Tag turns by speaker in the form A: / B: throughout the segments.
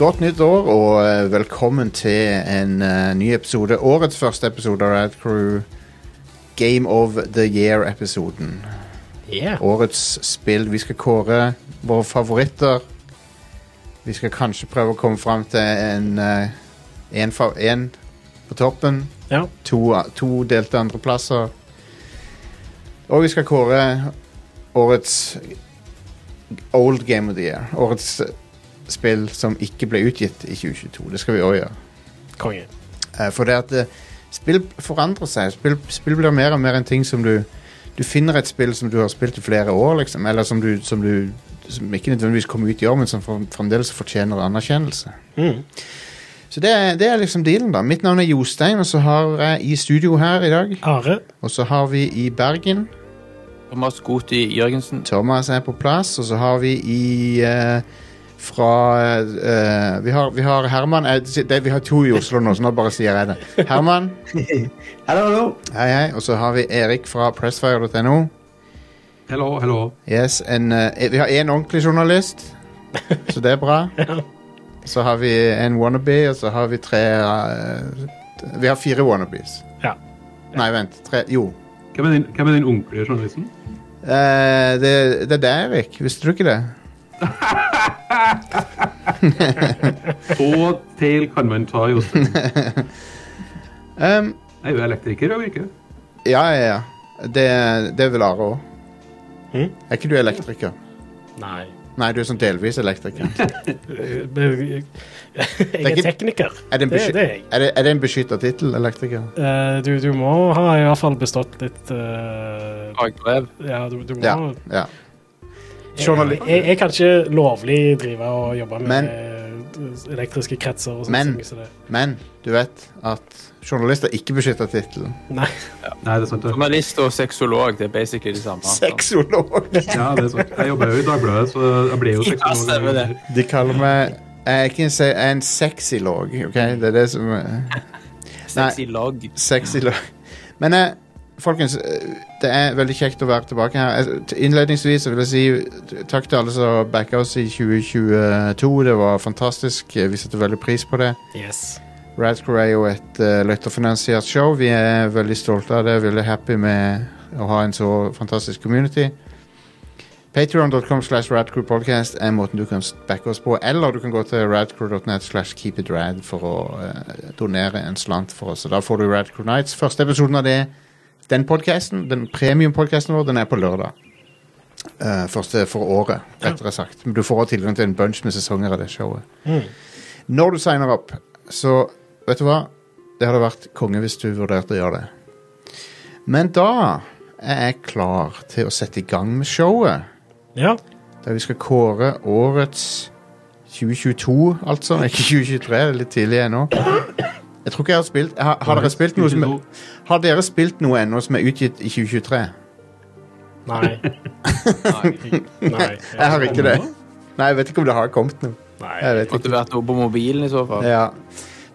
A: Godt nytt år, og eh, velkommen til en eh, ny episode. Årets første episode av Rad Crew. Game of the Year-episoden.
B: Yeah.
A: Årets spill. Vi skal kåre våre favoritter. Vi skal kanskje prøve å komme fram til en, eh, en, fa- en på toppen.
B: Ja.
A: To, to delte andreplasser. Og vi skal kåre årets Old Game of the Year. Årets spill som ikke ble utgitt i 2022. Det skal vi òg gjøre.
B: Konge.
A: Eh, For det at eh, spill forandrer seg. Spill, spill blir mer og mer en ting som du Du finner et spill som du har spilt i flere år, liksom. Eller som du, som du som ikke nødvendigvis kom ut i år, men som for- fremdeles fortjener anerkjennelse.
B: Mm.
A: Så det er, det er liksom dealen, da. Mitt navn er Jostein, og så har jeg i studio her i dag.
B: Are.
A: Og så har vi i Bergen.
C: Thomas Goti Jørgensen.
A: Thomas er på plass, og så har vi i eh, fra eh, vi, har, vi har Herman eh, det, Vi har to i Oslo nå, så nå bare sier jeg det. Herman,
D: Hallo, hallo.
A: hei, hei. Og så har vi Erik fra pressfire.no.
E: Hello, hello.
A: Yes, en, eh, vi har én ordentlig journalist, så det er bra. Så har vi en wannabe, og så har vi tre eh, Vi har fire wannabes.
B: Ja.
A: Nei, vent. Tre Jo.
E: Hvem er den, hvem er den ordentlige journalisten?
A: Eh, det, det er deg, Erik. Visste du ikke det?
E: Så feil kan man ta, Jostein.
A: Um,
E: Jeg er jo elektriker, jeg virker.
A: Ja, ja, ja. Det, det vil Are òg.
B: Mhm.
A: Er ikke du elektriker?
B: Nei.
A: Nei, du er sånn delvis elektriker.
B: Jeg er
A: ikke-
B: tekniker.
A: Er det en,
B: Det,
A: besky
B: det er jeg.
A: er det, er det en beskytta tittel, elektriker?
B: Eh, Du, du må ha i hvert fall bestått litt eh,
C: Fagbrev.
B: Ja, du, du må
A: Ja. ja.
B: jeg,
A: Journali-
B: jeg, jeg kan ikke lovlig drive og jobbe med
A: Men-
B: eh, elektriske kretser og sånn.
A: Men-
B: ting, så det-
A: Men du vet at journalister ikke beskytter tittelen.
B: Nei.
E: Nei, det er sant. det.
C: Journalist og sexolog, det er basically det samme.
A: Sexolog!
E: Ja, det er sant. Jeg jobber jo i Dagbladet, så jeg ble jo
C: Ja,
E: seksolog.
C: stemmer det.
A: De kaller meg Jeg er ikke en, se- jeg er en sexylog, OK? Det er det som er
C: Sexy log.
A: Sexylog. Men eh, folkens, eh, det er veldig kjekt å være tilbake her. Jeg- t- Innledningsvis så vil jeg si eh, takk til alle som backa oss i 2022. Det var fantastisk. Eh, Vi setter veldig pris på det.
B: Yes.
A: Radcrew er jo et uh, løyterfinansiert show. Vi er veldig stolte av det. Veldig happy med å ha en så fantastisk community. Patreon.com slash radcrewpodcast er måten du kan backe oss på. Eller du kan gå til radcrew.net slash keepitrad for å eh, donere en slant for oss. Og da får du Radcrew Nights. Første episoden av det, den podcasten, den premiumpodcasten vår, den er på lørdag. Eh, første for året, rettere sagt. Men du får også tilgang til en bunch med sesonger av det showet.
B: Mm.
A: Når du signer opp, så vet du hva? Det hadde vært konge hvis du vurderte å gjøre det. Men da er jeg klar til å sette i gang med showet.
B: Ja.
A: Der vi skal kåre årets 2022, altså. Ikke 2023, det er litt tidlig ennå. Jeg tror ikke jeg har spilt har, har, dere spilt noe som, er- har dere spilt noe ennå som er utgitt i 2023?
B: Nei.
C: Nei.
B: Nei.
A: Jeg har ikke det. Nei, jeg vet ikke om det har kommet noe. Jeg
B: Nei.
A: vet ikke.
C: Måtte vært noe på mobilen i så fall.
A: Ja.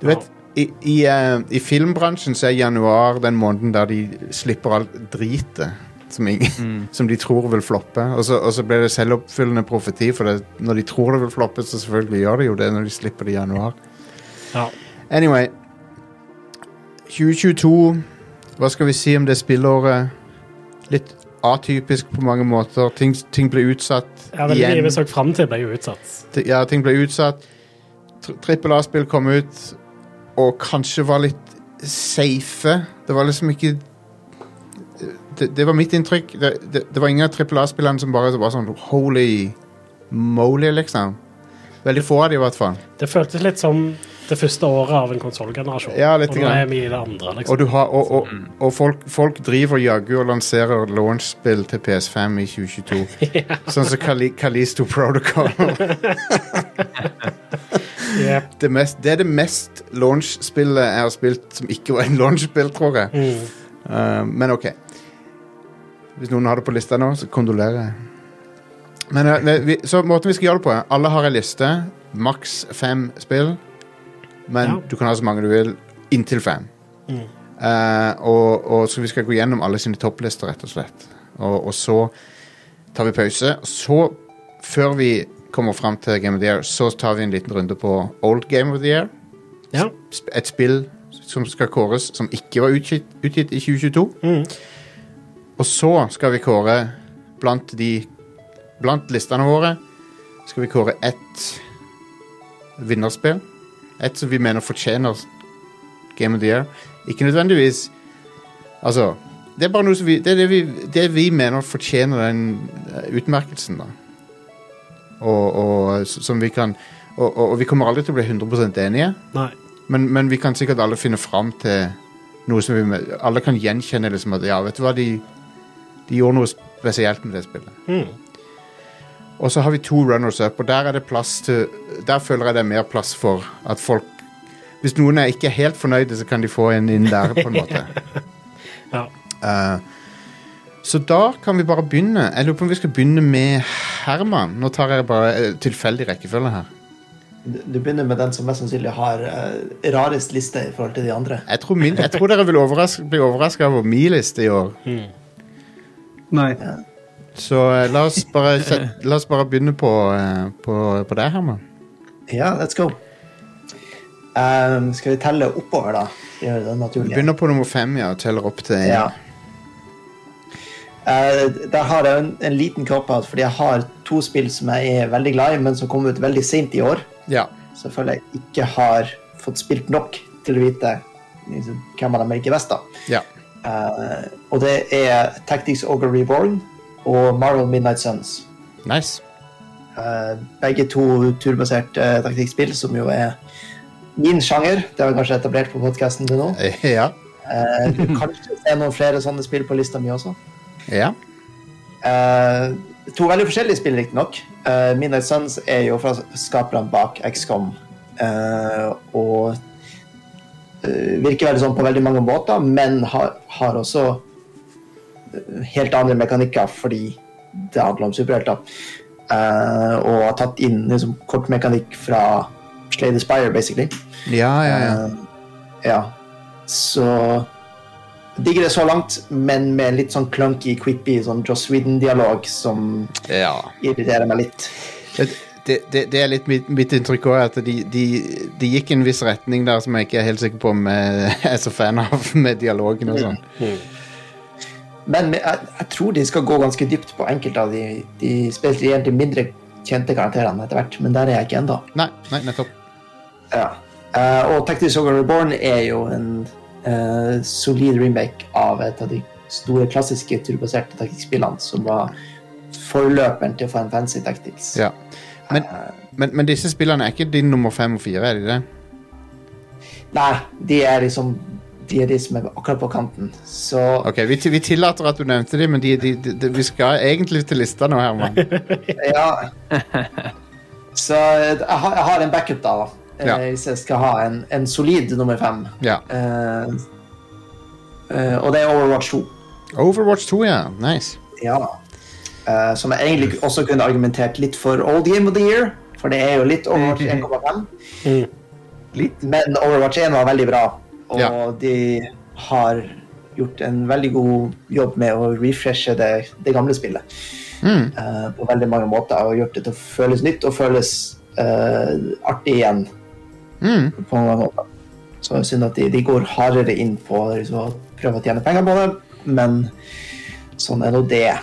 A: Du vet, i, i, eh, i filmbransjen så er januar den måneden der de slipper alt dritet som, ingen,
C: Mm.
A: som de tror vil floppe. Og så, og så blir det selvoppfyllende profeti, for det, når de tror det vil floppe, så selvfølgelig gjør det jo det når de slipper det i januar.
B: Ja.
A: Anyway 2022 Hva skal vi si om det spillåret? Litt atypisk på mange måter. Ting, ting ble utsatt
B: Ja, veldig mye vi så fram til ble jo utsatt.
A: Ti- ja, ting ble utsatt. Trippel A-spill kom ut og kanskje var litt safe. Det var liksom ikke Det, det var mitt inntrykk. Det, det, det var ingen av trippel A-spillerne som bare var sånn holy moly, liksom. Veldig få av dem, i hvert fall.
B: Det føltes litt som det første året av en konsollgenerasjon.
A: Ja, litt
B: og nå
A: grann.
B: er vi i det andre, liksom.
A: Og, du har, og, og, og folk, folk driver jaggu og lanserer launch-spill til PS5 i 2022. Sånn som Kali, Kalisto Protocol.
B: Yep.
A: det, mest, det er det mest launch-spillet jeg har spilt som ikke var en launch-spill, tror jeg.
B: Mm.
A: Eh, men OK. Hvis noen har det på lista nå, så kondolerer jeg. Men eh, det- vi, så måten vi skal gjøre det på er, Alle har ei liste. Maks fem spill. Men
B: Ja.
A: du kan ha så mange du vil. Inntil fem.
B: Mm.
A: Eh, og, og så vi skal gå gjennom alle sine topplister, rett og slett. Og, og så tar vi pause. Og så, før vi kommer fram til Game of the Year, så tar vi en liten runde på Old Game of the Year.
B: Ja.
A: Sp- Et spill som skal kåres som ikke var utgitt, utgitt i 2022.
B: Mm.
A: Og så skal vi kåre blant de Blant listene våre skal vi kåre ett vinnerspill. Et som vi mener fortjener Game of the Year. Ikke nødvendigvis Altså, det er bare noe som vi Det er det vi, det vi mener fortjener den eh, utmerkelsen, da. Og, og s- som vi kan og, og, og vi kommer aldri til å bli 100 enige,
B: Nei.
A: men, men vi kan sikkert alle finne fram til noe som vi Alle kan gjenkjenne liksom at ja, vet du hva, de, de gjorde noe spesielt med det spillet.
B: Mm.
A: Og så har vi to runners up, og der er det plass til Der føler jeg det er mer plass for at folk Hvis noen er ikke helt fornøyde, så kan de få en inn der, på en måte.
B: Ja.
A: Eh, så da kan vi bare begynne. Jeg lurer på om vi skal begynne med Herman. Nå tar jeg bare eh, tilfeldig rekkefølge her.
D: Du du begynner med den som mest sannsynlig har eh, rarest liste i forhold til de andre.
A: Jeg tror, min, jeg tror dere vil overras bli overraska over min liste i år.
E: Nei.
A: Så eh, la, oss bare, set- la oss bare begynne på, eh, på, på deg, Herman.
D: Ja, let's go. Ehm, skal vi telle oppover, da? Gjøre det
A: Du
D: naturlig.
A: begynner på nummer fem ja, og teller opp til
D: Ja. Eh, der har jeg en, en liten cop-out, fordi jeg har to spill som jeg er veldig glad i, men som kom ut veldig sent i år.
A: ja.
D: Så jeg føler jeg ikke har fått spilt nok til å vite liksom, hvem av dem jeg liker best. da.
A: ja.
D: Eh, og det er Tactics Ogre Reborn og Marvel Midnight Suns.
A: Nice.
D: Eh, begge to turbasert eh, taktikkspill, som jo er min sjanger. Det har vi kanskje etablert på podkasten til nå.
A: Eh, Ja.
D: Eh, du kanskje ser noen flere sånne spill på lista mi også.
A: ja.
D: Eh, to veldig forskjellige spill, riktignok. Uh, Midnight Suns er jo fra skaperne bak XCOM. eh, og eh, virker veldig sånn på veldig mange måter, men har, har også eh, helt andre mekanikker fordi det handler om superhelter. Eh, og har tatt inn liksom, kort mekanikk fra Slay the Spire, basically.
A: Ja, Ah, ja, ja.
D: Eh, ja. Så digger det så langt, men med litt sånn clunky, quippy sånn Joss Whedon-dialog som
A: ja.
D: irriterer meg litt.
A: Det, det, det er litt mitt, mitt inntrykk òg, at de, de, de gikk i en viss retning der som jeg ikke er helt sikker på om jeg er så fan av, med dialogen og sånn.
D: Men me- jeg, jeg tror de skal gå ganske dypt på enkelte av de, de spesielt de mindre kjente karakterene etter hvert, men der er jeg ikke ennå.
A: Nei, nei, nettopp.
D: Ja. Eh, og Tactics Ogre Reborn er jo en eh, solid remake av et av de store klassiske turbaserte taktikkspillene som var forløperen til Final Fantasy Tactics.
A: Ja. Men, men, men disse spillene er ikke din nummer fem og fire, er de det?
D: Nei, de er liksom De er de som er akkurat på kanten. Så
A: Ok, Vi, vi tillater at du nevnte de, men de, de, de, de, vi skal egentlig til lista nå, Herman.
D: ja. Så eh, jeg har, jeg har en backup, da. eh,
A: Ja.
D: Hvis jeg skal ha en, en solid nummer fem.
A: Ja.
D: Eh, eh, og det er Overwatch 2.
A: Overwatch 2, ja. Nice.
D: Ja. Eh, som jeg egentlig også kunne argumentert litt for Old Game of the Year. For det er jo litt Overwatch 1,5.
B: Mm.
E: Litt.
D: Men Overwatch 1 var veldig bra, og
A: Ja.
D: de har gjort en veldig god jobb med å refreshe det, det gamle spillet
A: Mm.
D: eh, på veldig mange måter, og gjort det til å føles nytt og føles eh, artig igjen
A: Mm.
D: på mange måter. Så synd at de, de går hardere inn på liksom, å prøve å tjene penger på det, men sånn er nå det.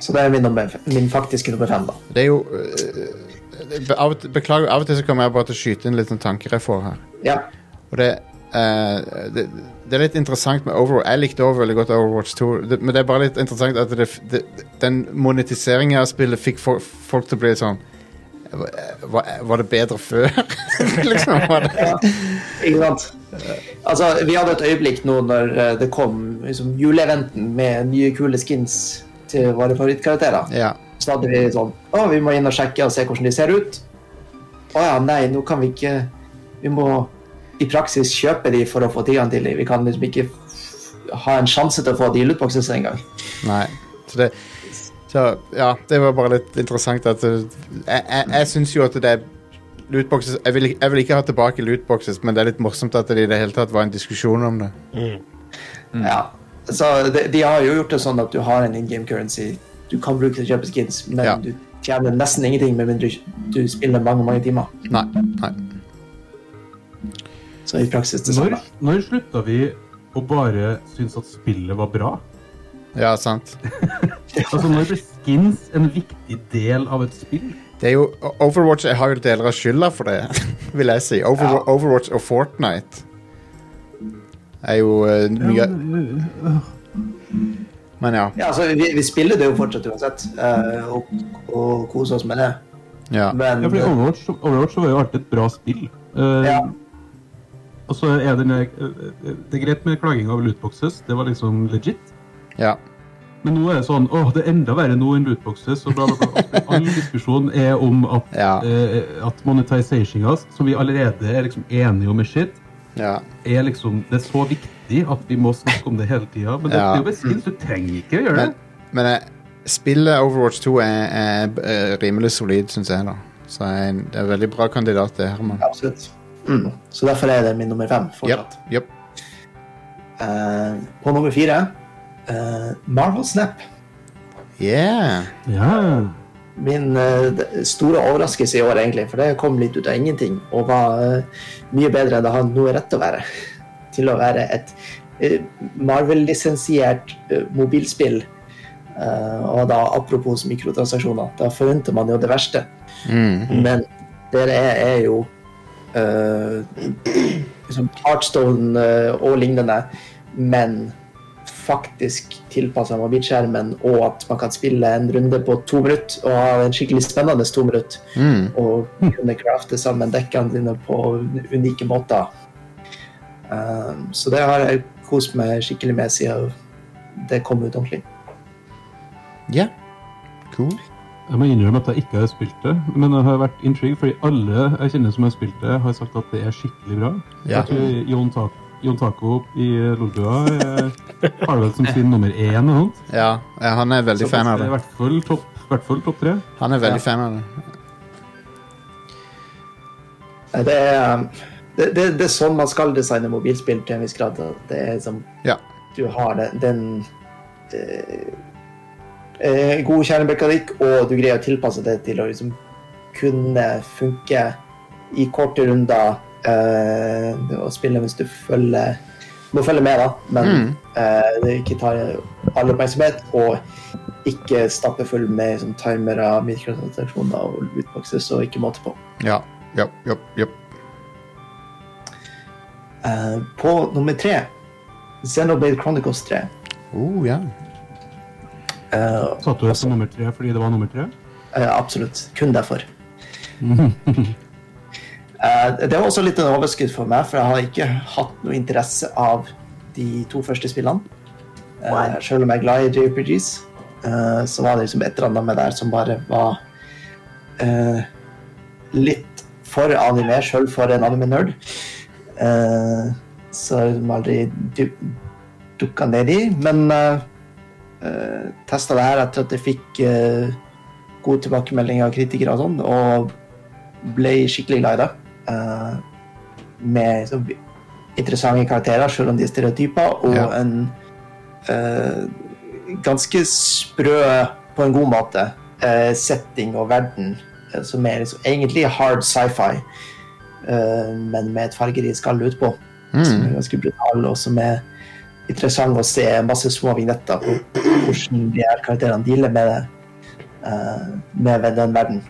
D: Så det er min, nummer, min faktiske nummer fem, da.
A: Det er jo øh, be- av, og til- Beklager, av og til så kommer jeg bare til å skyte inn litt sånn tanker jeg får her.
D: Ja.
A: Og det, eh, det, det er litt interessant med Overwatch. Jeg likte også veldig godt Overwatch 2, det, men det er bare litt interessant at det, det, den monetiseringen av spillet fikk fo- folk til å bli litt sånn var, var det bedre før? liksom, var det?
D: Ikke sant? Altså, vi hadde et øyeblikk nå når eh, det kom liksom, juleeventen med nye kule skins til våre favorittkarakterer.
A: Ja.
D: Så hadde vi sånn Å, vi må inn og sjekke og se hvordan de ser ut. Å ja, nei, nå kan vi ikke Vi må i praksis kjøpe de for å få tilgang til de. Vi kan liksom ikke ha en sjanse til å få de i lootboxen sin engang.
A: Nei. Så det så, Ja, det var bare litt interessant at det, Jeg, jeg, jeg syns jo at det er lootboxes jeg vil, jeg vil ikke ha tilbake lootboxes, men det er litt morsomt at det i det hele tatt var en diskusjon om det. Mm.
D: Ja. Så de, de har jo gjort det sånn at du har en in game currency. Du kan bruke til å kjøpe skins, men
A: Ja.
D: du tjener nesten ingenting med mindre du spiller mange, mange timer.
A: Nei. nei.
D: Så i praksis det
F: Når,
D: samme.
F: når slutta vi å bare synes at spillet var bra?
A: Ja, sant.
F: Altså, når ble skins en viktig del av et spill?
A: Det er jo, Overwatch jeg har jo deler av skylda for det, vil jeg si. Over,
D: Ja.
A: Overwatch og Fortnite er jo eh, mye Men ja.
D: Ja, altså, vi, vi spiller det jo fortsatt uansett, eh, og, og koser oss med det.
A: ja.
D: Men
F: Ja, fordi Overwatch, Overwatch var jo alltid et bra spill. Eh,
D: Ja.
F: Og så er den eh, eh, Det er greit med klaging over lootboxes, det var liksom legit.
A: ja.
F: Men nå er det sånn åh, det er enda verre nå enn lootboxes. Og bla, bla, bla. All diskusjon er om at,
A: Ja.
F: eh, at monetizationga, som vi allerede er liksom enige om er shit,
A: ja.
F: er liksom, det er så viktig at vi må snakke om det hele tida. Men det
A: Ja.
F: er jo bare skins, du trenger ikke å gjøre
A: Men,
F: det.
A: men eh, spillet Overwatch 2 er, er, eh, rimelig solid, syns jeg. da Så jeg, er en- det er en veldig bra kandidat, det, Herman.
D: absolutt. Mm. Så derfor er det min nummer fem
A: Yep,
D: fortsatt.
A: yep.
D: Eh, på nummer fire eh, Marvel Snap.
A: Yeah.
F: Ja.
D: min eh, d- store overraskelse i år, egentlig. For det kom litt ut av ingenting og var eh, mye bedre enn det har noe rett til å være. Til å være et eh, Marvel-lisensiert eh, mobilspill. Eh, og da apropos mikrotransaksjoner, da forventer man jo det verste.
A: Mm.
D: Men det det er, er jo eh, liksom Artstone eh, og lignende, men faktisk tilpassa mobilskjermen, og at man kan spille en runde på to minutter og ha en skikkelig spennende to minutter,
A: Mm.
D: og kunne crafte sammen dekkene dine på unike måter. Eh, så det har jeg kost meg skikkelig med siden det kom ut ordentlig.
A: Yeah. Cool.
F: Jeg må innrømme at jeg ikke har spilt det, men jeg har vært intrigued, fordi alle jeg kjenner som har spilt det, har sagt at det er skikkelig bra.
A: Ja.
F: Jeg tror Jon, tak Jon Taco i Lolbua eh, har vel som sin nummer én. eller noe sånt.
A: Ja, eh, han er veldig
F: Så
A: fan av
F: det er I
A: det.
F: hvert fall topp, i hvert fall topp tre.
A: Han er veldig
D: Ja.
A: fan av det.
D: Nei, Det er, um, det, det, det er sånn man skal designe mobilspill til en viss grad. at Det er som
A: Ja.
D: Du har den, den eh, eh, god kjernemekanikk, og du greier å tilpasse det til å liksom kunne funke i korte runder eh, og spille hvis du følger må følge med, da, men
A: Mm.
D: eh, det ikke tar all oppmerksomhet. Og ikke stappe full med liksom, timere, mikrotransaksjoner og utboxes og ikke måte på.
A: Ja. Yep, yep, yep.
D: Eh, på nummer tre, Xenoblade Chronicles 3.
A: Oh, ja.
D: Eh,
F: Satte du det som nummer tre fordi det var nummer tre?
D: eh, absolutt. Kun derfor. Eh, det var også litt en overskudd for meg, for jeg har ikke hatt noe interesse av de to første spillene. Eh, selv om jeg er glad i JRPGs, eh, så var det liksom et eller annet med der som bare var eh, litt for anime, selv for en anime-nerd. Eh, så jeg liksom aldri du dukka ned i, men uh, testa det her etter at jeg fikk eh, god tilbakemelding av kritikere og sånn, og ble skikkelig glad i det. Eh, med så, interessante karakterer, selv om de er stereotyper, og
A: Ja.
D: en eh, ganske sprø, på en god måte, eh, setting og verden, eh, som er liksom, egentlig hard sci-fi, eh, men med et fargerikt skall utpå, som
A: Mm.
D: er ganske brutal, og som er interessant å se masse små vignetter på hvordan de her karakterene dealer med det eh, med den verden.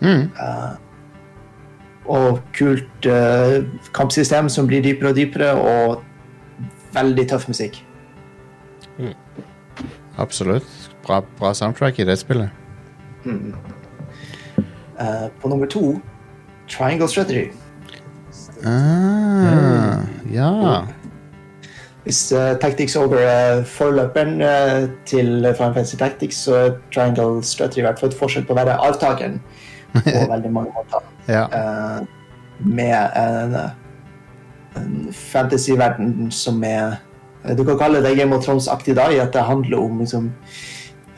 A: Mm.
D: Og kult eh, kampsystem som blir dypere og dypere, og veldig tøff musikk.
A: Absolutt. Bra, bra soundtrack i det spillet.
D: Eh, på nummer to, Triangle Strategy.
A: Ah,
F: Mm.
A: ja.
D: Hvis eh, Tactics Ogre er forløperen eh, til Final Fantasy Tactics, så er Triangle Strategy i hvert fall et forsøk på å være arvtakeren på veldig mange måter.
A: ja.
D: eh, med en, en fantasyverden som er eh, Du kan kalle det Game of Thrones-aktig da, i at det handler om liksom,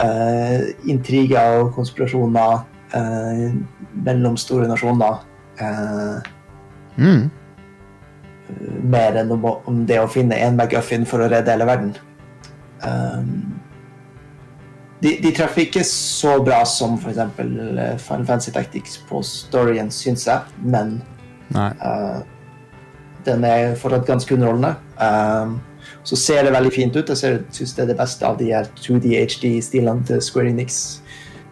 D: eh, intriger og konspirasjoner eh, mellom store nasjoner. eh,
A: Mm.
D: mer enn om, å- om det å finne en MacGuffin for å redde hele verden. Ehm, Eh, de, de traff ikke så bra som for eksempel eh, Final Fantasy Tactics på storyen, syns jeg, men
A: Nei.
D: eh, den er fortsatt ganske underholdende. Eh, så ser det veldig fint ut. Jeg ser- syns det er det beste av de her 2D HD-stilene til Square Enix.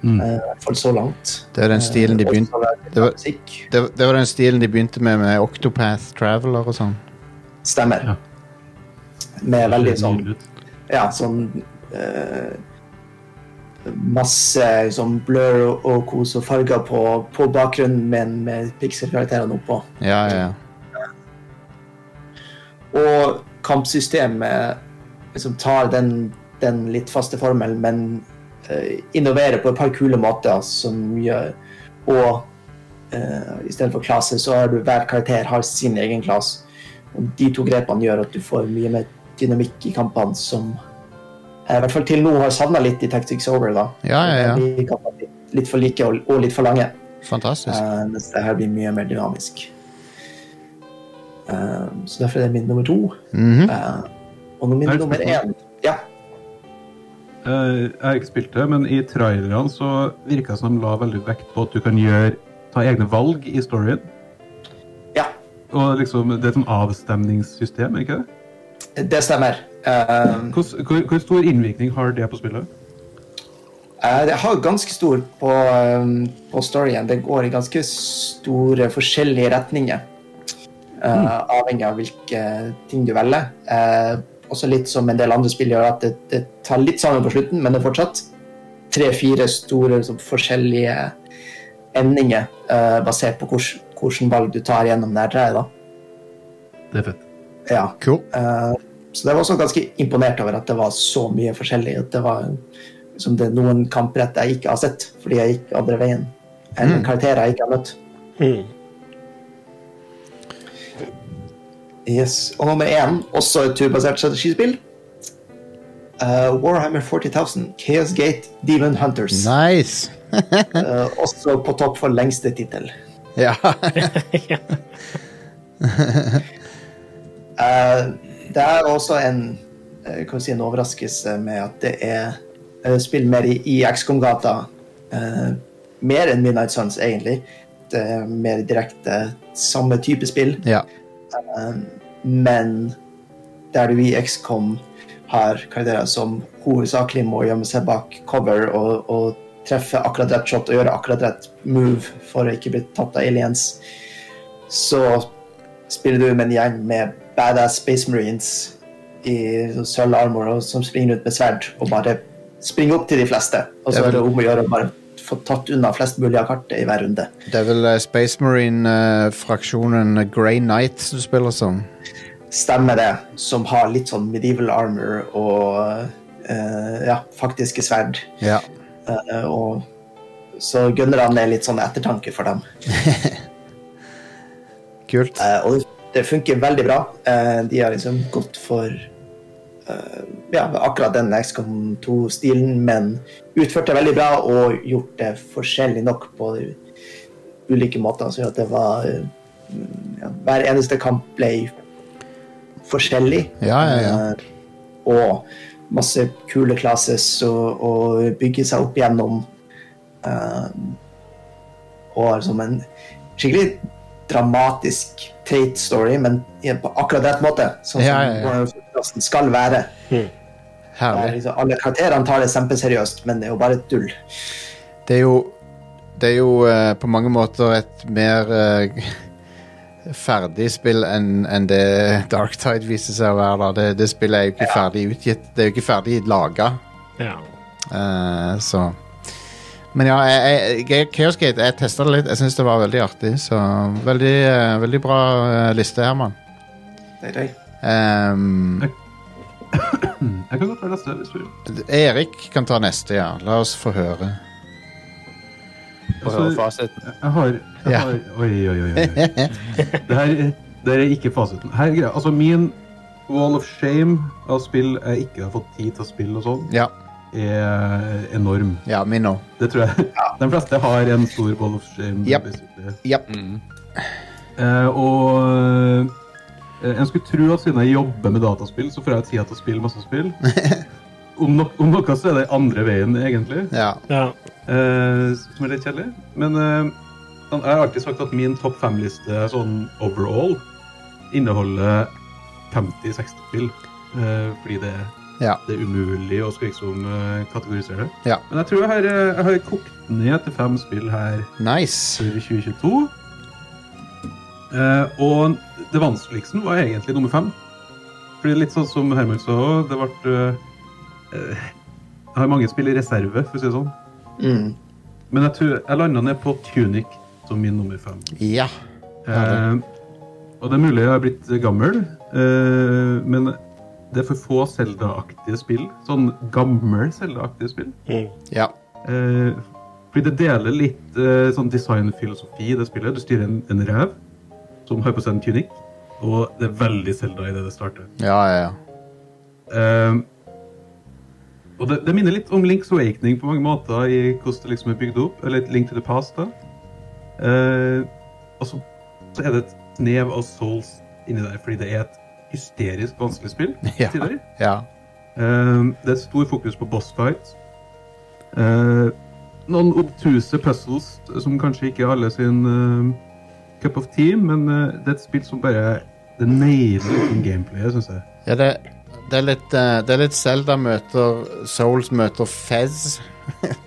F: Mm.
D: eh, I hvert fall så langt.
A: Det er den stilen de
D: Eh,
A: begynte
D: også veldig
A: det var-
D: musikk.
A: det, det var den stilen de begynte med med Octopath Traveler og sånn.
D: Stemmer.
F: Ja.
D: Med veldig
F: Det ser
D: sånn
F: nydelig ut.
D: ja, sånn eh, Masse sånn blur og, og kos og farger på, på bakgrunnen, men med pixel-karakterene oppå.
A: Ja, ja, ja.
D: Og kampsystemet liksom tar den, den litt faste formelen, men eh, innoverer på et par kule måter som gjør Og eh, i stedet for klasser, så har du hver karakter har sin egen klasse. Og de to grepene gjør at du får mye mer dynamikk i kampene som jeg i hvert fall til nå har savna litt i Tactics Over. da.
A: Ja, ja, ja.
D: De blir kampene litt, litt for like og, og litt for lange.
A: Fantastisk.
D: Eh, mens det her blir mye mer dynamisk. Eh, så derfor er det min nummer to.
A: Mhm.
D: Eh, og min
F: Er det
D: nummer
F: spørsmål?
D: én Ja,
F: Eh, jeg har ikke spilt det, men i trailerne så virka det som de la veldig vekt på at du kan gjøre, ta egne valg i storyen.
D: ja
F: Og liksom, Det er et sånn avstemningssystem, er ikke det?
D: det stemmer. Eh,
F: Hvordan- Hvor, hvor stor innvirkning har det på spillet?
D: eh, det har ganske stor på, eh, på storyen. Det går i ganske store forskjellige retninger. eh, Avhengig av hvilke ting du velger. Eh, også litt som en del andre spill gjør, at det, det tar litt sammen på slutten, men det er fortsatt tre-fire store liksom, forskjellige endinger eh, basert på hvordan- hvordan valg du tar gjennom det her treet. da.
F: Det er fett.
D: Ja.
A: Cool.
D: Eh, Så jeg var også ganske imponert over at det var så mye forskjellig. At det var liksom det er noen kamprett jeg ikke har sett fordi jeg gikk andre veien. Eller karakterer jeg ikke har møtt.
B: Mm.
D: Yes. Og nummer én, også et turbasert strategispill. Eh, Warhammer 40.000, Chaos Gate, Demon Hunters.
A: Nice!
D: Eh, også på topp for lengste tittel.
A: Ja.
D: Eh, det er også en, eh, kan vi si, en overraskelse med at det er eh, spill mer i, i XCOM-gata. eh, mer enn Midnight Suns, egentlig. Det er mer direkte samme type spill,
A: ja.
D: Ehm, men der du i XCOM har karakterer som hovedsakelig må gjemme seg bak cover og, og treffe akkurat rett shot og gjøre akkurat rett move for å ikke bli tatt av aliens, så spiller du med en gjeng med badass space marines i sånn sølv armor og som springer rundt med sverd og bare springer opp til de fleste. Og så
A: Det er
D: er det
A: vel-
D: om å gjøre å bare få tatt unna flest mulig av kartet i hver runde.
A: Det er vel eh, Space Marine-fraksjonen eh, Grey Knight du spiller som.
D: Stemmer det, som har litt sånn medieval armor og eh, ja, faktiske sverd.
A: Ja.
D: Eh, og så gunnerne er litt sånn ettertanke for dem.
A: Kult.
D: Eh, og det funker veldig bra. Eh, de har liksom gått for eh, ja, akkurat den XCOM 2-stilen, men utført det veldig bra og gjort det forskjellig nok på ulike måter. Så at det var eh, ja, Hver eneste kamp ble forskjellig.
A: Ja, ja, ja.
D: Eh, og masse kule classes og, og bygge seg opp gjennom. eh, og har som en skikkelig dramatisk trait story, men i- på akkurat rett måte. Sånn som
A: Ja, ja, ja.
D: Warhammer 40.000 skal være. Det er
A: Herlig.
D: Liksom, alle karakterene tar det kjempeseriøst, men det er jo bare tull.
A: Det er jo Det er jo eh, på mange måter et mer eh, ferdig spill enn enn det Darktide viser seg å være. da. Det, det spillet er jo ikke ferdig utgitt. Det er jo ikke ferdig laga.
B: Ja.
A: Eh, så Men ja, jeg, jeg, Chaos Gate, jeg testa det litt. Jeg syns det var veldig artig. Så veldig, eh, veldig bra eh, liste, Herman.
D: Det er det.
A: Ehm,
F: Jeg kan godt være neste. hvis du vil.
A: Erik kan ta neste, ja. La oss få høre.
C: Få høre fasiten.
F: Jeg har, jeg
A: Ja.
F: har Oi, oi, oi. oi. Det her, det her er ikke fasiten. Her, er greia. altså, min wall of shame av spill jeg ikke har fått tid til å spille, og sånn,
A: ja,
F: er enorm.
A: ja, min nå.
F: Det tror jeg. De fleste har en stor wall of shame.
A: Japp.
F: basically.
A: Ja.
F: Eh, og eh, en skulle tro at siden jeg jobber med dataspill, så får jeg tid til å spille masse spill. om, nok, om noe så er det andre veien, egentlig.
A: Ja.
B: Ja.
F: Eh, som er litt kjedelig. Men eh, sånn, jeg har alltid sagt at min topp fem-liste sånn overall inneholder 50-60 spill. Eh, fordi det,
A: Ja.
F: det er umulig å skal liksom eh, kategorisere det.
A: Ja.
F: Men jeg tror jeg har, eh, jeg har kokt ned til fem spill her
A: Nice.
F: for 2022. Eh, og det vanskeligste var egentlig nummer fem. Fordi litt sånn som Herman sa òg, det ble eh, eh, Jeg har mange spill i reserve, for å si det sånn.
D: Mm.
F: Men jeg tror jeg landa ned på Tunic som min nummer fem.
A: Ja. Ja,
F: Eh, og det er mulig jeg har blitt gammel, eh, men det er for få Zelda-aktige spill. Sånn gammel Zelda-aktige spill.
B: Mm.
A: Ja.
F: Eh, fordi det deler litt eh, sånn designfilosofi i det spillet. Du styrer en, en rev som har på seg en tunic, og det er veldig Zelda i det det starter.
A: Ja, ja, ja.
F: Eh, og det, det minner litt om Links Awakening på mange måter, i hvordan det liksom er bygd opp. Eller et Link to the Past, da. Eh, og så, så er det et snev av souls inni der, fordi det er et hysterisk vanskelig spill.
A: Ja.
F: til tider.
A: ja.
F: Eh, det er stor fokus på boss fights. Eh, noen obtuse puzzles som kanskje ikke er alle sin eh, cup of tea, men eh, det er et spill som bare Det nailer uten gameplayet, syns jeg.
A: ja det, det er litt eh, Det er litt Zelda møter Souls møter Fez.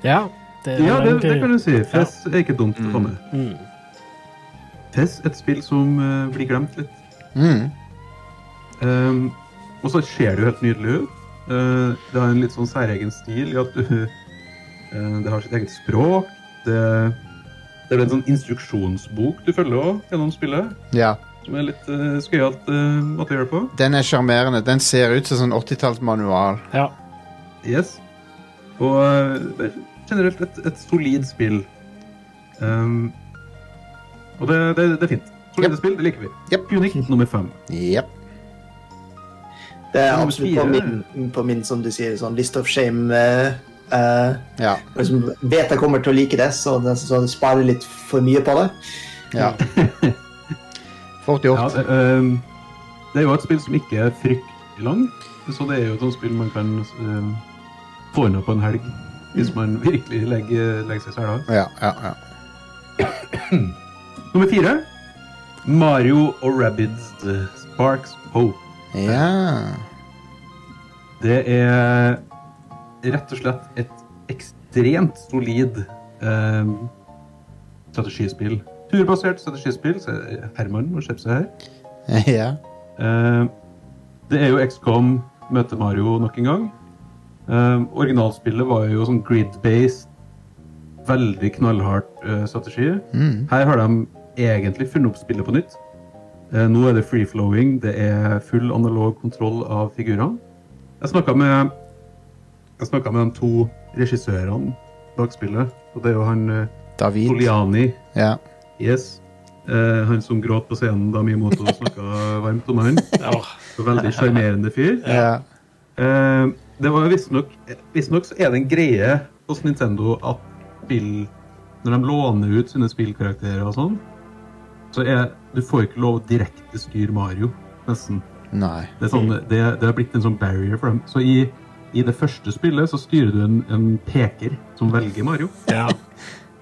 B: ja. Det er
F: Ja,
B: vel
F: det,
B: egentlig-
F: det kan du si. Fess er ikke dumt å komme.
B: Mm.
F: Fess et spill som eh, blir glemt litt.
A: Mm.
F: Ehm, og så ser det jo helt nydelig ut. Eh, det har en litt sånn særegen stil i at du eh, Det har sitt eget språk. Det, det er vel en sånn instruksjonsbok du følger òg gjennom spillet,
A: Ja.
F: som er litt uh, skøyalt eh, måte å gjøre det på.
A: Den er sjarmerende. Den ser ut som sånn 80-tallsmanual.
B: ja.
F: Yes. Og eh, generelt et, et solid spill. Ehm, og det, det, det er fint. Solide
A: Yep.
F: spill, det liker vi.
A: Yep.
F: Unikt nummer fem.
A: Jepp.
D: Det er
F: Nummer
D: absolutt på
F: fire.
D: min, på min, som du sier, sånn list of shame. eh, eh,
A: Ja.
D: liksom vet jeg kommer til å like det, så, det, så det sparer litt for mye på det.
A: ja. Fort
F: Ja,
A: gjort.
F: det, ehm, det er jo et spill som ikke er fryktelig langt, så det er jo et sånt spill man kan ehm, få unna på en helg. Hvis man virkelig legger, legger seg i sela.
A: Ja, ja, ja.
F: Nummer fire. Mario og Rabbids The Sparks of Hope.
A: ja.
F: Det er rett og slett et ekstremt solid ehm, strategispill. Turbasert strategispill. Så Herman må skjerpe seg her.
A: ja.
F: Eh, det er jo XCOM møter Mario nok en gang. Eh, originalspillet var jo sånn grid-based, veldig knallhardt eh, strategi.
A: Mm.
F: Her har de egentlig funnet opp spillet på nytt. Eh, nå er det free-flowing, det er full analog kontroll av figurene. Jeg snakka med jeg snakket med de to regissørene bak spillet, og det er jo han eh,
A: David.
F: Poliani.
A: Ja.
F: Yes. Eh, han som gråt på scenen da Miyamoto snakka varmt om han.
B: Åh,
F: Så Veldig sjarmerende fyr.
A: Ja.
F: Eh, det var visstnok Visstnok så er det en greie hos Nintendo at spill Når de låner ut sine spillkarakterer og sånn, så er Du får ikke lov å direkte styre Mario, nesten.
A: Nei.
F: Det er, sånn, det, det er blitt en sånn barrier for dem. Så i, i det første spillet så styrer du en, en peker som velger Mario.
B: ja.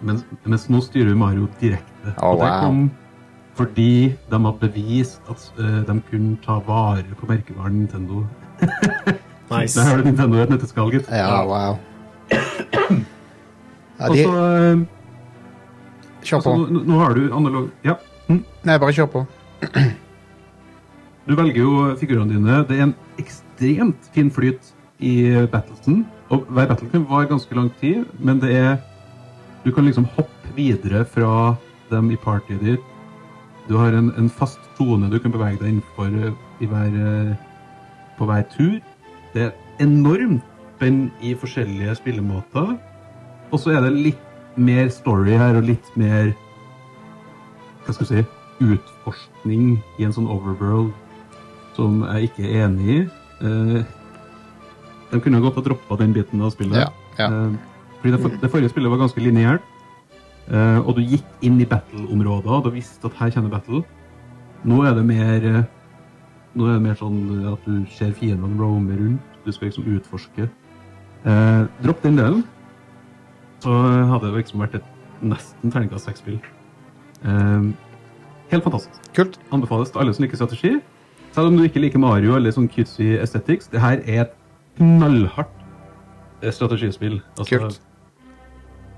F: Mens, mens nå styrer Mario direkte.
A: Å,
F: og det
A: wow.
F: kom fordi de hadde bevist at eh, de kunne ta vare på merkevaren Nintendo. Der
B: Nice.
F: har du Nintendo i et nøtteskall, gitt.
A: Ja, wow. Ja,
F: Og
A: de,
F: så, eh,
A: kjør
F: altså,
A: på.
F: nå, nå har du analog Ja. Mm.
A: Nei, bare kjør på.
F: Du velger jo figurene dine. Det er en ekstremt fin flyt i battlesen. Og hver battlesen var ganske lang tid, men det er Du kan liksom hoppe videre fra dem i partyet ditt. Du har en, en fast tone du kan bevege deg innenfor eh, i hver, eh, på hver tur. Det er enormt spenn i forskjellige spillemåter. Og så er det litt mer story her, og litt mer hva skal jeg si, utforskning i en sånn overworld som jeg ikke er enig i. Eh, De kunne godt ha droppa den biten av spillet.
A: Ja, ja.
F: Eh, Fordi det, for, det forrige spillet var ganske lineært, eh, og du gikk inn i battle-områder og du visste at her kommer battle. Nå er det mer eh, Nå er det mer sånn at du ser fiendene roame rundt. Du skal liksom utforske. Eh, dropp den delen, så hadde det liksom vært et nesten terningkast seks-spill. Eh, helt fantastisk.
A: Kult.
F: Anbefales til alle som liker strategi. Selv om du ikke liker Mario eller sånn cutesy aesthetics, det her er et knallhardt eh, strategispill. Altså,
A: Kult.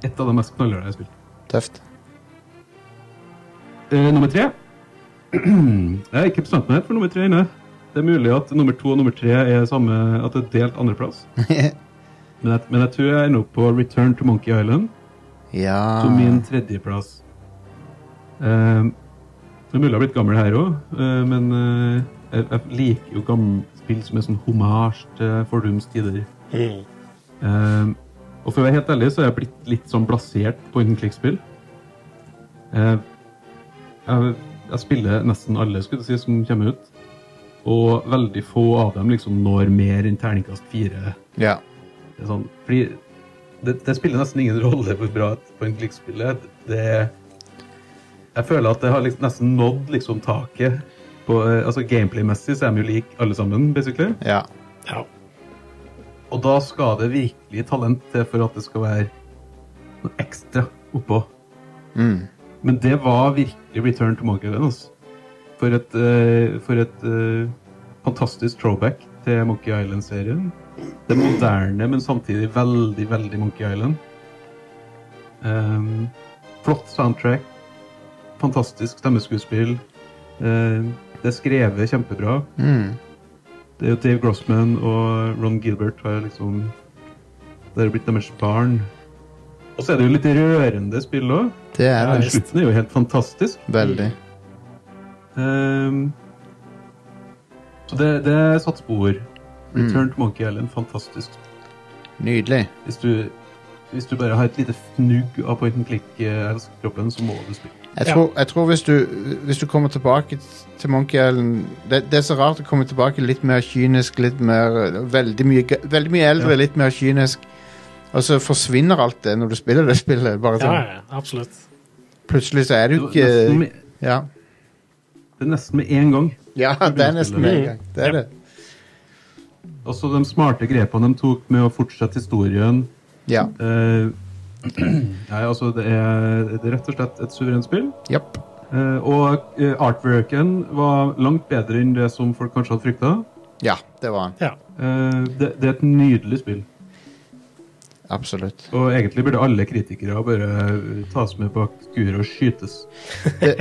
F: Et av de mest knallharde jeg har spilt.
A: Tøft.
F: Eh, nummer tre. Jeg har ikke bestemt meg helt for nummer tre ennå. Det er mulig at nummer to og nummer tre er samme, at det er delt andreplass. Men jeg, men jeg tror jeg ender opp på Return to Monkey Island
A: ja
F: som min tredjeplass. Eh, det er mulig jeg har blitt gammel her òg, men eh, jeg, jeg liker jo gamle spill som er sånn homasj til fordums tider.
B: Mm.
F: Eh, og for å være helt ærlig så er jeg blitt litt sånn blasert på and click-spill. Eh, jeg, jeg spiller nesten alle skulle jeg si, som kommer ut, og veldig få av dem liksom når mer enn terningkast fire.
A: Ja.
F: Det er sånn, fordi det, det spiller nesten ingen rolle hvor bra et point click-spill er. Det Jeg føler at det har liksom nesten nådd liksom taket. På, eh, altså Gameplay-messig så er de jo like alle sammen, basically.
A: ja.
B: Ja.
F: Og da skal det virkelig talent til for at det skal være noe ekstra oppå.
A: Mm.
F: Men det var virkelig Return to Monkey Island. Altså. For et, eh, for et eh, fantastisk throwback til Monkey Island-serien. Det moderne, men samtidig veldig, veldig Monkey Island. Ehm, flott soundtrack. Fantastisk stemmeskuespill. Ehm, det er skrevet kjempebra.
A: Mm.
F: Det er jo Dave Grossman og Ron Gilbert har liksom Det har blitt deres barn. Og så er det jo litt rørende spill òg.
A: Det er det.
F: Slutten er jo helt fantastisk.
A: Veldig.
F: Ehm, så det, det satte spor. Return to Monkey Island, fantastisk.
A: Nydelig.
F: Hvis du, hvis du bare har et lite fnugg av point and eh, click-kroppen, så må du spille.
A: Jeg
B: Ja.
A: tror, jeg tror hvis, du, hvis du kommer tilbake til Monkey Island det, det er så rart å komme tilbake litt mer kynisk, litt mer Veldig mye, ga- veldig mye eldre,
F: Ja.
A: litt mer kynisk. Og så forsvinner alt det når du spiller det spillet. Bare
B: ja,
A: sånn,
B: ja, absolutt.
A: Plutselig så er
F: Det,
A: du
F: var
A: ikke
F: nesten med-
A: Ja,
F: det er nesten med én gang.
A: ja det er nesten det.
B: spille.
A: ja. Det er det.
F: Også de smarte grepene de tok med å fortsette historien.
A: Ja.
F: Eh, nei, altså, det er, det er rett og slett et suverent spill.
A: Japp.
F: Eh, og eh, artworken var langt bedre enn det som folk kanskje hadde frykta.
A: Ja, det var han.
B: Ja.
F: Eh, det, det er et nydelig spill.
A: Absolutt.
F: Og egentlig burde alle kritikere bare eh, tas med bak skuret og skytes.
A: Det,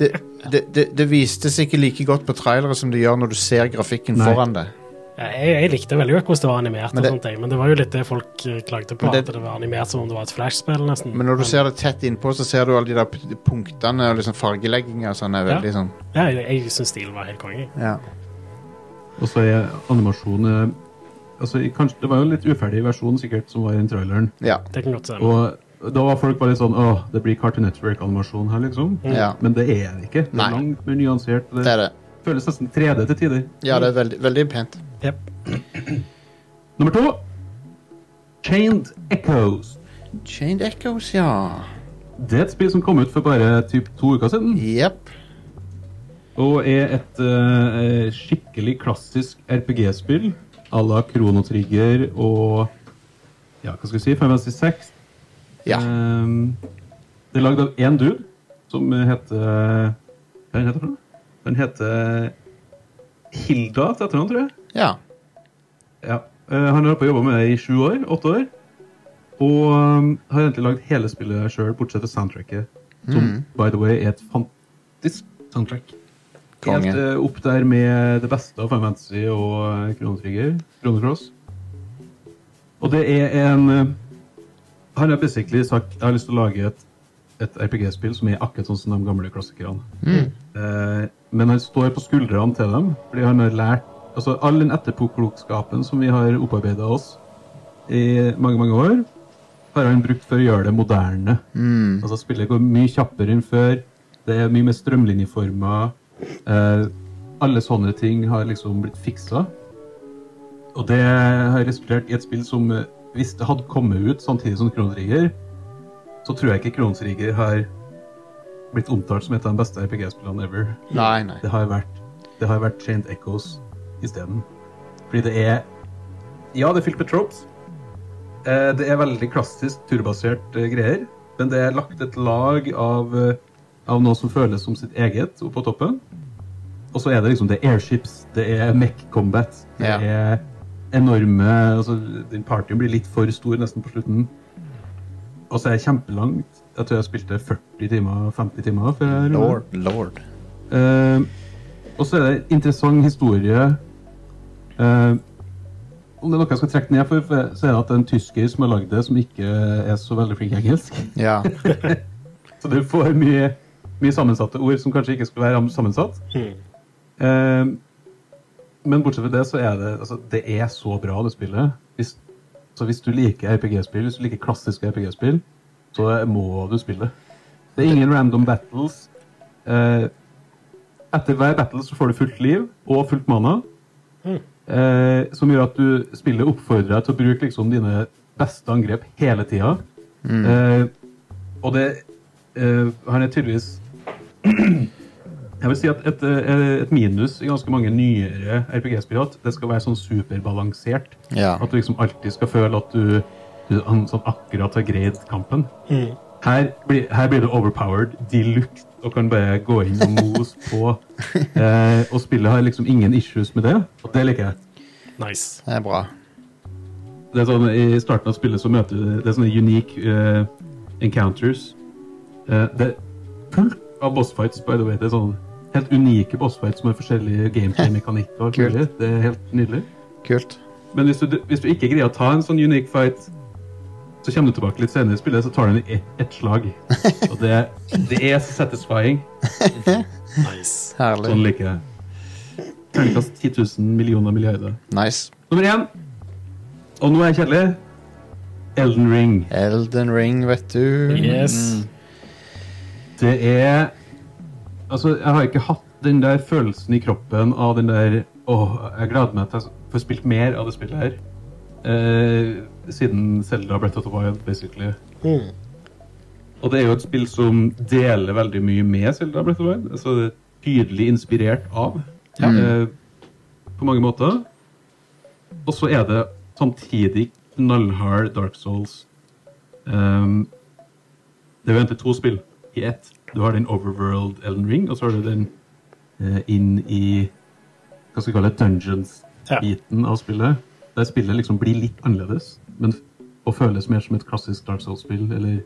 A: det, det, det, det vistes ikke like godt på trailere som det gjør når du ser grafikken
F: Nei.
A: foran deg.
B: Ja, Jeg, jeg likte veldig godt hvordan det var animert,
A: Men
B: men
A: det-
B: det, og sånt, jeg, men det var jo litt det folk eh, klagde på.
A: Men det-
B: at det var animert som om det var et flashspill, nesten.
A: Men når du ser det tett innpå, så ser du alle de der p- punktene og liksom fargelegginga og sånn. er
B: Ja.
A: veldig sånn
B: Ja, jeg, jeg syns stilen var helt konge.
A: ja.
F: Og så er animasjonen altså, i- kanskje, Det var jo en litt uferdig versjon sikkert som var i den traileren.
A: Ja.
B: Det kan godt stemme.
F: Og da var folk bare litt sånn Åh, det blir Cartoon Network-animasjon her, liksom.
A: Mm. ja.
F: Men det er det ikke. Det
A: Nei.
F: er langt mer nyansert. og
A: Det er det.
F: det føles nesten 3D til tider.
A: Ja, det er veldig, veldig pent.
B: Jep.
F: Nummer to Chained Echoes.
A: Chained Echoes, ja.
F: Det er et spill som kom ut for bare typ to uker siden.
A: Jepp.
F: Og er et eh, skikkelig klassisk RPG-spill à la Chrono Trigger og ja, hva skal vi si, Fantasy 6.
A: Ja.
F: Ehm, det er lagd av én dude som heter Hva heter han? Den heter Hilda til etternavn, tror jeg.
A: ja.
F: Ja. Eh, han har jobba med det i sju år, åtte år. Og um, har egentlig lagd hele spillet sjøl, bortsett fra soundtracket. Som by the way er et fantastisk soundtrack.
A: Konge.
F: Helt eh, opp der med det beste av Fantasy og eh, Kronetrigger. Kronecross. Og det er en eh, Han har basically sagt jeg har lyst til å lage et, et RPG-spill som er akkurat sånn som de gamle klassikerne. Eh, men han står på skuldrene til dem, fordi han har lært altså all den etterpåklokskapen som vi har opparbeida oss i mange, mange år, har han brukt for å gjøre det moderne.
A: Mm.
F: Altså Spillet går mye kjappere enn før. Det er mye mer strømlinjeformer. Eh, alle sånne ting har liksom blitt fiksa. Og det har resultert i et spill som eh, hvis det hadde kommet ut samtidig som Kronrigger, så tror jeg ikke Kronrigger har blitt omtalt som et av de beste RPG-spillene ever.
A: Nei, nei.
F: Det har vært, det har vært Chained Echoes isteden. Fordi det er Ja, det er fylt med tropes, Eh, Det er veldig klassisk turbasert eh, greier, men det er lagt et lag av, eh, av noe som føles som sitt eget oppå toppen. Og så er det liksom det er airships, det er mech combat, det
A: Ja.
F: er enorme altså, Den partyen blir litt for stor nesten på slutten. Og så er det kjempelangt. Jeg tror jeg spilte 40 timer, 50 timer før jeg rundet.
A: Lord, lord.
F: Eh, og så er det en interessant historie eh, Om det er noe jeg skal trekke ned for, for så er det at det er en tysker som har lagd det, som ikke er så veldig flink i engelsk.
A: Ja.
F: Så du får mye, mye sammensatte ord som kanskje ikke skulle være sammensatt. Eh, men bortsett fra det, så er det altså, det er så bra, det spillet. Hvis, så hvis du liker RPG-spill, hvis du liker klassiske RPG-spill, så må du spille det. Det er ingen random battles. Eh, etter hver battle så får du fullt liv og fullt mana. Eh, som gjør at du spillet oppfordrer deg til å bruke liksom, dine beste angrep hele tida. Eh, og det eh, Han er tydeligvis Jeg vil si at et, eh, et minus i ganske mange nyere RPG-spill er at det skal være sånn superbalansert.
A: ja.
F: At du liksom alltid skal føle at du, du han sånn akkurat har greid kampen. Her, blir, her blir du overpowered de luxe og kan bare gå inn og mose på. Eh, og spillet har liksom ingen issues med det, og det liker jeg.
B: Nice.
A: Det er bra.
F: Det er sånn, I starten av spillet så møter du Det er sånne unique eh, encounters. Eh, det er fullt av bossfights, by the way. Det er sånn helt unike bossfights med forskjellige gameplay-mekanikker. og alt
A: Kult.
F: mulig. Det er helt nydelig.
A: Kult.
F: Men hvis du, hvis du ikke greier å ta en sånn unique fight, så kommer du tilbake litt senere i spillet, så tar du den i ett ett slag. Og det, det er så satisfying.
B: Nice.
A: Herlig.
F: Sånn liker jeg. Terningkast 10 000 millioner milliarder.
A: Nice.
F: Nummer én, og nå er jeg kjedelig, Elden Ring.
A: Elden Ring, vet du.
F: Mm.
B: Yes.
F: Det er Altså, jeg har ikke hatt den der følelsen i kroppen av den der Åh, jeg gleder meg til jeg får spilt mer av det spillet her. Eh, siden Selda Breath of the Wild, basically.
B: Mm.
F: Og det er jo et spill som deler veldig mye med Selda Breath of the Wild. Altså det er tydelig inspirert av. Eh, på mange måter. Og så er det samtidig knallhard Dark Souls. Ehm, det er jo egentlig to spill i ett. Du har den Overworld Elden Ring, og så har du den eh, inn i hva skal vi kalle det,
B: Ja.
F: dungeons-biten av spillet. Der spillet liksom blir litt annerledes, men f- og føles mer som et klassisk Dark Souls-spill, eller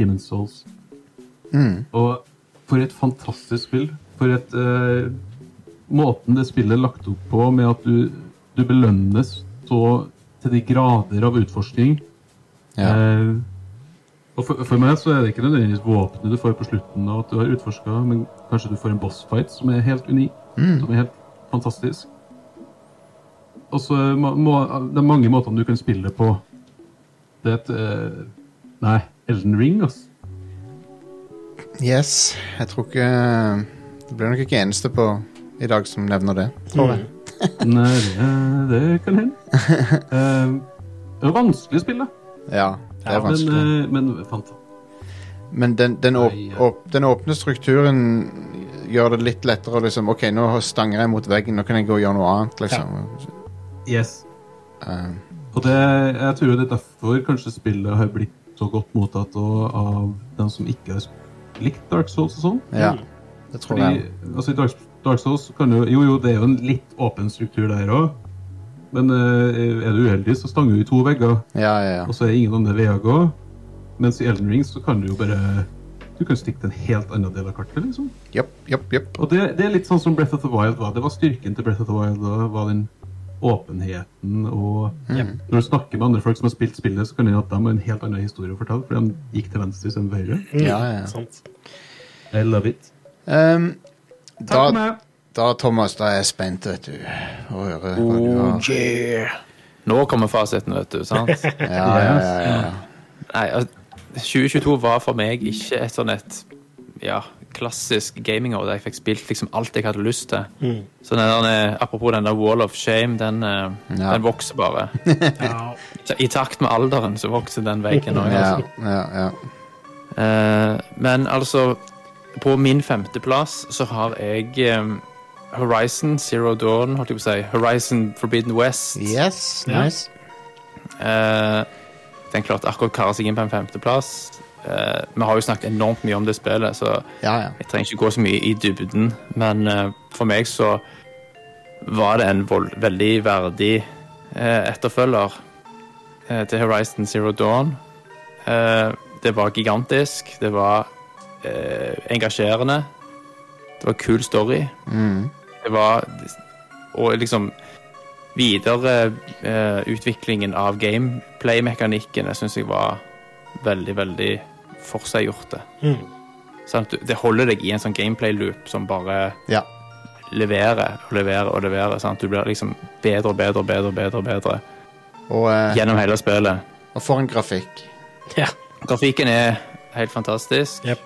F: Demon's Souls. Og for et fantastisk spill. For et eh, Måten det spillet er lagt opp på, med at du, du belønnes så til de grader av utforsking.
A: Ja.
F: Eh, og for, for meg så er det ikke nødvendigvis våpenet du får på slutten av at du har utforska, men kanskje du får en bossfight som er helt unik,
A: Mm.
F: som er helt fantastisk. Og så må, må, det er mange måter du kan spille det på. Det er et eh, Nei, Elden Ring, altså.
A: Yes. Jeg tror ikke Det blir nok ikke eneste på i dag som nevner det.
F: Nei, det, eh, det kan hende. Eh, det er vanskelig å spille,
A: Ja, det er
F: men,
A: vanskelig.
F: eh, men fantastisk.
A: Men den, den, åp,
F: Nei, ja.
A: åp, den åpne strukturen gjør det litt lettere å liksom OK, nå stanger jeg mot veggen, nå kan jeg gå og gjøre noe annet, liksom.
F: Yes.
A: Eh,
F: Og det, jeg tror jo det er derfor kanskje spillet har blitt så godt mottatt og av dem som ikke har likt Dark Souls og sånn.
A: ja. Det tror
F: Fordi,
A: jeg.
F: altså I Dark, Dark Souls kan jo Jo, jo, det er jo en litt åpen struktur der òg. Men eh, er du uheldig, så stanger du i to vegger,
A: Ja, ja, ja.
F: og så er det ingen andre veier å gå. Mens i Elden Ring så kan du jo bare Du kan stikke til en helt annen del av kartet, liksom.
A: Jopp, jopp, jopp.
F: Og det, det er litt sånn som Breath of the Wild var. Det var styrken til Breath of the Wild. da, var den åpenheten og Når du snakker med andre folk som har spilt spillet, så kan det hende at de har en helt annen historie å fortelle, for de gikk til venstre istedenfor høyre.
A: Ja, ja, ja.
B: Sant.
F: I love it.
A: Ehm,
F: Takk for
A: da,
F: meg.
A: da, Thomas, da er jeg spent, vet du. Å høre hva du har.
C: Nå kommer fasiten, vet du. sant?
A: Ja, ja, ja, ja, ja.
C: Nei, altså, 2022 var for meg ikke et sånn et ja, klassisk gamingår der jeg fikk spilt liksom alt jeg hadde lyst til.
A: Mm.
C: Så den der, eh, apropos den der wall of shame, den, eh,
A: Ja.
C: den vokser bare.
B: Ja.
C: Så I takt med alderen så vokser den veggen òg.
A: Ja,
C: Altså.
A: ja, ja.
C: Eh, men altså, på min femteplass så har jeg eh, Horizon Zero Dawn, holdt jeg på å si. Horizon Forbidden West.
A: Yes,
B: Ja.
A: nice.
C: Eh, Den klarte akkurat å kare seg inn på en femteplass. Eh, vi har jo snakket enormt mye om det spillet, så
A: Ja, ja.
C: jeg trenger ikke gå så mye i dybden. Men eh, for meg så var det en vold, veldig verdig eh, etterfølger eh, til Horizon Zero Dawn. Eh, det var gigantisk. Det var eh, engasjerende. Det var kul story.
A: Mm.
C: Det var Og liksom videre eh, utviklingen av gameplay-mekanikken jeg syns jeg var veldig, veldig forseggjorte.
B: Mm.
C: Sant? Du- Det holder deg i en sånn gameplay-loop som bare
A: Ja.
C: leverer og leverer og leverer. Sant? Du blir liksom bedre og bedre og bedre, og bedre, og bedre
A: Og, eh,
C: gjennom hele spillet.
A: og for en grafikk.
B: Ja.
C: Grafikken er helt fantastisk.
B: Jep.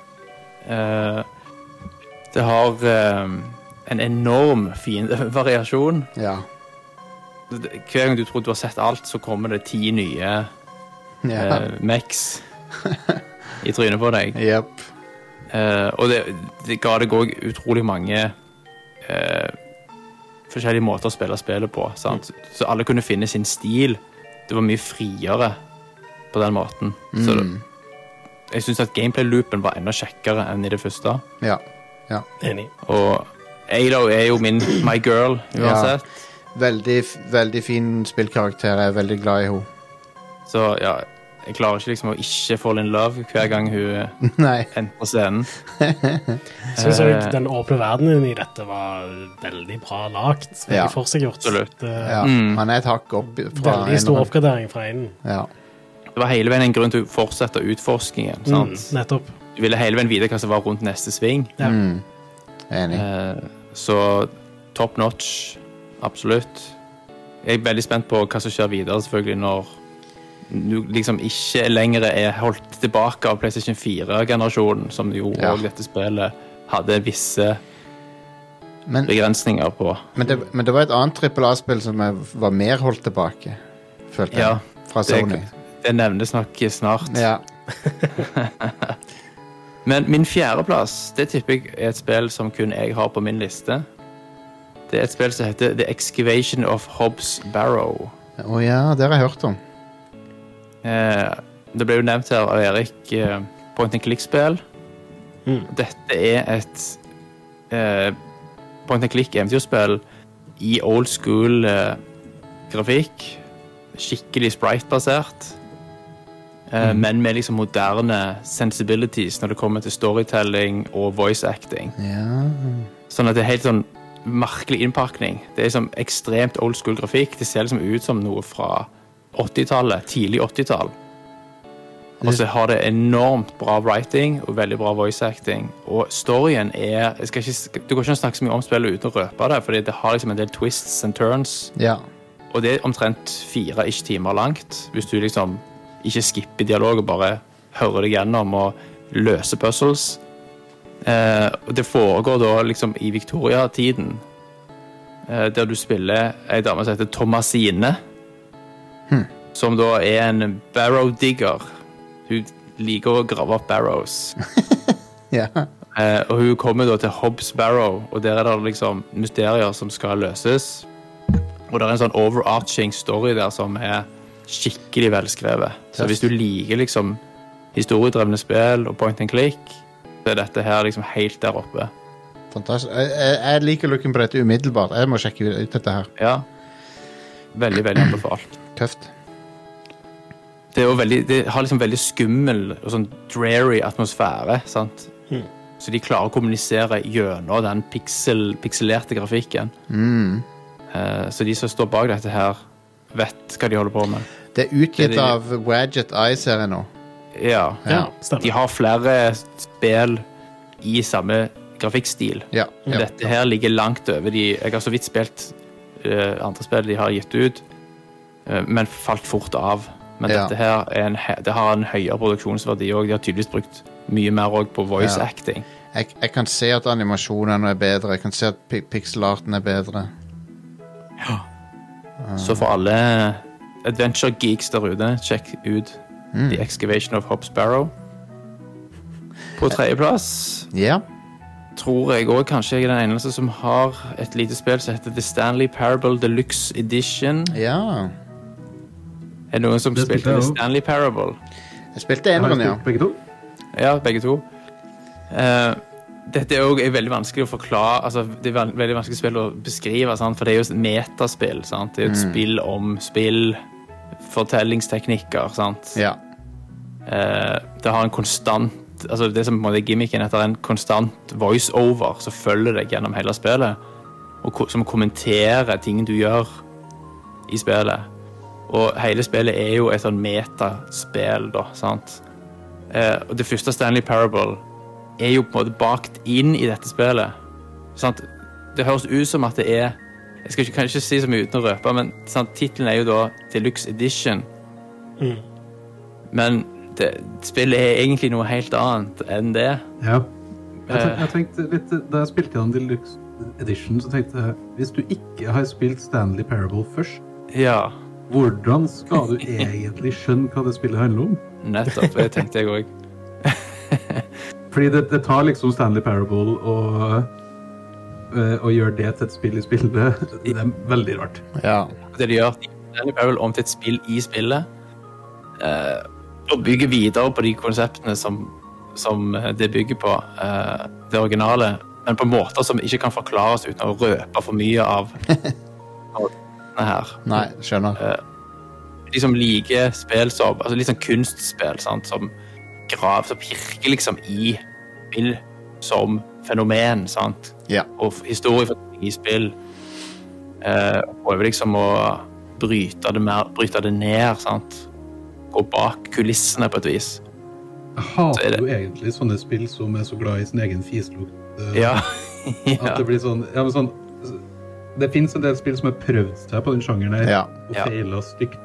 C: Eh, det har eh, en enorm fin variasjon.
A: Ja.
C: Hver gang du tror du har sett alt, så kommer det ti nye
A: ja.
C: eh, Max i trynet på deg.
A: Jep.
C: Eh, og det, det ga deg òg utrolig mange eh, forskjellige måter å spille spillet på. Sant?
A: Mm.
C: Så alle kunne finne sin stil. Det var mye friere på den måten. Så det,
A: Mm.
C: jeg syns at gameplay-loopen var enda kjekkere enn i det første.
A: Ja.
B: Enig.
C: Og Alo er jo min my girl uansett.
A: Veldig, f- veldig fin spillkarakter. Jeg er veldig glad i henne.
C: Så ja, jeg klarer ikke liksom å ikke fall in love hver gang hun
A: Nei.
C: entrer scenen.
B: Syns jeg
C: Eh.
B: den åpne verdenen i dette var veldig bra lagt. Veldig
A: Ja,
B: forseggjort.
C: absolutt.
B: Det-
A: Ja.
C: Mm.
A: Han er et hakk opp fra
B: Veldig stor oppgradering fra enden.
A: Ja.
C: Det var hele veien en grunn til å fortsette utforskningen.
B: Mm,
C: sant?
B: nettopp.
C: Du ville hele veien vite hva som var rundt neste sving.
B: Ja.
A: Mm. Enig.
C: Eh, så top notch, absolutt. Jeg er veldig spent på hva som skjer videre, selvfølgelig, når du liksom ikke lenger er holdt tilbake av PlayStation 4-generasjonen, som jo
A: Ja.
C: også dette spillet hadde visse
A: Men,
C: begrensninger på.
A: men, det, men det var et annet trippel A-spill som jeg var mer holdt tilbake, følte jeg.
C: Ja,
A: Fra
C: det,
A: Sony.
C: det nevnes nok snart.
A: Ja.
C: Men min fjerdeplass, det tipper jeg er et spill som kun jeg har på min liste. Det er et spill som heter The Excavation of Hobbs Barrow.
A: Å ja, det har jeg hørt om.
C: Eh, det ble jo nevnt her av Erik eh, point and click-spill.
B: Mm.
C: Dette er et eh, point and click-eventyrspill i old school eh, grafikk. Skikkelig sprite-basert. Eh, Men med liksom moderne sensibilities når det kommer til storytelling og voice acting.
A: Ja.
C: Sånn at det er helt sånn merkelig innpakning. Det er liksom ekstremt old school grafikk. Det ser liksom ut som noe fra 80-tallet, tidlig 80-tall. Og så har det enormt bra writing og veldig bra voice acting. Og storyen er jeg skal ikke, Du går ikke an å snakke så mye om spillet uten å røpe det, fordi det har liksom en del twists and turns.
A: ja.
C: Og det er omtrent fire ish timer langt, hvis du liksom ikke skipper dialog og bare hører deg gjennom og løser puzzles. Eh, og det foregår da liksom i Victoria-tiden, eh, der du spiller ei dame som heter Thomasine, som da er en barrow digger. Hun liker å grave opp barrows.
A: ja.
C: Eh, og hun kommer da til Hobbs Barrow, og der er det liksom mysterier som skal løses. Og det er en sånn overarching story der som er skikkelig velskrevet. Så
A: Tøft.
C: hvis du liker liksom historiedrevne spill og point and click, så er dette her liksom helt der oppe.
A: Fantastisk. Jeg, jeg, jeg liker looken på dette umiddelbart. Jeg må sjekke ut dette her.
C: Ja. Veldig, veldig anbefalt.
A: Tøft.
C: Det, er jo veldig, det har liksom veldig skummel og sånn dreary atmosfære, sant? Så de klarer å kommunisere gjennom den piksel, pikselerte grafikken.
A: Mm.
C: Eh, Så de som står bak dette her, vet hva de holder på med.
A: Det er utgitt
C: Det er det-
A: av Wadget Eye, ser jeg nå.
C: Ja.
B: Ja,
C: De
B: stemmer.
C: har flere spill i samme grafikkstil.
A: Ja. ja.
C: Dette her ligger langt over de Jeg har så vidt spilt eh, andre spill de har gitt ut, eh, men falt fort av. Men
A: Ja.
C: dette her er en, he- det har en høyere produksjonsverdi òg. De har tydeligvis brukt mye mer også på voice
A: Ja.
C: acting.
A: Jeg, jeg kan se at animasjonene er bedre. Jeg kan se at pi pixelarten er bedre.
C: Så for alle adventure geeks der ute, sjekk ut
A: Mm.
C: The Excavation of Hobbs Barrow. På tredjeplass
A: Ja.
C: tror jeg òg kanskje jeg er den eneste som har et lite spill som heter The Stanley Parable Deluxe Edition.
A: Ja.
C: Et Er det noen som
F: Det spilte
C: spilte The
F: jeg også.
C: Stanley Parable?
A: Jeg spilte eneren, ja.
F: Begge to?
C: Ja, begge to. Eh, dette er òg veldig vanskelig å forklare altså, Det er vel- veldig vanskelig spill å beskrive, sant? for det er jo et metaspill. Sant? Det er jo et spill om spill, fortellingsteknikker. Sant?
A: ja.
C: Eh, det har en konstant altså Det som på en måte er gimmicken, er at det er en konstant voiceover som følger deg gjennom hele spillet, og ko som kommenterer ting du gjør i spillet. Og hele spillet er jo et sånn metaspill, da, sant? Eh, og det første Stanley Parable er jo på en måte bakt inn i dette spillet. Sant? Det høres ut som at det er Jeg skal ikke, kan ikke si så mye uten å røpe, men sant, tittelen er jo da Deluxe Edition. Men det, spillet er egentlig noe helt annet enn det.
F: Ja. Jeg, ten-
C: Eh.
F: jeg tenkte litt, da jeg spilte den Deluxe Edition, så tenkte jeg hvis du ikke har spilt Stanley Parable først,
C: Ja,
F: hvordan skal du egentlig skjønne hva det spillet handler om?
C: nettopp. Det tenkte jeg òg.
F: Fordi det, det tar liksom Stanley Parable og, eh, og gjør det til et spill i spillet. Det er veldig rart.
A: ja.
C: Det de gjør, de Stanley Parable om til et spill i spillet. eh, og bygger videre på de konseptene som, som det bygger på, eh, det originale. Men på måter som ikke kan forklares uten å røpe for mye av av denne her.
A: Nei, skjønner.
C: de som liker spill som altså Litt sånn kunstspill sant? som grav, som pirker liksom i spill som fenomen. sant?
A: Ja.
C: Og f- historiefortelling i spill. Eh, prøver liksom å bryte det, mer, bryte det ned. sant? Gå bak kulissene på et vis.
F: Jeg
C: Så er
F: hater
C: det-
F: jo egentlig sånne spill som er så glad i sin egen fislukt. eh,
C: Ja. ja.
F: At det blir sånn, ja, men sånn Det fins en del spill som har prøvd seg på den sjangeren her,
A: Ja.
F: og
C: Ja.
F: feila stygt.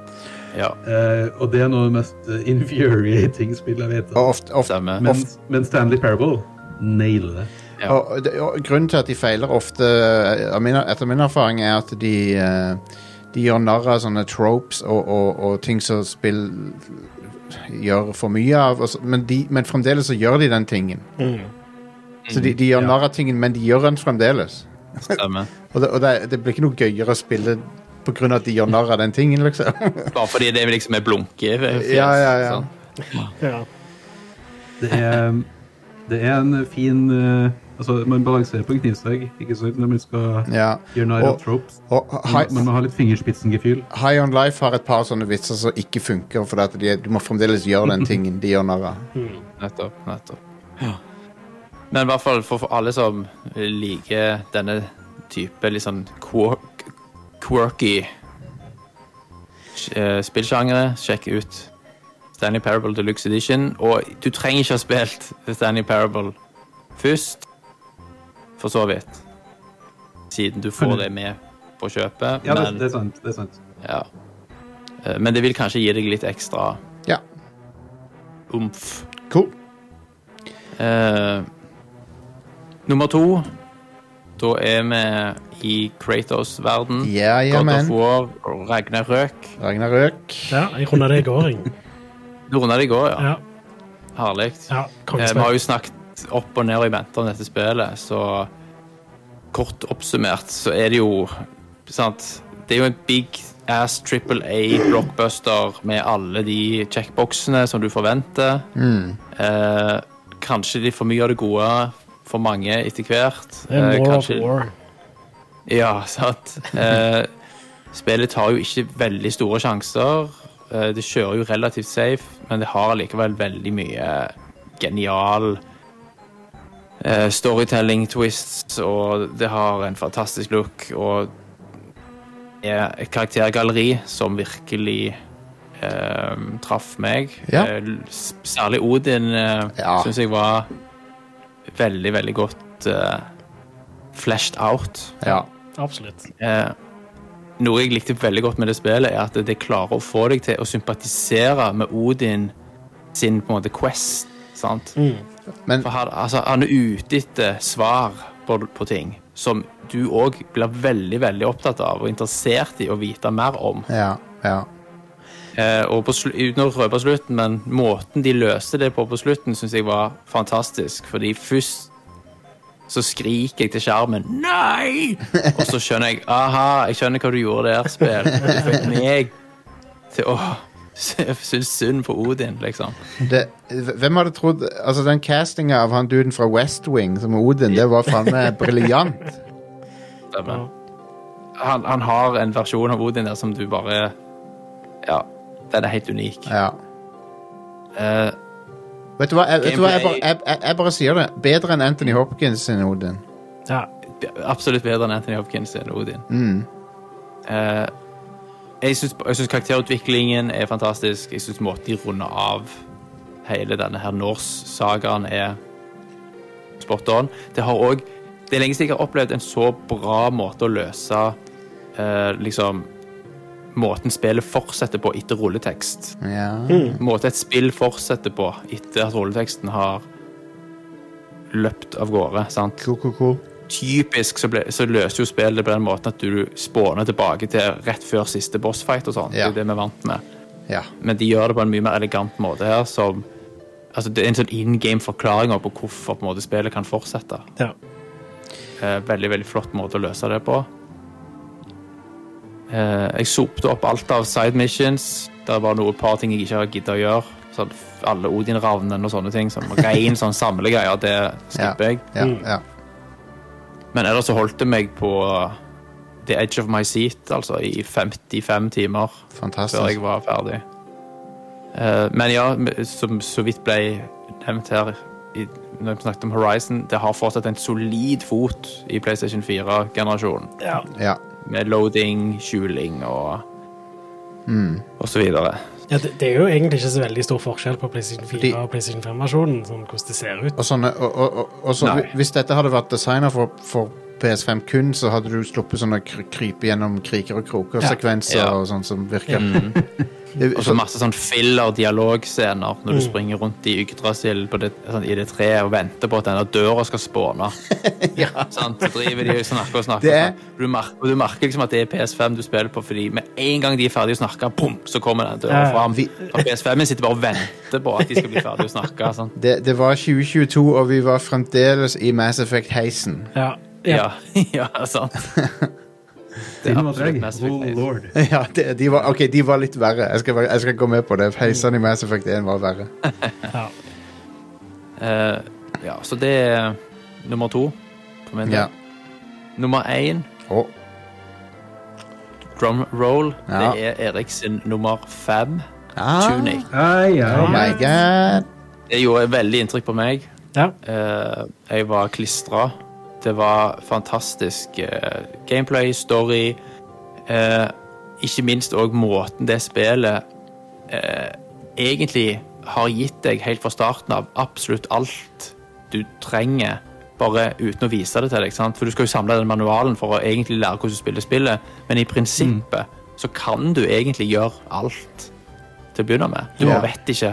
C: ja.
F: Eh, og det er noe av det mest eh, infuriating spill jeg vet om.
A: Og ofte, ofte
C: Stemmer.
F: Men, men Stanley Parable nailer det.
C: Ja.
A: Og, det- og grunnen til at de feiler ofte, eh, av min- etter min erfaring, er at de, eh, de gjør narr av sånne tropes og, og, og ting som spill gjør for mye av. og så- Men, de, men fremdeles så gjør de den tingen. Så de, de gjør
F: Ja.
A: narr av tingen, men de gjør den fremdeles.
C: Stemmer.
A: Og det, og det, det blir ikke noe gøyere å spille på grunn av at de gjør narr av den tingen, liksom.
C: Bare fordi det liksom er blunke. fjes,
A: Ja, ja, ja.
C: sant?
B: Ja.
F: Det er, det er en fin eh, Altså, man balanserer på en knivsegg, ikke sant, når man skal
A: Ja.
F: gjøre narr av
A: Og-
F: tropes.
A: Og hi,
F: Mm. Man må ha litt fingerspitsengefühl.
A: High On Life har et par sånne vitser som ikke funker, for at de, du må fremdeles gjøre den tingen de gjør narr av.
C: Nettopp. nettopp. Men i hvert fall for, for alle som liker denne type litt sånn quirk, quirky eh, spillsjangre, sjekk ut Stanley Parable Deluxe Edition. Og du trenger ikke ha spilt Stanley Parable først, for så vidt. Siden du får det med på kjøpet.
F: Ja, det,
C: men,
F: det er sant. det er sant.
C: ja. Eh, men det vil kanskje gi deg litt ekstra
A: Ja.
C: umf.
A: Cool.
C: Eh, nummer to Da er vi i Kratos-verden.
A: Ja, ja,
C: God of
A: men.
C: War og Ragnarøk.
A: Ragnarøk.
B: ja, jeg runda det i går, jeg.
C: Du runda det i går, ja.
B: Ja,
C: Herlig.
B: ja
C: Eh, vi har
B: kongespill.
C: jo snakket opp og ned og i vente om dette spillet, så kort oppsummert så er det jo sant? Det er jo en big ass triple A blockbuster med alle de checkboxene som du forventer.
A: Mm.
C: Eh, kanskje litt for mye av det gode for mange etter hvert.
B: Det er
C: Eh,
B: War of
C: kanskje-
B: War.
C: Ja, sant. Eh, spillet tar jo ikke veldig store sjanser. Eh, det kjører jo relativt safe, men det har likevel veldig mye genial eh, storytelling twists, og det har en fantastisk look, og er et karaktergalleri som virkelig eh, traff meg.
A: Ja.
C: Eh, s- særlig Odin eh,
A: Ja.
C: syns jeg var veldig, veldig godt eh, fleshed out.
A: Ja.
B: Absolutt.
C: Eh, noe jeg likte veldig godt med det spillet, er at det klarer å få deg til å sympatisere med Odin sin på en måte quest. sant?
A: Men
C: For her, altså, han er ute etter svar på, på ting som du òg blir veldig veldig opptatt av og interessert i å vite mer om.
A: Ja, ja.
C: Eh, og på, slu- uten å røpe slutten, men måten de løste det på på slutten, syns jeg var fantastisk. Fordi først så skriker jeg til skjermen 'Nei!' Og så skjønner jeg 'Aha, jeg skjønner hva du gjorde der, spill'. Du fikk meg til å Syns synd på Odin, liksom.
A: Det, hvem hadde trodd Altså, den castinga av han duden fra West Wing som er Odin, det var faen meg briljant.
B: Ja.
C: Stemmer. Han, han har en versjon av Odin der som du bare Ja, den er helt unik.
A: Ja.
C: Eh,
A: Vet du hva, jeg, vet du hva? Jeg, bare, jeg, jeg, jeg bare sier det. Bedre enn Anthony Hopkins sin Odin.
B: ja.
C: absolutt bedre enn Anthony Hopkins sin Odin.
A: Mm.
C: Eh, jeg syns jeg syns karakterutviklingen er fantastisk. Jeg syns måten de runder av hele denne her Norse-sagaen er spot on. Det har òg Det er lenge siden jeg har opplevd en så bra måte å løse eh, liksom Måten spillet fortsetter på etter rulletekst.
A: Ja.
C: Måten et spill fortsetter på etter at rulleteksten har løpt av gårde. sant?
A: Cool, cool, cool.
C: typisk så, ble, så løser jo spillet det på den måten at du spåner tilbake til rett før siste bossfight og sånn. Det
A: Ja.
C: er jo det vi er vant med.
A: Ja.
C: Men de gjør det på en mye mer elegant måte her, som Altså, det er en sånn in game-forklaring på hvorfor på en måte, spillet kan fortsette.
B: ja.
C: Eh, veldig, veldig flott måte å løse det på. Eh, jeg sopte opp alt av side missions. Det var noe et par ting jeg ikke har giddet å gjøre. Sånn, alle Odin-ravnene og sånne ting. Sånn, Rein sånn samlegreier, det skipper jeg.
A: Ja,
B: Mm.
A: ja.
C: Men ellers så holdt det meg på uh, the edge of my seat, altså i 55 timer før jeg
A: Fantastisk.
C: var ferdig. Eh, men ja, m- som så vidt ble nevnt her i, når vi snakket om Horizon, det har fortsatt en solid fot i PlayStation 4-generasjonen.
B: ja.
A: Ja.
C: Med loading, skjuling og og så videre.
B: ja det, det er jo egentlig ikke så veldig stor forskjell på PlayStation 4
A: Fordi-
B: og PlayStation 5-versjonen, sånn hvordan det ser ut.
A: Og sånne og, og, og, og så,
C: Nei.
A: Hvis dette hadde vært designer for, for PS5 kun, så hadde du sluppet sånne kry- krype gjennom kriker og kroker-sekvenser
C: Ja. Mhm.
A: og sånn som virker. Det-
C: Og så masse sånn filler-dialogscener når du springer rundt i Yggdrasil på det, sånn, i det treet og venter på at denne døra skal spåne. Sant? Så driver de og snakker og snakker.
A: Det
C: og
A: er-
C: snakker. Du, merker, og du merker liksom at det er PS5 du spiller på, fordi med en gang de er ferdige å snakke, bom, så kommer den døra
B: Ja, ja.
C: fram.
A: Vi-
C: Og PS5-en sitter bare og venter på at de skal bli ferdige å snakke. Sant?
A: Det, det var 2022, og vi var fremdeles i Mass Effect-heisen.
B: Ja.
C: Ja. ja, sant. Det er
F: Tiden var
C: absolutt
F: treg.
C: Mass Effect
F: Oh
C: Days.
F: lord.
A: Ja, de, de var, ok, de var litt verre. Jeg skal, være- jeg skal gå med på det. Heisene i Mass Effect 1 var verre.
B: ja.
C: Eh, ja, så det er nummer to for min del.
A: Ja.
C: Nummer én
A: Å,
C: Drum Roll.
A: Ja.
C: Det er Erik sin nummer fem.
A: Ah.
C: Tunic.
F: Ai,
A: Oh
F: ai.
A: my god.
C: Det gjorde veldig inntrykk på meg.
B: ja.
C: Eh, jeg var klistra. Det var fantastisk eh, gameplay, story. eh, ikke minst òg måten det spillet eh, egentlig har gitt deg helt fra starten av absolutt alt du trenger, bare uten å vise det til deg. Sant? For du skal jo samle den manualen for å egentlig lære hvordan du spiller spillet, men i prinsippet så kan du egentlig gjøre alt til å begynne med. Du
A: Ja.
C: bare vet ikke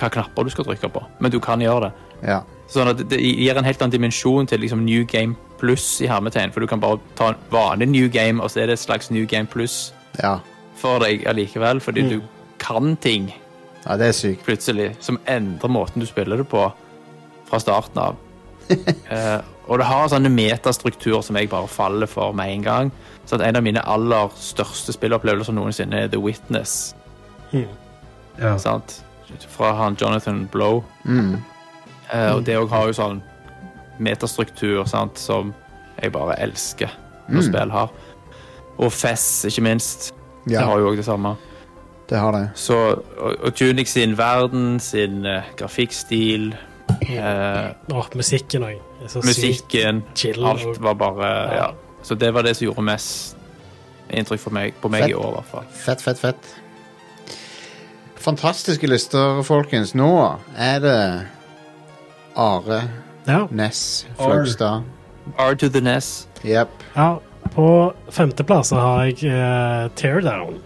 C: hva knapper du skal trykke på, men du kan gjøre det.
A: Ja.
C: Sånn at det gir en helt annen dimensjon til liksom New Game Plus i hermetegn. For du kan bare ta en vanlig New Game, og så er det et slags New Game Plus
A: ja.
C: for deg allikevel. Fordi du kan ting
A: Ja, det er sykt.
C: plutselig som endrer måten du spiller det på fra starten av. Eh, og det har sånne metastruktur som jeg bare faller for med en gang. Så at en av mine aller største spillopplevelser noensinne er The Witness.
F: Ja.
C: sant? Fra han Jonathan Blow.
A: Mm.
C: Eh, og det òg har jo sånn metastruktur sant? som jeg bare elsker
A: Mm.
C: når spill har. Og Fess, ikke minst. Det har
A: Ja,
C: jo òg det samme.
A: det har det.
C: Så, og, og Tunic sin verden, sin eh, grafikkstil, eh,
B: Og musikken òg.
C: musikken
B: chill og-
C: Alt var bare
B: Ja.
C: ja. Så det var det som gjorde mest inntrykk for meg, på meg
A: Fett.
C: i år, i hvert fall.
A: Fett, fett, fett. Fantastiske lister, folkens. Nå er det Are
B: Ja.
A: Ness Fløgstad.
C: R to the E Ness.
A: Jepp.
B: ja. På femteplass så har jeg eh, Teardown.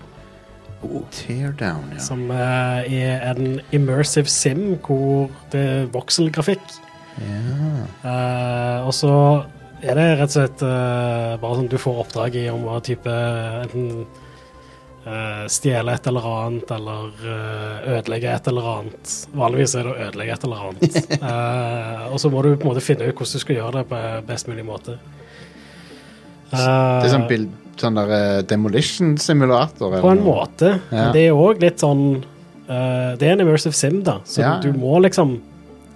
A: Teardown, ja.
B: Som eh, er en immersive sim hvor det er vokselgrafikk. Eh, og så er det rett og slett eh, bare sånn du får oppdrag i om å type enten eh, stjele et eller annet eller eh, ødelegge et eller annet. Vanligvis er det å ødelegge et eller annet. Eh, og så må du på en måte finne ut hvordan du skal gjøre det på best mulig måte.
A: Det er sånn bild, sånn der eh, demolition simulator. eller
B: Eh. På en
A: noe.
B: måte.
A: Ja.
B: Men det er jo òg litt sånn eh, Det er en immersive sim, da, så
A: Ja.
B: du må liksom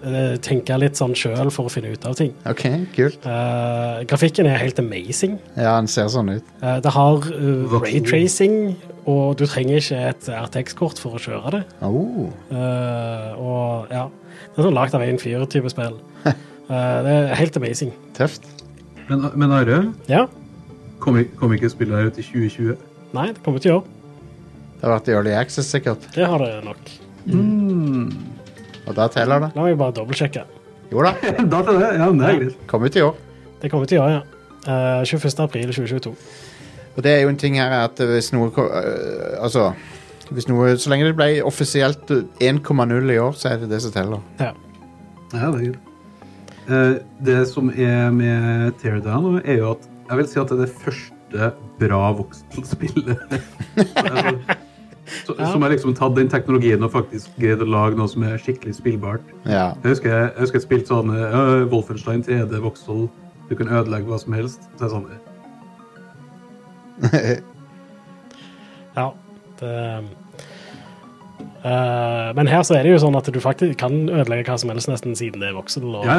B: eh, tenke litt sånn sjøl for å finne ut av ting.
A: Ok, kult.
B: Eh, grafikken er helt amazing.
A: Ja, den ser sånn ut.
B: Eh, det har uh,
F: Voksen.
B: raytracing, og du trenger ikke et RTX-kort for å kjøre det.
A: Oh,
B: Eh, og ja Det er sånn lagd av en fyr-type spill. Eh, det er helt amazing.
A: tøft.
F: Men, men Are,
B: Ja.
F: kom, i- kom ikke spillet her ut i 2020?
B: Nei, det kommer til å gjøre.
A: Det har vært i Early Access, sikkert.
B: Det har det nok.
C: Mm.
A: Og da teller det.
B: La meg bare dobbeltsjekke.
A: Jo da,
F: da til det. Ja, men det er greit.
A: kom ut i år.
B: Det kommer til å gjøre, ja. Eh, 21. april 2022.
A: Og det er jo en ting her at hvis noe ko- øh, Altså, hvis noe Så lenge det ble offisielt 1,0 i år, så er det det som teller.
B: Ja.
F: Ja, det er greit. Eh, Det som er med Teardown, nå, er jo at jeg vil si at det er det første bra voksespillet. Så, Som har liksom tatt den teknologien og faktisk greid å lage noe som er skikkelig spillbart.
A: Ja.
F: Jeg husker jeg, jeg, husker jeg spilte sånn øh, Wolfenstein 3D Voxel. Du kan ødelegge hva som helst. Så jeg sånn,
B: ja det, eh, men her så er det jo sånn at du faktisk kan ødelegge hva som helst nesten siden det er voksen. Og,
F: Ja,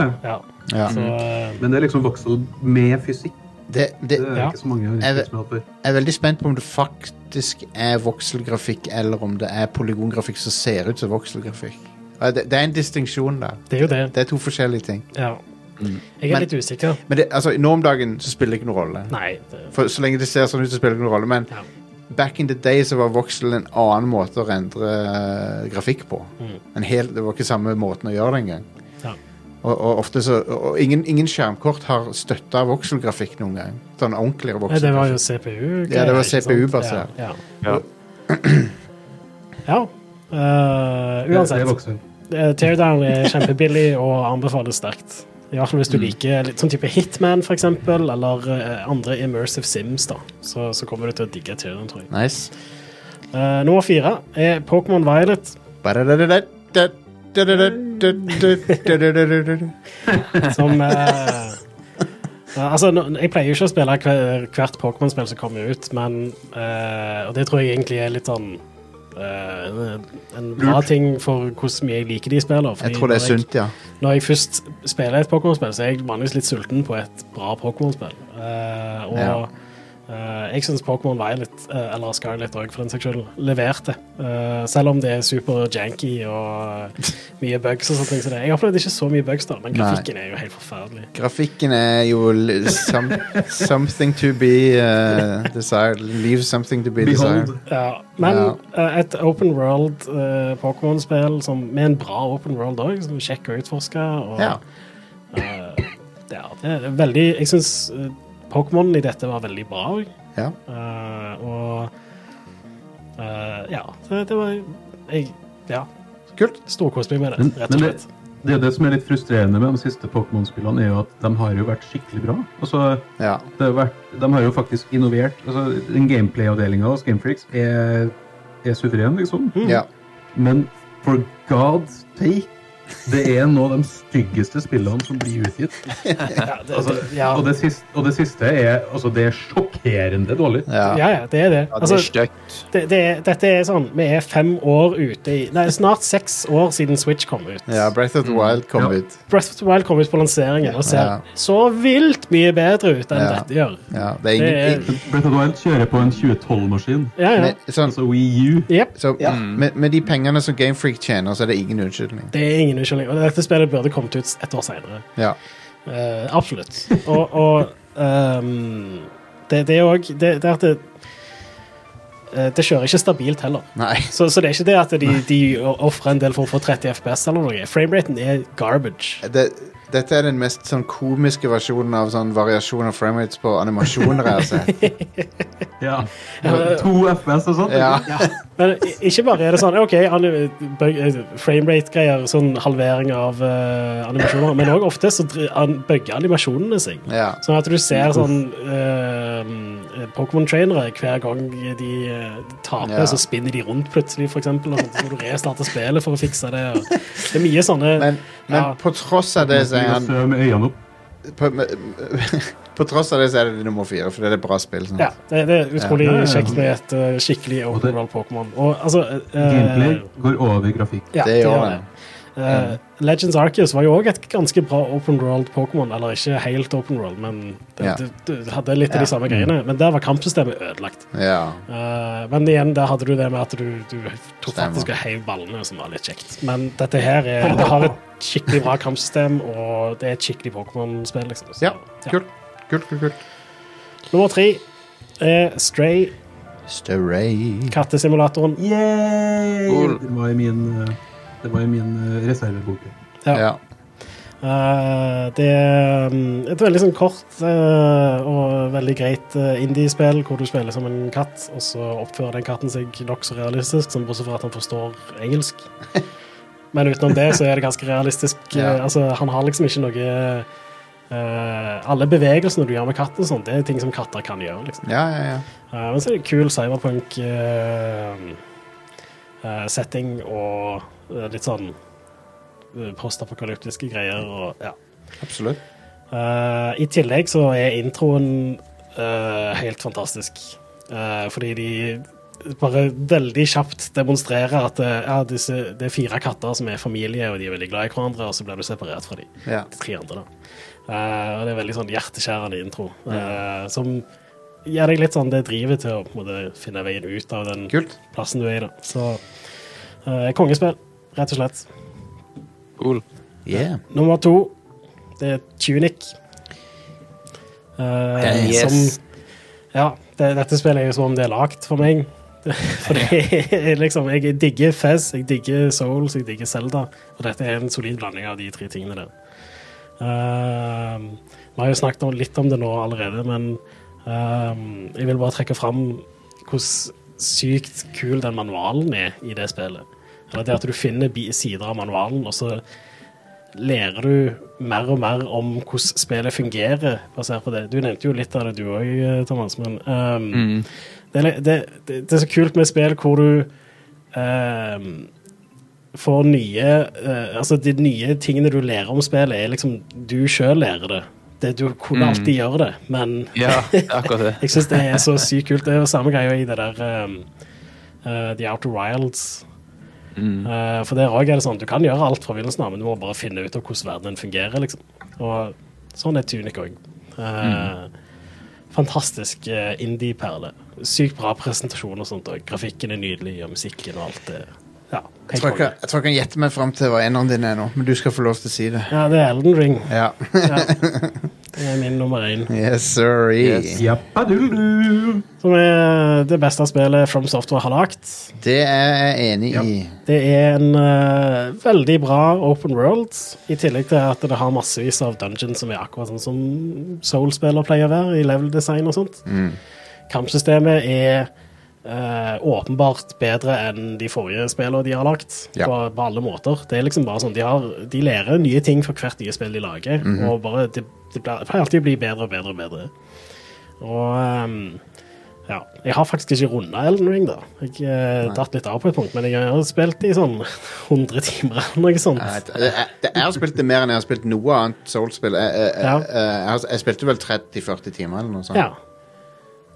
A: ja.
B: Så, eh,
F: men det er liksom Voxel med fysikk.
A: Det, det
F: Det er
B: Ja.
F: ikke så mange
A: Jeg
F: jeg
A: vet-
F: som har hatt før.
A: jeg er veldig spent på om det faktisk er vokselgrafikk, eller om det er polygongrafikk som ser ut som vokselgrafikk. Ja, Det, det er en distinksjon der.
B: det er jo det.
A: Det er to forskjellige ting.
B: Ja. Jeg
A: Men-
B: er litt usikker.
A: Men det, altså, nå om dagen så spiller det ikke noen rolle.
B: Nei. Det,
A: For Så lenge det ser sånn ut, så spiller det ikke noen rolle. Men
B: Ja.
A: back in the day så var voksel en annen måte å rendre eh, grafikk på.
B: mm.
A: En hel, det var ikke samme måten å gjøre det engang.
B: Ja.
A: Og, og, ofte så, og ingen, ingen skjermkort har støtta vokselgrafikk noen gang. Sånn ordentlig
B: Nei, det var jo
A: vokselgrafikk.
B: CPU.
A: Ja, det var
B: ikke sant?
A: CPU-basert.
B: Ja.
C: Ja.
B: ja. Eh,
F: Det- Det
B: uansett.
F: er Voxel.
B: Eh, Teardown er kjempebillig og anbefales sterkt. I hvert fall hvis du liker litt sånn type Hitman, for eksempel, eller eh, andre immersive sims, da. Så, så kommer du til å digge Teardown, tror jeg.
A: Nice.
B: Eh, nummer fire er Pokémon Violet,
A: Nei,
B: som eh, eh, Altså, nå- jeg pleier jo ikke å spille hver, hvert Pokémon-spill som kommer ut, men eh, Og det tror jeg egentlig er litt sånn eh, en bra ting for hvordan mye jeg liker de spillene. fordi
A: jeg tror det er
B: når
A: sunt, ja.
B: Når jeg først spiller et Pokémon-spill, så er jeg vanligvis litt sulten på et bra Pokémon-spill. Eh, og
A: Ja.
B: eh, jeg syns Pokémon Violet, uh, eller Scarlet òg, for den saks skyld, leverte. Eh, selv om det er super janky og eh, mye bugs og sånne ting. som det. Jeg opplevde ikke så mye bugs, da, men
A: Nei.
B: grafikken er jo helt forferdelig.
A: Grafikken er jo l- some, something to be uh, desired. Leave something to be desired.
F: Behold.
B: Ja, men
A: Ja.
B: eh, et open world eh, Pokémon-spill som- med en bra open world òg, som er kjekk å utforske. Og,
A: Ja.
B: eh, ja, det er veldig Jeg syns Pokémon i dette var veldig bra òg.
A: ja.
B: Eh, og eh, Ja, det, det var Jeg ja,
A: Kult.
B: storkoste meg med
F: Men,
B: det, rett
F: men
B: og
F: det,
B: slett.
F: det, er det som er litt frustrerende med de siste Pokémon-spillene, er jo at de har jo vært skikkelig bra. Altså,
A: Ja.
F: det har vært, de har jo faktisk innovert. Altså, den Gameplay-avdelinga hos Gamefreaks er, er suveren, liksom.
A: ja.
F: Men for God's sake, det er nå de styggeste spillene som blir utgitt.
B: Ja, det,
F: Altså,
B: det, ja.
F: og, det siste, og det siste er altså, det er sjokkerende dårlig.
A: ja.
B: ja, ja, det er det.
C: Ja, det
B: Altså,
C: er stygt.
B: det, det er, dette er sånn Vi er fem år ute i Nei, snart seks år siden Switch kom ut.
A: Ja, Breath of the Wild kom
F: Ja.
A: ut.
B: Breath of the Wild kom ut på lanseringen og ser
A: Ja.
B: så vilt mye bedre ut enn
A: Ja.
B: dette gjør.
A: Ja, det er ingen,
B: Det er-
A: ingen-
F: Breath of the Wild kjører på en 2012-maskin.
B: Ja, ja.
A: men, sånn,
F: Altså Wii U.
B: Jep.
A: så,
D: Ja.
A: med, med de pengene som Gamefreak tjener, så er det ingen unnskyldning.
B: Det er ingen unnskyldning. Og dette spillet burde kommet ut et år seinere.
A: Ja.
B: Eh, absolutt. Og, og ehm, det, det er òg det, det er at det, eh, det kjører ikke stabilt heller.
A: Nei.
B: Så, så det er ikke det at de, de ofrer en del for å få 30 FPS eller noe. Frameraten er garbage.
A: Det, dette er den mest sånn komiske versjonen av sånn variasjon av framerates på animasjoner jeg har sett.
F: Ja. To FPS og sånt.
A: Ja.
B: Men i- ikke bare er det sånn OK, anim- bug- eh, framerate-greier, sånn halvering av eh, animasjoner, men òg ofte så dri- an- bugger animasjonene seg.
A: Ja.
B: Sånn at du ser sånn eh, Pokémon-trainere hver gang de eh, taper,
A: Ja.
B: så spinner de rundt plutselig, for eksempel. Og sånt, så må du restarte spillet for å fikse det. Og det er mye sånne
A: Men, men
B: Ja.
A: på tross av det, så er han
F: Med øynene opp.
A: på, På tross av det så er det nummer fire, for det er et bra spill. sånn. sant?
B: Ja, det, det er utrolig
F: Ja, ja, ja.
B: kjekt med et eh, skikkelig
F: Og det-
B: open world Pokémon. Og altså eh,
F: Gameplay går over i grafikk.
B: ja,
A: det gjør
B: gjør
A: det. Mm.
B: Eh, Legends Arceus var jo òg et ganske bra open world Pokémon. Eller ikke helt open world, men det,
A: Ja.
B: det, det hadde litt
A: Ja.
B: av
A: Mm.
B: de samme greiene. Men der var kampsystemet ødelagt.
A: Ja.
B: Eh, men igjen, der hadde du det med at du, du tok
A: Stemmer.
B: faktisk og heiv ballene, som var litt kjekt. Men dette her er, det har et skikkelig bra kampsystem, og det er et skikkelig Pokémon-spill. liksom. Så,
A: Ja, kult. Kult, kult, kult.
B: Nummer tre er Stray,
A: Stray.
B: kattesimulatoren.
F: Yay!
C: Cool.
F: Det var i min, eh, det var i min eh, reservebok.
B: Ja.
A: Ja.
B: Eh, det er mm, et veldig sånn kort eh, og veldig greit eh, indie-spill hvor du spiller som en katt, og så oppfører den katten seg nokså realistisk, sånn bortsett fra at han forstår engelsk. Men utenom det så er det ganske realistisk.
A: Ja.
B: Eh, altså, han har liksom ikke noe eh, Alle bevegelsene du gjør med katten, og sånt, det er ting som katter kan gjøre. liksom.
A: Ja, ja, ja.
B: Eh, men så er det kul cyberpunk-setting eh, og eh, litt sånn eh, postapokalyptiske greier. og ja.
A: Absolutt.
B: Eh, I tillegg så er introen eh, helt fantastisk. Eh, fordi de bare veldig kjapt demonstrerer at eh, ja, disse, det er fire katter som er familie, og de er veldig glad i hverandre, og så blir du separert fra dem
A: Ja.
B: de tre andre. da. Eh, og det er veldig sånn hjerteskjærende intro, eh, som gir deg litt sånn det drivet til å på en måte finne veien ut av den
A: Kult.
B: plassen du er i. da. Så eh, kongespill, rett og slett.
C: Cool.
A: Yeah.
B: Nummer to, det er Tunic. Eh,
C: Yes.
B: Som Ja, det, dette spillet er jo som om det er lagd for meg. For det er liksom Jeg digger Fez, jeg digger Souls, jeg digger Zelda. Og dette er en solid blanding av de tre tingene der. Ehm, vi har jo snakket om, litt om det nå allerede, men ehm, jeg vil bare trekke fram hvordan sykt kul den manualen er i det spillet. Eller det at du finner bi- sider av manualen, og så lærer du mer og mer om hvordan spillet fungerer, basert på det. Du nevnte jo litt av det, du òg, Thomas, men
C: Mm.
B: ehm, det, er- det, det, det er så kult med spill hvor du ehm, får nye eh, Altså, de nye tingene du lærer om spillet, er liksom Du sjøl lærer det. det. Du kunne alltid gjøre det, men
C: Ja, det er akkurat det.
B: jeg syns det er så sykt kult. Det er jo samme greia i det der um, uh, The Outer Wilds.
C: Mm.
B: Uh, for der òg er det sånn du kan gjøre alt fra begynnelsen av, men du må bare finne ut av hvordan verdenen fungerer. liksom. Og sånn er Tunic òg. Uh, Fantastisk uh, indie-perle. Sykt bra presentasjon og sånt. Og grafikken er nydelig, og musikken og alt det. Ja,
A: Jeg tror jeg kan- jeg tror jeg kan gjette meg fram til hva eneren din er nå, men du skal få lov til å si det.
B: Ja, det er Elden Ring.
A: Ja.
B: Ja. Det er min nummer én.
A: Yes, sorry.
C: Yes.
F: Jappadulu!
B: Som er det beste spillet From Software har lagd.
A: Det er jeg enig i.
B: Det er en eh, veldig bra open world, i tillegg til at det har massevis av dungeons som er akkurat sånn som Soul-spiller pleier å være, i level design og sånt. Kampsystemet er eh, åpenbart bedre enn de forrige spillene de har lagt,
A: Ja.
B: på, på alle måter. Det er liksom bare sånn, de, har, de lærer nye ting for hvert nye spill de lager,
A: Mhm.
B: og bare, det, det pleier pleier alltid å bli bedre og bedre og bedre. Og ehm, ja. Jeg har faktisk ikke runda Elden Ring, da. Jeg eh, datt litt av på et punkt, men jeg har spilt i sånn 100 timer eller noe sånt.
A: Nei, det- det- det- Jeg har spilt det mer enn jeg har spilt noe annet Soul-spill. Jeg, jeg, jeg,
B: Ja.
A: jeg, har- jeg spilte vel 30-40 timer eller noe sånt,
B: Ja.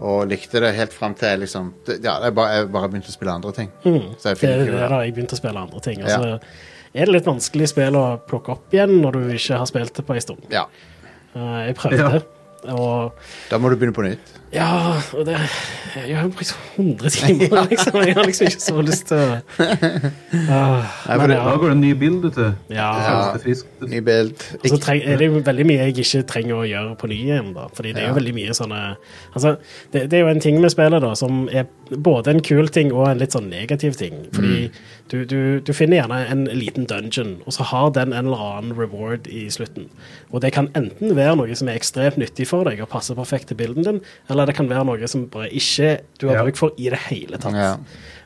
A: og likte det helt fram til jeg liksom, det- ja, jeg, bare, jeg bare begynte å spille andre ting. Så jeg
B: Det er
A: finner
B: det
A: ikke
B: da jeg begynte å spille andre ting. Og så er det litt vanskelig spill å plukke opp igjen når du ikke har spilt det på en stund.
A: Ja,
B: Eh, jeg prøvde, og
A: Da må du begynne på nytt.
B: ja og det, Jeg har jo brukt 100 timer, liksom. Jeg har liksom ikke så lyst til å Ah,
A: Nei, for
B: men
A: det-
F: Da
B: ja,
F: går det en ny bild, vet du.
B: ja.
F: Føles det friskt?
A: Ny bild.
B: Og så treng, er det jo veldig mye jeg ikke trenger å gjøre på ny igjen, da. Fordi det er jo
A: Ja.
B: veldig mye sånne Altså, det, det er jo en ting med spillet, da, som er både en kul ting og en litt sånn negativ ting. Fordi du, du, du finner gjerne en liten dungeon, og så har den en eller annen reward i slutten. Og det kan enten være noe som er ekstremt nyttig for deg og passer perfekt til bilden din, eller det kan være noe som bare ikke du har
F: Ja.
B: bruk for i det hele tatt.
A: Ja.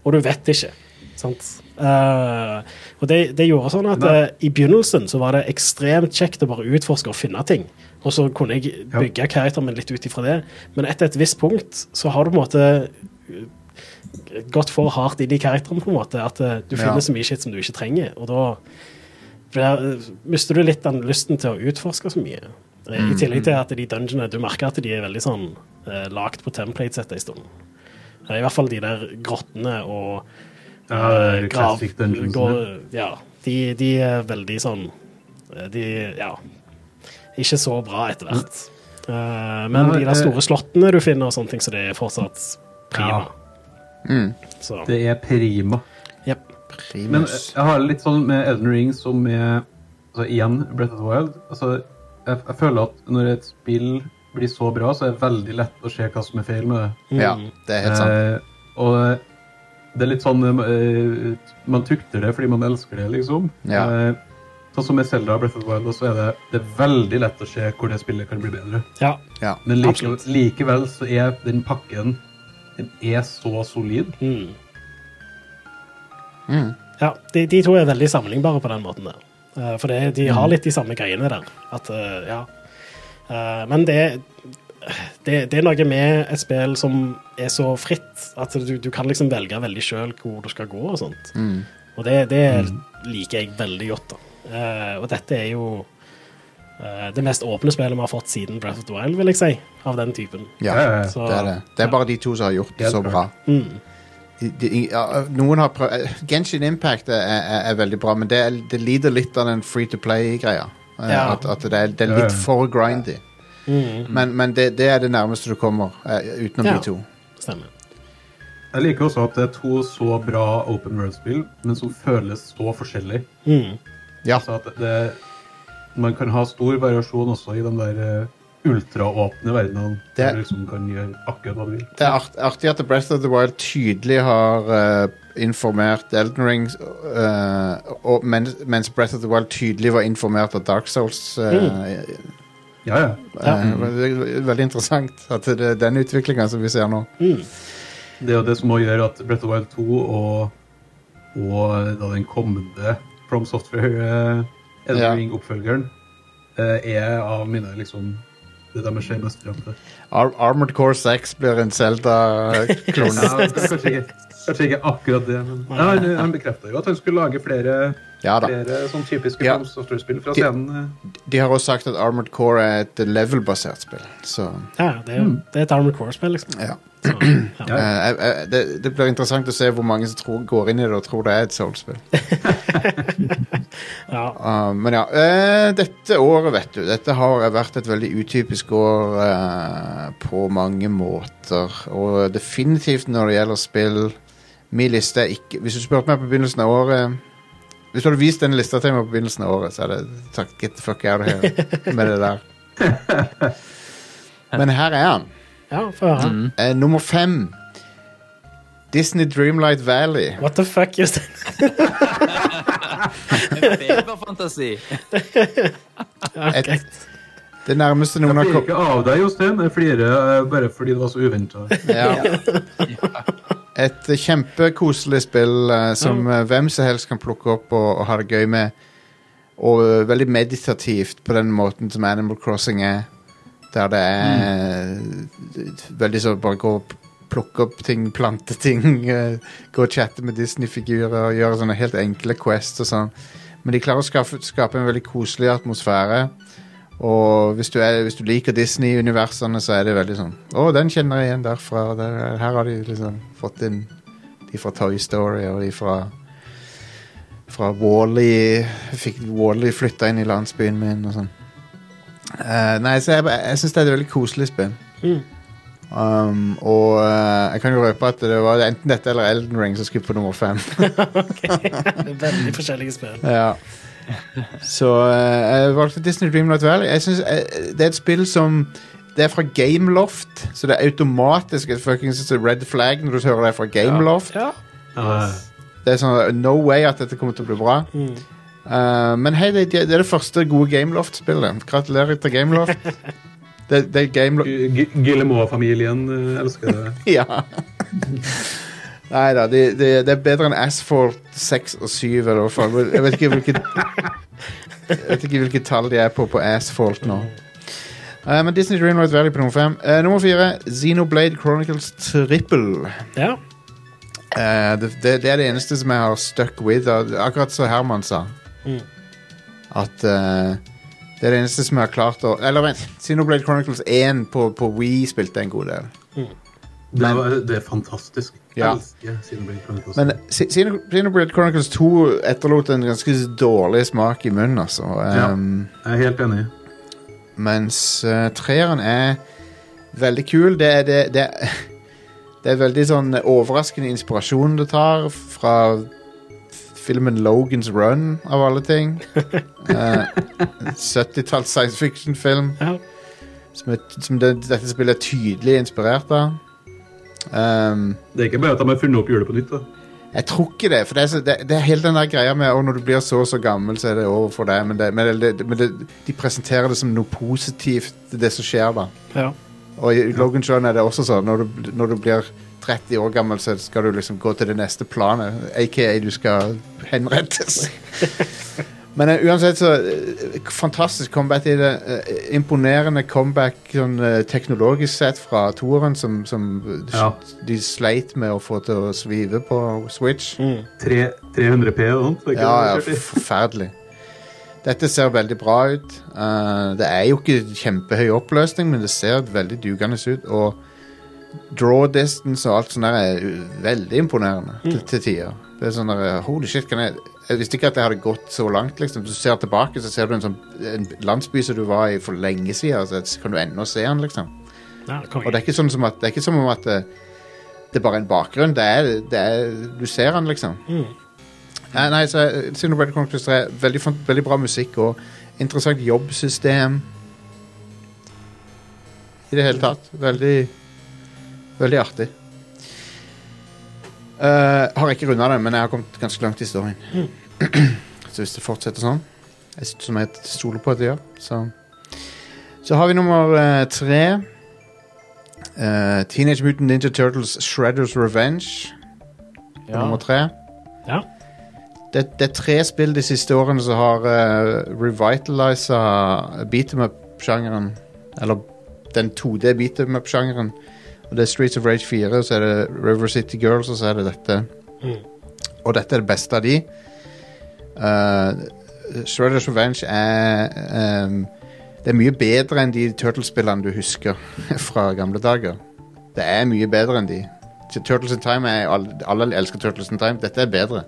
B: Og du vet ikke. Sant? Eh, og det, det gjorde sånn at
F: Nei.
B: eh, i begynnelsen så var det ekstremt kjekt å bare utforske og finne ting. Og så kunne jeg
F: Ja.
B: bygge karakteren min litt ut ifra det. Men etter et visst punkt så har du på en måte eh, gått for hardt inn i karakteren, på en måte. At eh, du
A: Ja.
B: finner så mye shit som du eh, ikke trenger. Og da blir- mister du litt den lysten til å utforske så mye. Eh, I tillegg til at de dungeonene Du merker at de er veldig sånn eh, lagt på templates etter en stund. Eh, I hvert fall de der grottene og eh, grav...
F: Classic Dungeons.
B: går- Ja. De, de er veldig sånn eh, De Ja. Ikke så bra etter hvert. Eh, men
F: Mm. Nei,
B: de der
F: eh,
B: store slottene du finner, og sånne ting, så det er fortsatt prima.
F: Ja.
A: Mm.
B: Så
F: Det er prima.
B: jepp.
F: Men eh,
A: Primus.
F: jeg har litt sånn med Elden Ring som med altså igjen Breath of the Wild. Altså, jeg, jeg føler at når et spill blir så bra, så er det veldig lett å se hva som er feil med det.
B: mm.
A: Ja, det er helt sant.
F: Eh, og det er litt sånn eh, Man tukter det fordi man elsker det, liksom.
A: Ja.
F: Eh, sånn som med Zelda og Breath of the Wild, så er det, det er veldig lett å se hvor det spillet kan bli bedre.
B: Ja.
A: Ja.
F: Men likevel,
B: Absolutt.
F: likevel så er den pakken den er så solid.
B: Mm.
A: Mm.
B: Ja, de, de to er veldig sammenlignbare på den måten der. Eh, For det, de
A: Mm.
B: har litt de samme greiene der. At, eh, ja. Eh, Men det, det, det er noe med et spill som er så fritt at du, du kan liksom velge veldig sjøl hvor du skal gå og sånt.
A: Mm.
B: Og det, det liker jeg veldig godt. da. Eh, Og dette er jo eh, det mest åpne spillet vi har fått siden Breath of the Wild, vil jeg si. Av den typen.
A: Ja,
F: Ja, ja, ja.
B: Så-
A: det er det. Det er bare de to som har gjort det
F: Helt
A: så bra.
B: Mm.
A: De, de, ja, noen har prøvd eh, Genshin Impact er, er, er veldig bra, men det, er, det lider litt av den free to play-greia. Eh,
B: Ja.
A: At, at det, er, det er
F: Ja,
A: litt
F: ja.
A: for grindy.
B: Mm.
A: Men, men det, det er det nærmeste du kommer eh, utenom
B: Ja.
A: de to.
B: Stemmer.
F: Jeg liker også at det er to så bra open world-spill, men som føles så forskjellig.
B: Mm.
A: Ja.
F: Så at det, man kan ha stor variasjon også i de der eh, ultraåpne verdenene.
A: Det-
F: Der du liksom kan gjøre akkurat hva du vil.
A: Det er art, artig at Breath of the Wild tydelig har eh, informert Elden Ring, eh, og, mens, mens Breath of the Wild tydelig var informert av Dark Souls. eh,
B: Mm.
F: Ja, ja.
B: Ja.
A: eh, veldig, veldig interessant at det er den utviklinga som vi ser nå.
B: Mm.
F: Det er jo det som også gjør at Brett of the Wild 2 og, og da den kommende From Software uh,
A: Ja.
F: oppfølgeren eh, er av mine liksom det der med skjer mest frem til.
A: Ar Armored Core 6 blir en Zelda-klone.
F: Ja, kanskje, ikke, kanskje ikke akkurat det, men ja, han, han bekrefta jo at han skulle lage flere,
A: ja da.
F: flere sånn typiske
A: Ja.
F: From Software-spill fra
A: De-
F: scenen. eh.
A: De har også sagt at Armored Core er et level-basert spill, så
B: Ja, det er, jo- det er et Armored Core-spill, liksom.
A: Mm. ja.
B: Så, ja.
A: Eh, jeg- jeg- det, det blir interessant å se hvor mange som tror, går inn i det og tror det er et Soul-spill.
B: ja.
A: Uh, men ja, eh, dette året, vet du Dette har vært et veldig utypisk år eh, på mange måter. Og definitivt når det gjelder spill. Min liste er ikke Hvis du spurte meg på begynnelsen av året Hvis du hadde vist den lista til meg på begynnelsen av året, så hadde jeg sagt get the fuck out of here med det der. Men her er han.
B: ja, få høre.
C: Mm.
A: Eh, nummer fem. Disney Dreamlight Valley.
B: What the fuck, Jostein?
C: Beverfantasi.
B: Ja,
A: Et-
B: greit.
A: Det nærmeste noen har
F: Jeg flirer
A: kommet
F: ikke av deg, Jostein. Jeg flirer eh, bare fordi det var så uventa.
A: Ja. Et eh, kjempekoselig spill eh, som eh, hvem som helst kan plukke opp og, og ha det gøy med. Og eh, veldig meditativt på den måten som Animal Crossing er. Der det er eh, veldig sånn bare gå og plukke opp ting, plante ting, eh, gå og chatte med Disney-figurer og gjøre sånne helt enkle quests og sånn. Men de klarer å skape, skape en veldig koselig atmosfære. Og hvis du, er, hvis du liker Disney-universene, så er det veldig sånn Å, den kjenner jeg igjen derfra. og Der, her har de liksom fått inn de fra Toy Story og de fra fra Wally Fikk Wally flytta inn i landsbyen min og sånn. Eh, nei, så jeg, jeg syns det er et veldig koselig spill.
B: Mm.
A: Um, og eh, jeg kan jo røpe at det var enten dette eller Elden Ring som skulle på nummer fem.
B: Det er Veldig forskjellige spill.
A: Ja. Så eh, jeg valgte Disney Dreamlight Valley. Jeg synes, eh, det er et spill som Det er fra Gameloft, så det er automatisk et fuckings red flag når du hører det er fra Gameloft.
B: Ja.
A: Det er sånn eh, no way at dette kommer til å bli bra.
B: Mm.
A: Eh, men hei, det, det er det første gode Gameloft-spillet. Gratulerer til Gameloft. det, det er Gameloft
F: Guillemoa-familien eh, elsker det.
A: Ja. Nei da, det, det, det er bedre enn Asphalt 6 og 7. Eller hva faen. Jeg vet ikke hvilket Jeg vet ikke hvilket tall de er på på Asphalt nå. Eh, men Disney Dreamlight Valley på nummer fem. Eh, nummer fire, Xenoblade Chronicles Triple.
B: ja.
A: Eh, det, det, det er det eneste som jeg har stuck with. og Akkurat som Herman sa.
B: Mm.
A: At eh, Det er det eneste som jeg har klart å Eller vent, Sinoblade Chronicles 1 på, på Wii spilte jeg en god del.
F: Det, var, det er fantastisk.
A: Ja.
F: Jeg elsker Xenoblade Chronicles.
A: Men Si- Sino- Xenoblade Chronicles 2 etterlot en ganske dårlig smak i munnen, altså.
F: Ja.
A: Ehm,
F: jeg er helt enig.
A: Mens eh, treeren er veldig kul. Det er, det, det, er- det er veldig sånn overraskende inspirasjon det tar fra f- filmen Logans Run, av alle ting. Eh, 70-talls science fiction-film
B: Ja.
A: som, er, som det, dette spillet er tydelig inspirert av. Ehm,
F: Det er ikke bare at de har funnet opp hjulet på nytt. da.
A: jeg tror ikke det, for det er, så, det, det er hele den der greia med «Å, når du blir så og så gammel, så er det over for deg. Men, det, men, det, men det, de presenterer det som noe positivt, det som skjer da.
B: ja.
A: Og i Logan John er det også sånn når du, når du blir 30 år gammel, så skal du liksom gå til det neste planet. Aka du skal henrettes. Men eh, uansett så eh, Fantastisk comeback i det. eh, imponerende comeback sånn, eh, teknologisk sett fra toeren, som, som de,
F: Ja.
A: de sleit med å få til å svive på Switch.
B: Mm.
F: Tre, 300P og sånt. det er ikke
A: Ja,
F: det
A: ja,
F: vi kjørte i.
A: forferdelig. Dette ser veldig bra ut. Eh, det er jo ikke kjempehøy oppløsning, men det ser veldig dugende ut. Og draw distance og alt sånt der er u- veldig imponerende til, til tider. Det er sånn der, holy shit, kan jeg... Jeg visste ikke at jeg hadde gått så langt. liksom. Du ser tilbake, så ser du en, sånn, en landsby som du var i for lenge siden. Så kan du ennå se den, liksom.
B: Ja,
A: Og det
B: kom igjen.
A: er ikke sånn som at det er ikke som om at det, det er bare en bakgrunn. Det er, det er, du ser den, liksom.
B: Mm.
A: Nei, nei så eh, Xenoblade Chronicles 3 er veldig, fan- veldig bra musikk og interessant jobbsystem. I det hele tatt. Veldig Veldig artig. Eh, har ikke runda det, men jeg har kommet ganske langt i storyen. så hvis det fortsetter sånn, jeg s- som jeg stoler på at det gjør, så Så har vi nummer eh, tre. Eh, Teenage Mutant Ninja Turtles Shredders Revenge.
C: Ja.
A: Nummer tre.
B: Ja.
A: Det, det er tre spill de siste årene som har eh, uh, revitalisa beat'em-up-sjangeren. Eller den 2D beat'em-up-sjangeren. Og det er Streets of Rage 4, og så er det River City Girls, og så er det dette.
B: Mm.
A: Og dette er det beste av de. Uh, Shredders Revenge er ehm, Det er mye bedre enn de Turtles-spillene du husker fra gamle dager. Det er mye bedre enn de. Turtles in Time er, alle, alle elsker Turtles in Time. Dette er bedre.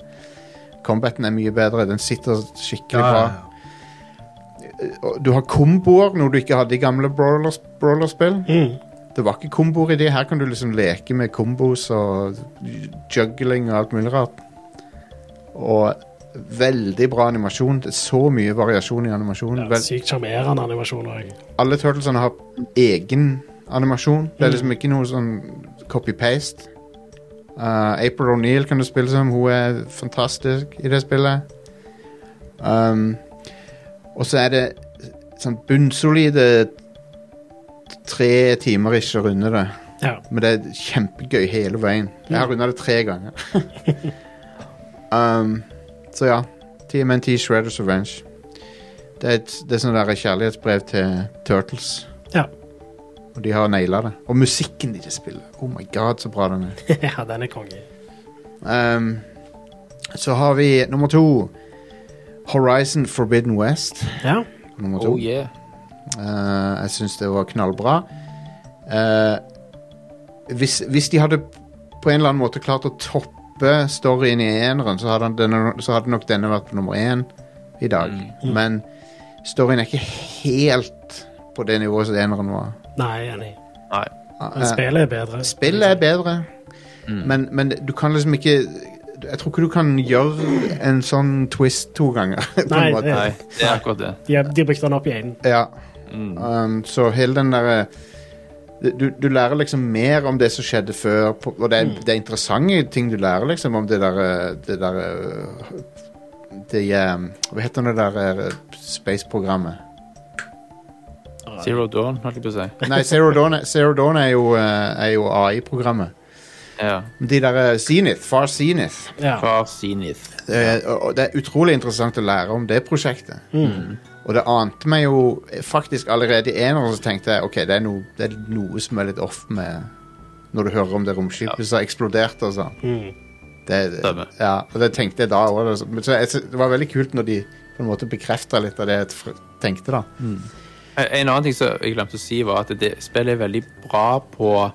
A: Combaten er mye bedre. Den sitter skikkelig
F: Ja,
A: bra.
F: ja, ja.
A: Og Du har komboer, noe du ikke hadde i gamle brawlers- brawlerspill.
B: Mm.
A: Det var ikke komboer i de. Her kan du liksom leke med kombos og juggling og alt mulig rart. Og veldig bra animasjon. Det er så mye variasjon i animasjonen.
B: Ja,
A: Mm, Vel,
B: sykt sjarmerende animasjon òg.
A: alle turtlesene har egen animasjon. Det er liksom ikke noe sånn copy-paste. Uh, April O'Neill kan du spille som. Hun er fantastisk i det spillet. Um, og så er det sånn bunnsolide tre timer ikke å runde det.
B: Ja.
A: Men det er kjempegøy hele veien. Jeg har runda det tre ganger. um, så ja. TMNT Shredders Revenge. Det er, et, det er sånn der kjærlighetsbrev til Turtles.
B: Ja.
A: Og de har naila det. Og musikken de spiller. Oh my god, så bra den er.
B: ja, den er konge.
A: Um, så har vi nummer to. Horizon Forbidden West.
B: Ja.
A: Nummer to.
C: Oh yeah.
A: Eh, jeg syns det var knallbra. Eh, hvis, hvis de hadde på en eller annen måte klart å toppe storyen i eneren, så hadde, han denne, så hadde nok denne vært på nummer én i dag.
B: Mm.
A: Men storyen er ikke helt på det nivået som eneren var.
B: Nei, enig.
C: Nei.
B: Men
A: Eh,
B: spillet er bedre.
A: Spillet er bedre, men, men du kan liksom ikke Jeg tror ikke du kan gjøre en sånn twist to ganger. på en
B: Nei,
A: måte.
B: det-
C: Nei, det er akkurat det. Mm.
B: De, de brukte den opp i én.
A: Ja. Um, så hele den derre du, du lærer liksom mer om det som skjedde før, på- og det er, det er interessante ting du lærer liksom om det derre Det derre det, um, Hva heter det derre space-programmet?
C: Zero Dawn, holdt jeg på å si.
A: Nei, Zero Dawn, er- Zero Dawn er jo, eh, er jo AI-programmet.
C: Ja.
A: De derre Zenith, Far Zenith.
B: Ja.
C: Far Zenith.
A: Eh, og- og det er utrolig interessant å lære om det prosjektet. Og det ante meg jo faktisk allerede i eneren, så tenkte jeg ok, det er, noe- det er noe som er litt off med Når du hører om det romskipet som har eksplodert og sånn.
B: Mm.
A: Det,
C: Stemmer.
A: ja, og det tenkte jeg da òg. Så jeg, sy- det var veldig kult når de på en måte bekrefter litt av det jeg tr- tenkte, da.
C: Eh, En annen ting som jeg glemte å si, var at det spillet er veldig bra på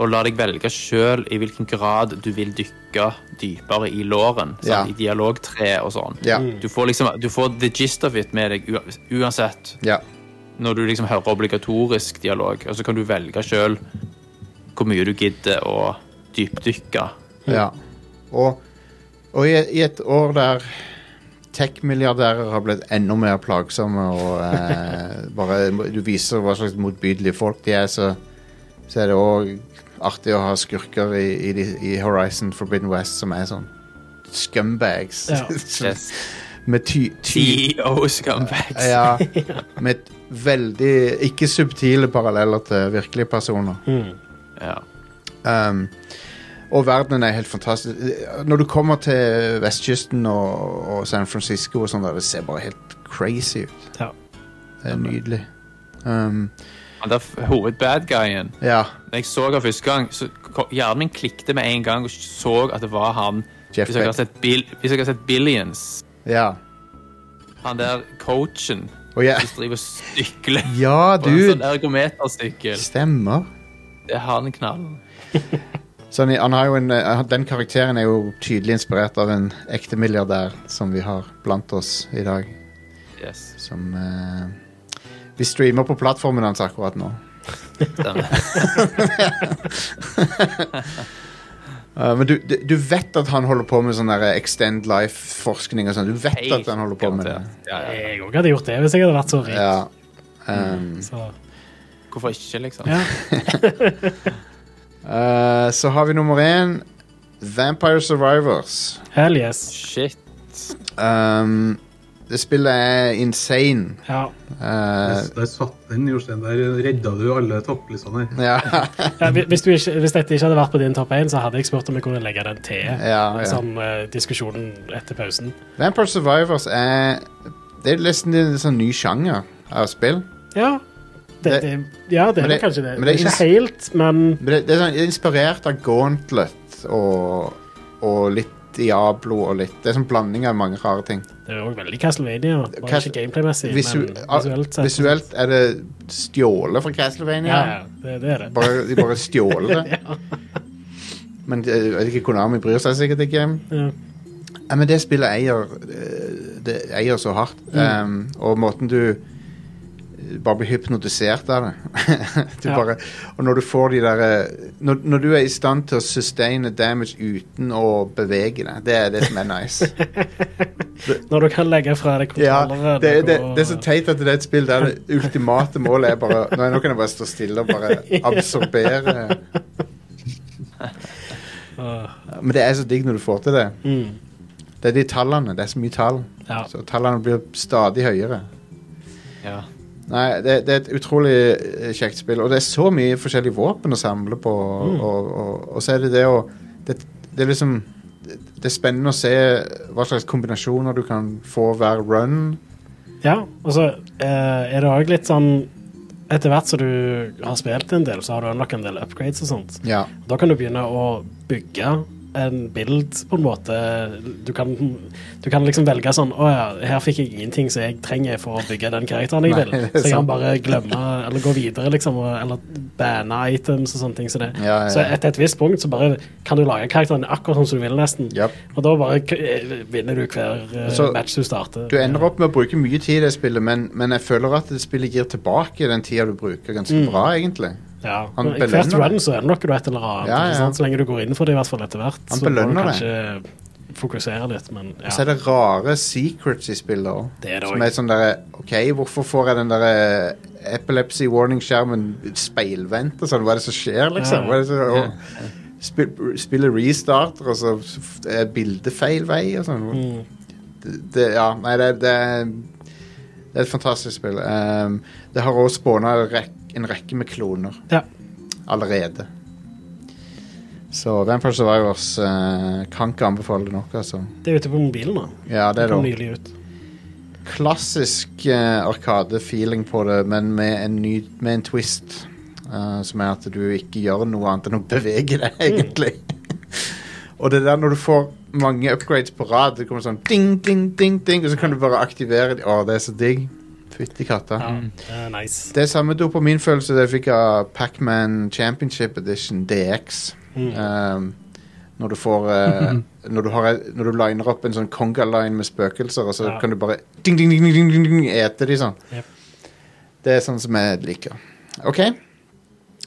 C: å la deg velge sjøl i hvilken grad du vil dykke dypere i låren. sant?
A: Ja.
C: I dialogtre og sånn.
A: Ja.
C: Du får liksom, du får the gist of it med deg ua- uansett
A: Ja.
C: når du liksom hører obligatorisk dialog. Og så kan du velge sjøl hvor mye du gidder å dypdykke.
A: ja. Og, og i, i et år der tech-milliardærer har blitt enda mer plagsomme og eh, bare du viser hva slags motbydelige folk de er, så, så er det òg artig å ha skurker i, i, de- i Horizon Forbidden West som er sånn scumbags.
B: Ja.
A: Sånn
C: Yes.
A: Med ty, ty,
C: CEO scumbags.
A: Ja, med et veldig ikke subtile paralleller til virkelige personer.
B: mm.
C: Ja.
A: Um, og verdenen er helt fantastisk. Når du kommer til vestkysten og, og San Francisco og sånn, der, det ser bare helt crazy ut.
B: Ja.
A: Det er nydelig. Um,
C: Han der f- hovedbadguyen
A: ja,
C: Når jeg så han første gang, så ko- hjernen min klikte med en gang og så at det var han.
A: Jeff
C: Hvis jeg har
A: Beck.
C: sett, Bill, hvis jeg har sett Billions,
A: Ja.
C: han der coachen
A: Og jeg,
C: som driver og stykler
A: ja,
C: på en sånn
A: dude!
C: ergometersykkel,
A: Stemmer.
C: det er han knallen.
A: Så han, han har jo en, eh, den karakteren er jo tydelig inspirert av en ekte milliardær som vi har blant oss i dag.
C: Yes,
A: Som eh, Vi streamer på plattformen hans akkurat nå.
C: stemmer.
A: Eh, men du, du, du vet at han holder på med sånn der Extend Life-forskning og sånn. Du vet at han holder på med det.
C: Ja, ja.
B: Jeg òg hadde gjort det hvis jeg hadde vært så rik.
A: Ja. Um,
B: Så,
C: Hvorfor ikke, liksom?
B: ja.
A: eh, så har vi nummer én. Vampire Survivors.
B: Hell yes.
C: Shit.
A: Um, det spillet er insane.
B: Ja.
A: Eh,
F: Der satt den jordsteinen der. Redda du alle topplistene her?
A: ja,
B: Ja, hvi- hvis, du ikke, hvis dette ikke hadde vært på din topp 1, så hadde jeg spurt om jeg kunne legge den til
A: Ja, ja.
B: som eh, diskusjonen etter pausen.
A: Vampire Survivors er Det er nesten en sånn ny sjanger av spill.
B: Ja, det,
A: Det-
B: det, ja, det
A: men
B: er
A: det-
B: nok kanskje
A: men
B: det. Det
A: det
B: er
A: er
B: ikke helt, men
A: Men Det, det er sånn, det er inspirert av Gauntlet og, og litt Diablo og litt Det er sånn blanding av mange rare ting.
B: det er òg veldig Castlevania. Bare
A: Cas-
B: ikke gameplay-messig,
A: Visu ah,
B: men visuelt sett.
A: visuelt er det stjålet fra
B: Ja,
A: Castlevania.
B: ja, det, det er det.
A: Bare, de bare stjåler det. Men eh, jeg vet ikke, Konami bryr seg sikkert ikke.
B: Ja.
A: Ja, men det spillet eier eh, Det eier så hardt. Um, og måten du eh, bare blir hypnotisert av det. du
B: Ja.
A: bare, og når du får de der eh, når, når du er i stand til å sustaine damage uten å bevege deg, det er det som er nice.
B: Når du kan legge fra deg
A: Ja,
B: kontrollere
A: det, det, det er så teit at det er et spill der det ultimate målet er bare Nei, nå kan jeg bare stå stille og bare absorbere. Men det er så digg når du får til det.
B: Mm.
A: Det er de tallene. Det er så mye tall.
B: Ja.
A: Så tallene blir stadig høyere.
C: Ja.
A: Nei, det, det er et utrolig eh, kjekt spill. Og det er så mye forskjellige våpen å samle på. Og, og, og, og så er det det å det, det er liksom det, det er spennende å se hva slags kombinasjoner du kan få hver run.
B: Ja, og så eh, er det òg litt sånn Etter hvert som du har spilt en del, så har du unlocket en del upgrades og sånt.
A: Ja.
B: Da kan du begynne å bygge en bild, på en måte. Du kan, du kan liksom velge sånn Å ja, her fikk jeg ingenting som jeg trenger for å bygge den karakteren jeg
A: Nei,
B: vil.
A: det er
B: Så
A: sant.
B: jeg kan bare glemme eller gå videre, liksom. og- Eller banne items og sånne ting som det.
A: Ja, ja,
B: Så
A: ja.
B: etter et visst punkt så bare kan du lage karakteren akkurat sånn som du vil, nesten.
A: Japp.
B: Og da bare k- eh, vinner du hver eh,
A: Så
B: match du starter.
A: Du ender opp med å bruke mye tid i det spillet, men, men jeg føler at det spillet gir tilbake den tida du bruker, ganske
B: Mm.
A: bra, egentlig.
B: Ja.
A: Han
B: I hvert
A: belønner
B: run så unlocker du et eller annet.
A: Ja, ja.
B: ikke sant? Så lenge du går inn for det, i hvert fall etter hvert.
A: Han
B: så må du
A: belønner det.
B: kanskje fokusere litt, men ja.
A: Og så er det rare secrets i spillet òg.
B: Det er det
A: Som
B: også.
A: er sånn derre OK, hvorfor får jeg den derre epilepsy warning-skjermen speilvendt og sånn? Hva er det som skjer, liksom? Hva er det som, og, spill, spillet restarter, og så f- er bildet feil vei og sånn.
B: Mm.
A: Det, det, ja, nei, det, det, er- det er et fantastisk spill. Um, det har òg spåna rek, en rekke med kloner.
B: Ja.
A: allerede. Så Vampire Survivors eh, kan ikke anbefale det nok, altså.
B: Det er ute på mobilen nå.
A: Ja, det
B: Det
A: er
B: kom
A: da
B: nylig ut.
A: klassisk eh, arkade-feeling på det, men med en, ny, med en twist. eh, som er at du ikke gjør noe annet enn å bevege deg, egentlig. Og det der når du får mange upgrades på rad. Det kommer sånn ding, ding, ding, ding, og så kan du bare aktivere dem. Å, det er så digg. Fytti katta.
B: Ja, det er Eh, nice.
A: Det er samme dopaminfølelse det jeg fikk av Pac-Man Championship Edition DX. Um, når du får eh, når, du har, når du liner opp en sånn conga-line med spøkelser, og så
B: Ja.
A: kan du bare ding, ding, ding, ding, ding, ding, ding, ete de sånn.
B: Jep.
A: Det er sånn som jeg liker. OK.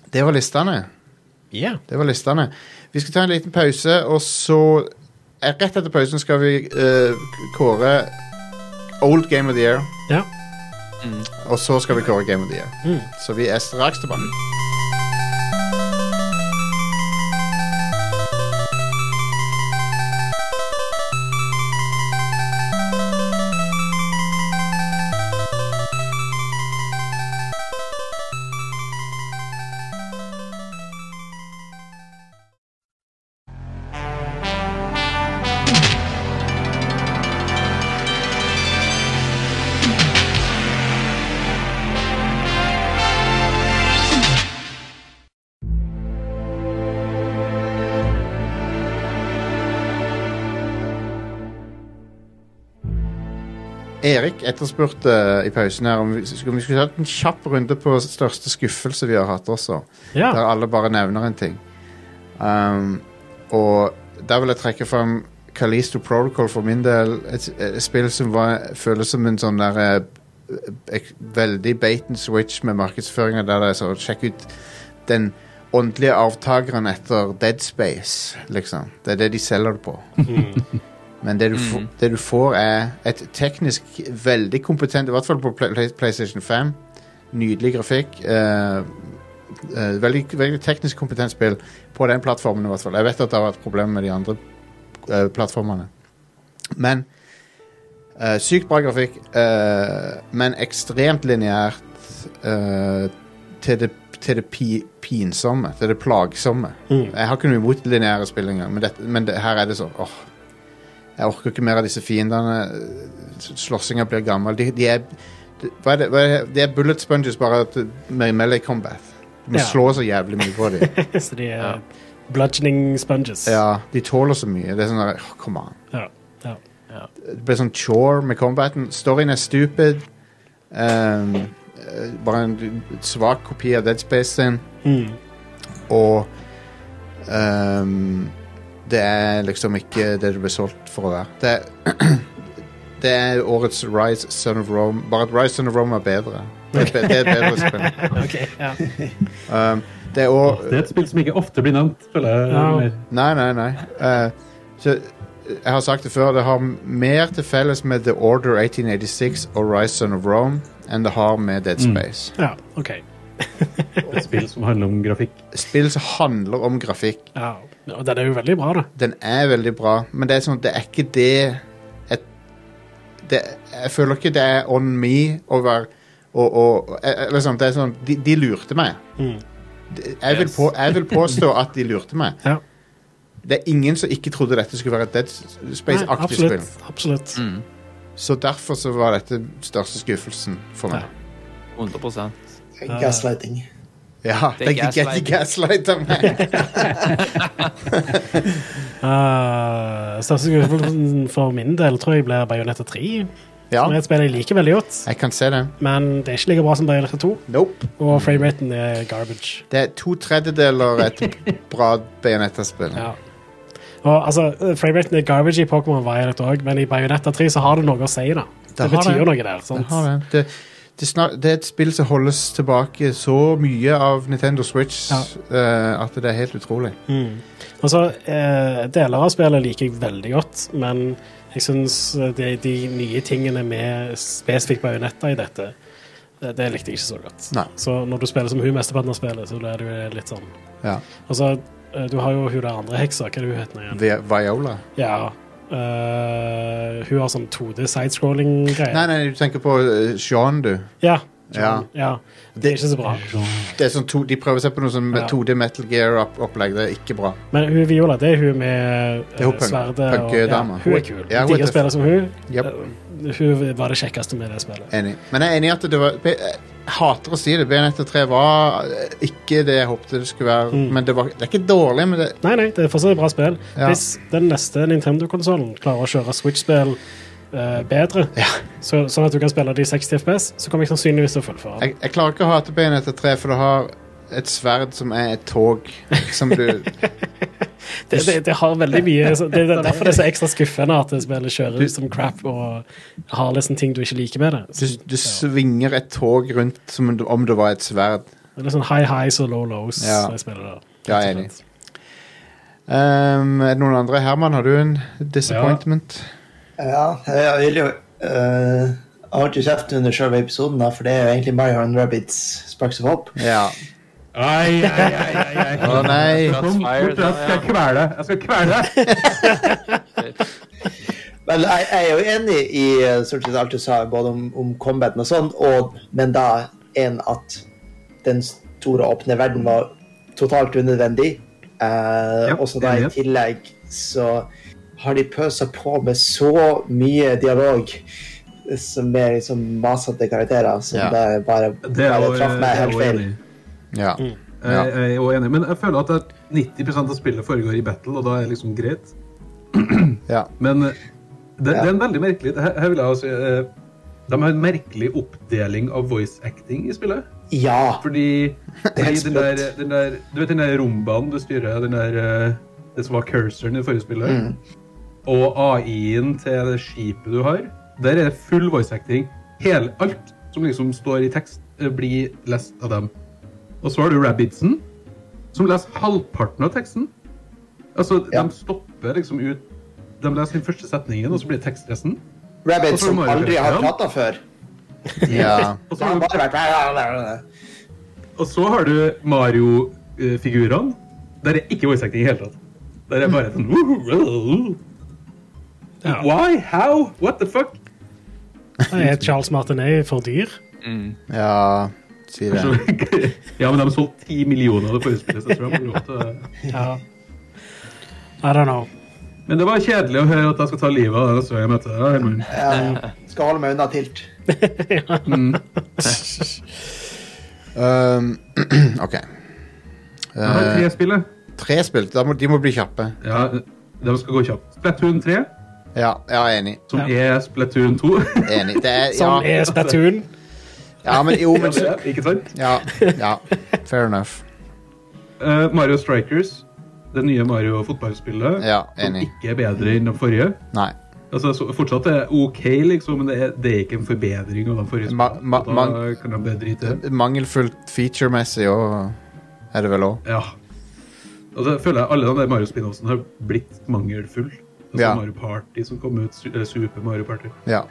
A: Det var listene.
B: Ja.
A: Det var listene. Vi skal ta en liten pause, og så eh, Rett etter pausen skal vi eh, kåre Old Game of the Year.
B: ja.
A: Og så skal vi kåre Game of the Year. Så vi er straks tilbake. Erik etterspurte i pausen her om vi, om vi skulle hatt en kjapp runde på største skuffelse vi har hatt også.
B: ja.
A: Der alle bare nevner en ting. Um, og der vil jeg trekke fram Kalisto Protocol for min del. Et, et spill som var, føles som en sånn der eh, ek, veldig bait and switch med markedsføringa der det er sånn Sjekk ut den åndelige avtakeren etter Dead Space, liksom. Det er det de selger det på. Men det du, få- det du får, er et teknisk veldig kompetent I hvert fall på Play- Play- PlayStation 5. Nydelig grafikk. eh, eh, veldig, veldig teknisk kompetent spill på den plattformen i hvert fall. Jeg vet at det har vært problemer med de andre eh, plattformene. Men eh, sykt bra grafikk, eh, men ekstremt lineært eh, til det, til det pi, pinsomme, til det plagsomme.
B: Mm.
A: Jeg har ikke noe imot lineære spill engang, men, dette- men det, her er det sånn åh, Jeg orker ikke mer av disse fiendene. Slåssinga blir gammel. De, de er det- hva er det, hva er det, det er bullet sponges bare at du- med melee combat. Du må
B: Ja.
A: slå så jævlig mye på dem.
B: Så de er bludgeoning sponges.
A: Ja, de tåler så mye. Det er sånn der, åh, Come on.
B: Ja. ja.
A: Det blir sånn chore med combaten. Storyen er stupid. Ehm, eh, bare en svak kopi av Dead Space sin.
B: Mm.
A: Og ehm, det er liksom ikke det det ble solgt for å være. Det er, det er årets Rise Son of Rome. Bare at Rise Son of Rome er bedre. Det er, be- det er bedre spill.
B: OK. Ja.
A: Um, det er òg
F: Det er et spill som ikke ofte blir nevnt, føler jeg.
B: Ja.
F: mer.
A: Nei, nei, nei. Eh, så, eh, jeg har sagt det før, det har mer til felles med The Order 1886 og Rise Son of Rome enn det har med Dead
B: Mm.
A: Space.
B: ja. OK.
F: Et spill som handler om grafikk.
A: Spill som handler om grafikk.
B: Ja. Og den er jo veldig bra, da.
A: Den er veldig bra, men det er sånn, det er ikke det Jeg, det, jeg føler ikke det er on me å være og, og, og- eh, eh, liksom, det er sånn, de, de lurte meg.
B: Mm.
A: De- Jeg vil,
C: Yes.
A: på, jeg vil påstå at de lurte meg.
B: Ja.
A: Det er ingen som ikke trodde dette skulle være et Dead
B: Nei,
A: Space-aktig spill.
B: absolutt. Absolutt.
C: Mm.
A: Så derfor så var dette største skuffelsen for meg.
C: 100
D: Gaslighting.
A: Ja,
C: Det er
A: det er
C: gaslighting.
A: gaslighter meg. Mm.
B: Eh, største skuffelsen for min del tror jeg blir Bajonetta 3.
A: Ja,
B: Som er et spill jeg liker veldig godt,
A: jeg kan se det.
B: men det er ikke like bra som Bajonetta 2.
A: Nope.
B: Og frameraten er garbage.
A: Det er to tredjedeler et bra Bayonetta-spill.
B: Ja. Og altså, frameraten er garbage i Pokémon Violet òg, men i Bajonetta 3 så har det noe å si, da. Det,
A: har
B: betyr
A: det.
B: noe der.
A: Det,
B: sant?
A: har det. Det, det, snak, det er et spill som holdes tilbake så mye av Nintendo Switch
B: Ja.
A: eh, at det er helt utrolig.
B: Og så eh, Deler av spillet liker jeg veldig godt, men jeg syns de, de nye tingene med spesifikt bajonetta i dette, det, det likte jeg ikke så godt.
A: Nei.
B: Så når du spiller som hun mesteparten av spillet, så er det jo litt sånn
A: Ja.
B: Og så eh, du har jo hun der andre heksa, hva er det hun heter nå igjen?
A: Vi- Viola.
B: Ja. eh, hun har sånn 2D sidescrolling-greier.
A: Nei, nei, du tenker på eh, Sean, du.
B: Ja,
A: Ja.
B: Ja, det er ikke så bra.
A: Det er sånn to, de prøver seg på noe sånn
B: Ja.
A: 2D Metal Gear-opplegg. Det er ikke bra.
B: Men hun Viola, det er hun med
A: er hun
B: eh,
A: punk-
B: sverdet. og- Ja,
A: punkdama.
B: hun er
A: Ja,
B: kul.
A: hun
B: Jeg digger
A: er
B: å spille som hun.
A: Yep.
B: Eh, Hun var det kjekkeste med det spillet.
A: Enig. Men jeg er enig i at det var jeg Hater å si det. Benekter 3 var eh, ikke det jeg håpte det skulle være. Men det, var, det er ikke dårlig, men det
B: Nei, nei, det er fortsatt et bra spill.
A: Ja.
B: Hvis den neste Nintendo-konsollen klarer å kjøre Switch-spill eh, bedre, så, sånn at du kan spille det i 60 FPS, så kommer jeg sannsynligvis til å fullføre det.
A: jeg, jeg klarer ikke å hate Benekter 3, for det har et sverd som er et tog. Som du
B: Det, det, det har veldig mye så det, det er derfor det er så ekstra skuffende at det spillet kjører som crap og har liksom ting du ikke liker med det.
A: Du, du svinger et tog rundt som om det- om det var et sverd.
B: Det er litt sånn high highs og low lows.
A: Ja.
B: når jeg spiller det.
A: Ja, jeg er enig. Ehm, er det noen andre? Herman, har du en disappointment?
D: Ja, jeg vil jo eh, Jeg holdt jo kjeft under selve episoden, da, for det er jo egentlig Mario and Rabbits Sparks of Hope.
A: Ja.
F: Ai, ai, ai, ai, ai.
A: Å nei.
F: Kom bort, jeg skal kvele deg. Jeg skal kvele deg.
D: Men jeg, jeg er jo enig i eh, stort sett alt du sa, både om, om combaten og sånn, og, men da en at den store åpne verden var totalt unødvendig. Eh,
F: Ja,
D: og så da i
F: enig.
D: tillegg så har de pøsa på med så mye dialog som er liksom masete karakterer, som
A: Ja.
D: det bare,
F: Det er
D: bare
F: jo det
D: traff meg
F: er
D: helt
F: jo
D: feil.
F: enig.
A: Ja.
F: Jeg jeg er jo enig, men jeg føler at det er 90 av spillet foregår i battle, og da er det liksom greit.
A: ja.
F: Men eh, det, det er en veldig merkelig her, her vil jeg altså, eh, De har en merkelig oppdeling av voice acting i spillet.
D: Ja.
F: Fordi, fordi
D: helt
F: den,
D: sprøtt.
F: der, den der Du vet den der rumbaen du styrer, den der, eh, det som var cursoren i forrige spillet,
D: Mm.
F: og AI-en til det skipet du har, der er det full voice acting. Hele, alt som liksom står i tekst, eh, blir lest av dem. Og så har du Rabbitsen, som leser halvparten av teksten. Altså,
D: Ja.
F: de stopper liksom ut De leser den første setningen, og så blir det tekstresten.
D: Rabbit
F: Og så er det
D: som
F: Mario
D: aldri har
F: Kart, ja.
D: prata før.
A: ja.
F: Og så
D: Det har
F: har du
D: bare vært
F: Og så har du Mario-figurene. Der er ikke voice acting i det hele tatt. Der er bare sånn
B: Ja.
F: Why? How? What the fuck?
B: Nei, Er Charles Martinet for dyr?
A: ja. Si det.
F: ja, men de solgte ti millioner av det forrige spillet, så jeg tror de eh. får lov til å-
B: Ja. I don't know.
F: Men det var kjedelig å høre at jeg skal ta livet av deg neste gang jeg møter deg. Herman.
D: Skal holde meg unna tilt.
A: Um, OK.
F: Jeg har tre spill, jeg.
A: Tre spill. Da må, de må bli kjappe.
F: Ja, de skal gå kjapt. Splatoon 3,
A: Ja, ja enig.
F: som er Splatoon 2.
A: Enig. Det er,
B: Som
A: ja,
B: Sånn er Splatoon.
A: ja, men jo, men
F: Ja, ikke sant?
A: Ja. ja. Fair enough.
F: Eh, Mario Strikers, det nye Mario-fotballspillet,
A: Ja,
F: som
A: enig.
F: ikke er bedre enn de forrige.
A: Nei.
F: Altså, så fortsatt er det OK, liksom, men det er, det er ikke en forbedring av den forrige.
A: Ma- ma-
F: spillet, og da
A: man-
F: kan de bare drite i det.
A: Mangelfullt featuremessig og er det vel òg.
F: Ja. Altså, jeg føler jeg alle de der Mario Spin-offsene har blitt mangelfull. Altså,
A: Ja.
F: Mario Party som kom ut, su- eh, Super Mario Party.
A: Ja.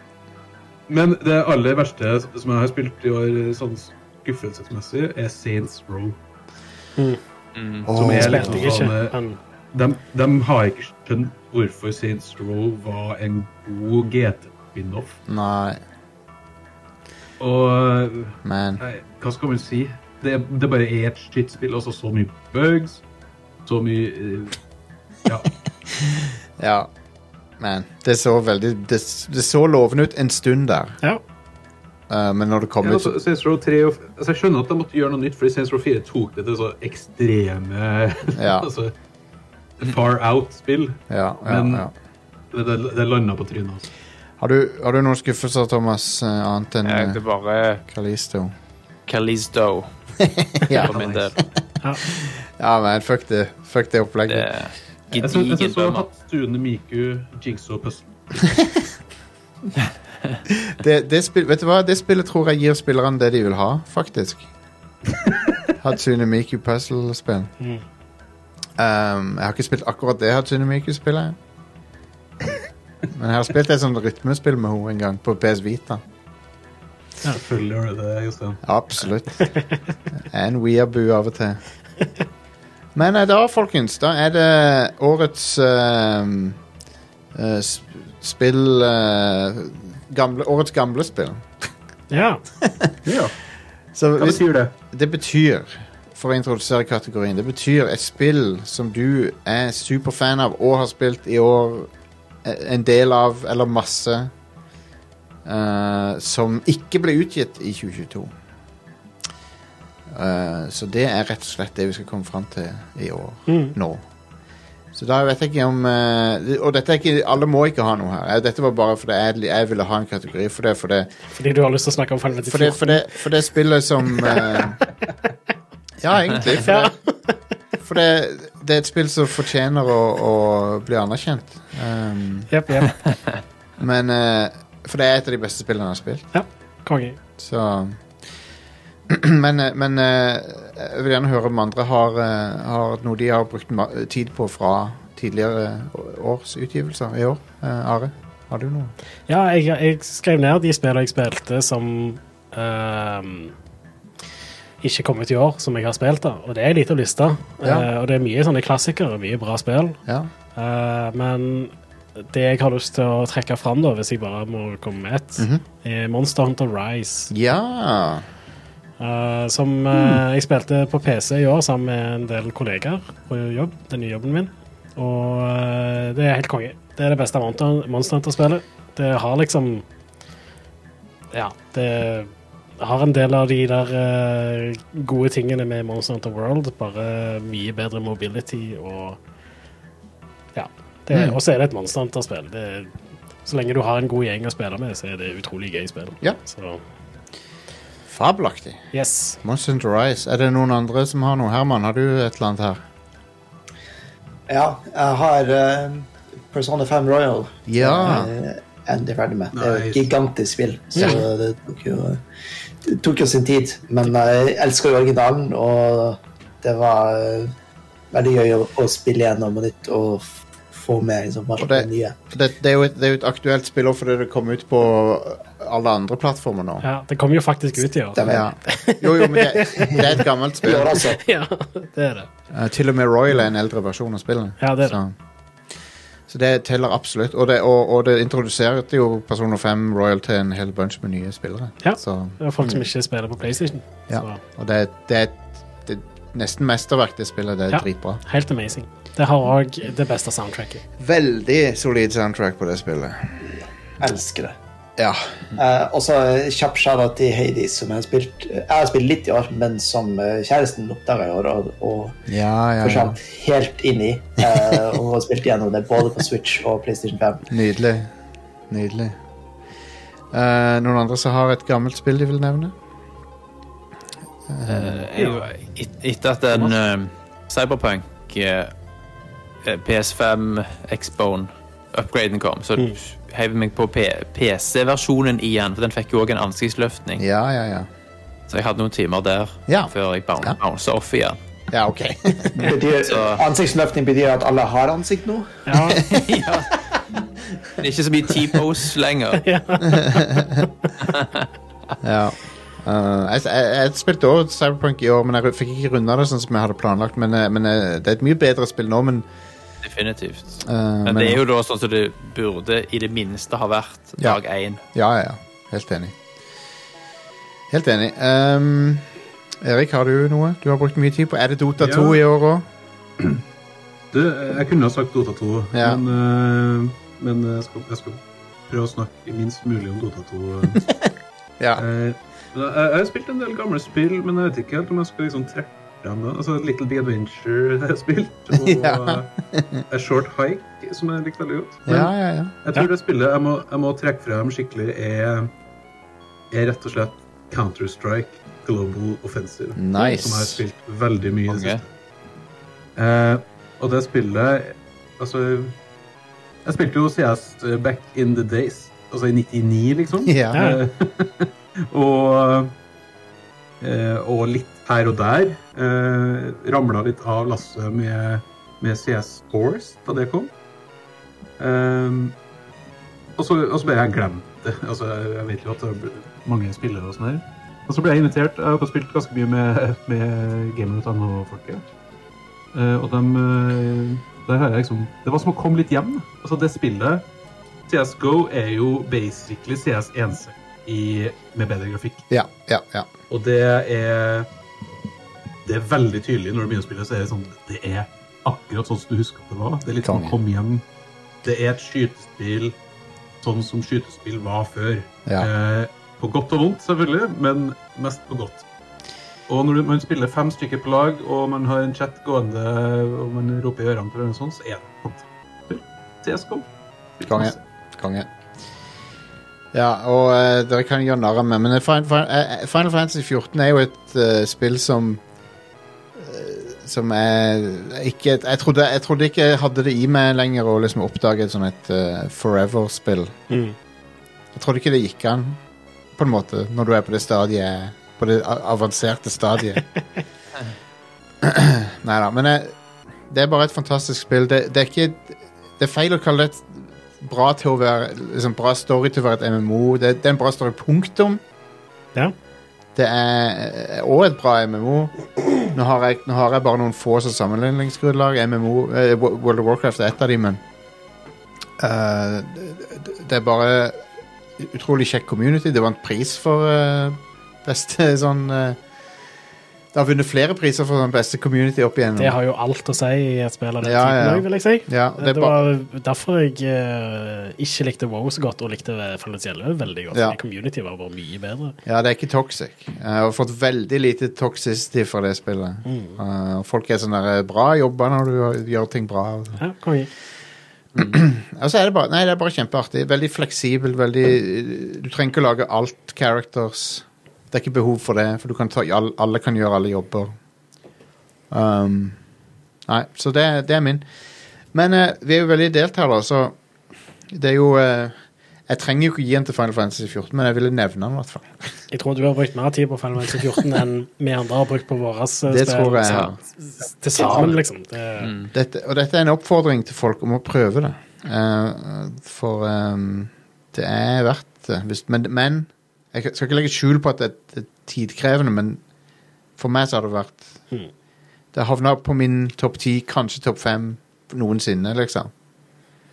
F: Men det aller verste som jeg har spilt i år, eh, sånn skuffelsesmessig, er Saints Row.
A: Åh,
F: er litt-
B: Spilte jeg ikke. Men
F: De, de har ikke skjønt hvorfor Saints Row var en god GT-spin-off.
A: Nei,
F: Og
A: men
F: Nei, hva skal man si? Det, det bare er et skittspill. Altså så mye bugs, så mye eh, Ja.
A: Ja. Men det så veldig Det, det så lovende ut en stund der,
B: ja.
A: eh, men når det kom
F: ja
A: ut
F: altså,
A: så-
F: Saints Row 3 og, altså, Jeg skjønner at de måtte gjøre noe nytt, fordi Saints Row 4 tok det til så ekstreme
A: Ja.
F: altså, Far out-spill.
A: Ja, ja,
F: Men-
A: ja.
F: Det, det, det landa på trynet. Altså.
A: Har, du, har du noen skuffelser, Thomas, eh, annet enn
C: Jeg,
A: eh,
C: det er bare
A: Kalisto?
C: Calisto
A: Ja.
C: for min del.
A: ja, men fuck det. Fuck det
C: Det
A: opplegget.
C: er
F: Jeg syns jeg
C: gedigen
F: syns så
C: bømmer.
F: Hatsune Miku, Jigsaw Puzzle
A: Det, det spill, vet du hva? Det spillet tror jeg gir spillerne det de vil ha, faktisk. Hatsune Miku puzzle-spill. Um, jeg har ikke spilt akkurat det Hatsune Miku-spillet. Men jeg har spilt et sånt rytmespill med henne en gang, på PS Vita.
F: Selvfølgelig har du det, Jostein.
A: Absolutt. En weeaboo av og til. Men eh, da, folkens, da er det årets eh, eh, sp- spill eh, gamle, Årets gamle spill.
B: Ja.
F: Ja.
A: Så
F: Hva
A: hvis,
F: betyr det?
A: det betyr, for å introdusere kategorien, det betyr et spill som du er superfan av og har spilt i år eh, en del av, eller masse, eh, som ikke ble utgitt i 2022. Eh, så det er rett og slett det vi skal komme fram til i år.
B: Mm.
A: Nå. Så da vet jeg ikke om eh, det- Og dette er ikke, alle må ikke ha noe her. Eh, Dette var bare fordi jeg, jeg ville ha en kategori for det. For det,
B: Fordi du har lyst til å snakke om Final
A: for det,
B: Fantasy
A: for det, for det spillet som eh, Ja, egentlig. For, det, for det, det er et spill som fortjener å, å bli anerkjent. Um,
B: 14. Jep, jep.
A: men eh, For det er et av de beste spillene jeg har spilt.
B: Konge.
A: Så Men, eh, men eh, jeg vil gjerne høre om andre har, eh, har noe de har brukt ma tid på fra tidligere års utgivelser i år. Eh, Are, har du noe?
B: Ja, jeg, jeg skrev ned de spillene jeg spilte som ehm, ikke kom ut i år, som jeg har spilt. da. Og det er en liten liste.
A: Ja.
B: Eh, og det er mye sånne klassikere, mye bra spill.
A: Ja.
B: Eh, men det jeg har lyst til å trekke fram, da, hvis jeg bare må komme med ett,
A: Mhm.
B: er Monster Hunter Rise.
A: ja.
B: Eh, som eh, jeg spilte på PC i år sammen med en del kollegaer på jobb, den nye jobben min. Og eh, det er helt konge. Det er det beste Monster Monster Hunter-spillet. Det har liksom Ja, det har en del av de der eh, gode tingene med Monster Hunter World, bare mye bedre mobility og Ja. det er-
A: Mm.
B: Og så er det et Monster Hunter-spill. Det er- Så lenge du har en god gjeng å spille med, så er det utrolig gøy spill.
A: Ja.
B: Så
A: Fabelaktig.
B: yes.
A: Monster Hunter Rise. Er det noen andre som har noe? Herman, har du et eller annet her?
D: Ja, jeg har eh, Persona 5 Royal.
A: Ja.
D: eh, endelig ferdig med. Det er jo et
F: Nice.
D: gigantisk spill, så
A: Mm.
D: det tok jo, det tok jo sin tid. Men jeg elsker jo originalen, og det var eh, veldig gøy å, å spille gjennom og nytt og f- få med liksom, alt
A: Og det-
D: det nye.
A: Det, det, er jo et, det er jo et aktuelt spill også fordi det kom ut på alle andre plattformer nå.
B: Ja, det kommer jo faktisk ut i år.
D: Det var,
A: Ja. Jo, jo, men det, det er et gammelt
D: I
A: spill.
D: år, altså.
B: Ja, det er det.
A: Eh, til og med Royal er en eldre versjon av spillet.
B: Ja, det er det.
A: Så, så det teller absolutt. Og det, og, og det introduserte jo Personer 5 Royal til en hel bunch med nye spillere.
B: Ja.
A: Så,
B: Det er folk som ikke spiller på PlayStation.
A: Ja.
B: Så
A: og det, er- det er et- det er nesten mesterverk, det spillet. Det er
B: Ja.
A: dritbra.
B: helt amazing. Det har òg det beste soundtracket.
A: Veldig solid soundtrack på det spillet.
D: Elsker det.
A: Ja.
D: Eh, og så eh, kjapp skjæra til Hades, som jeg har spilt Jeg har spilt litt i år, men som eh, kjæresten oppdaga i år. og, og
A: Ja, ja, ja.
D: forsvant helt inn i. eh, og hun har spilt gjennom det både på Switch og PlayStation 5.
A: Nydelig. Nydelig. Eh, noen andre som har et gammelt spill de vil nevne?
C: Eh, jeg- et- Etter at den eh, Cyberpunk eh, eh, PS5 X-Bone upgraden kom, så heiv jeg meg på PC-versjonen igjen, for den fikk jo òg en ansiktsløftning.
A: Ja, ja, ja.
C: Så jeg hadde noen timer der
A: Ja.
C: før jeg
A: Ja.
C: boun- bounsa off igjen.
A: Ja, OK.
D: Betyr,
C: Så-
D: ansiktsløftning betyr at alle har ansikt nå?
B: Ja,
C: ja. Det er ikke så mye T-pose lenger.
A: ja. Eh, jeg, jeg, jeg spilte også Cyberpunk i år, men jeg ru- fikk ikke runda det sånn som jeg hadde planlagt. Men, eh, men eh, det er et mye bedre spill nå, men,
C: Definitivt.
A: eh,
C: Men det er jo da sånn som det burde i det minste ha vært
A: Ja.
C: dag én.
A: Ja, ja, ja. Helt enig. Helt enig. Ehm, Erik, har du noe du har brukt mye tid på? Er det Dota
F: Ja.
A: 2 i år òg?
F: Du, jeg kunne ha sagt Dota 2,
A: Ja.
F: men, eh, men jeg, skal, jeg skal prøve å snakke minst mulig om Dota eh. 2.
A: Ja.
F: Eh, jeg, jeg har spilt en del gamle spill, men jeg vet ikke helt om jeg skal liksom trekke frem det. Altså, Little Big Adventure har jeg spilt, og
A: Ja.
F: eh, A Short Hike, som jeg likte veldig godt. Men
A: ja, ja, ja.
F: jeg tror det spillet jeg må, jeg må trekke frem skikkelig, er, er rett og slett Counter-Strike Global Offensive. Som jeg har
A: Nice.
F: spilt veldig mye i det
C: Konge.
F: siste. Eh, og det spillet Altså Jeg spilte jo CS back in the days. Altså i 99, liksom.
A: Ja.
F: Eh, og eh, Og litt her og der. Eh, Ramla litt av lasset med, med CS Force da det kom. Eh, og så, og så ble jeg glemt det. Altså, jeg vet jo at det er mange spillere og sånn her. Og så ble jeg invitert. Jeg har fått spilt ganske mye med, med gamer.no-folket. Eh, og dem eh, Der har jeg liksom Det var som å komme litt hjem. da. Altså, det spillet CSGO er jo basically CS1. i, med bedre grafikk.
A: Ja, ja, ja.
F: Og det er Det er veldig tydelig når du begynner å spille, så er det sånn Det er akkurat sånn som du husker at det var. Det er litt sånn
A: Konge.
F: kom hjem. Det er et skytespill sånn som skytespill var før.
A: Ja.
F: Eh, på godt og vondt, selvfølgelig, men mest på godt. Og når du, man spiller fem stykker på lag, og man har en chat gående, og man roper i ørene på hverandre, og sånn, så er det fantastisk. CSGO.
A: Konge. Konge. Ja, og eh, dere kan gjøre narr av meg, men Final, eh, Final Fantasy 14 er jo et eh, spill som eh, Som er ikke jeg trodde, jeg trodde ikke jeg hadde det i meg lenger å liksom oppdage et sånn et eh, forever-spill.
B: Mm.
A: Jeg trodde ikke det gikk an, på en måte, når du er på det stadiet På det a- avanserte stadiet. Nei da, men jeg, det er bare et fantastisk spill. Det, det er ikke Det er feil å kalle det et bra, til å være, liksom, bra story til å være et MMO. Det, det er en bra story, punktum.
B: Ja.
A: Det er òg et bra MMO. Nå har, jeg, nå har jeg bare noen få som sammenligningsgrunnlag. MMO, eh, Wo- World of Warcraft er et av dem, men eh, det, det- det er bare utrolig kjekk community. Det vant pris for eh, beste sånn eh, Det har vunnet flere priser for sånn beste community opp igjennom.
B: Det har jo alt å si i et spill av den
A: Ja,
B: typen
A: ja.
B: òg, vil jeg si.
A: ja, og det
B: Det
A: er bare,
B: var derfor jeg eh, ikke likte WoW så godt, og likte Fanatielle veldig godt.
A: Ja.
B: fordi Community var bare mye bedre.
A: ja, det er ikke toxic. Jeg har fått veldig lite toxicity fra det spillet. Eh, og folk er sånn der eh, Bra jobba når du gjør ting bra. Og
B: Ja, konge.
A: Og så er det bare, nei, det er bare kjempeartig. Veldig fleksibel. Veldig, eh, du trenger ikke lage alt characters. Det er ikke behov for det, for du kan ta, alle, alle kan gjøre alle jobber. Um, nei, så det, det er min. Men eh, vi er jo veldig delt her, da, så det er jo eh, Jeg trenger jo ikke gi den til Final Fantasy 14, men jeg ville nevne den i hvert fall.
B: Jeg tror du har brukt mer tid på Final Fantasy 14 enn vi andre har brukt på våre eh, spill.
A: Det tror jeg.
B: så-
A: ja. Mm.
B: s- Til sammen, liksom. Det,
A: Dette, og dette er en oppfordring til folk om å prøve det. Eh, for ehm, det er verdt det. Hvis, men, men jeg skal ikke legge skjul på at det det er tidkrevende, men for meg så har det vært
B: Mhm.
A: Det havna på min topp ti, kanskje topp fem noensinne, liksom.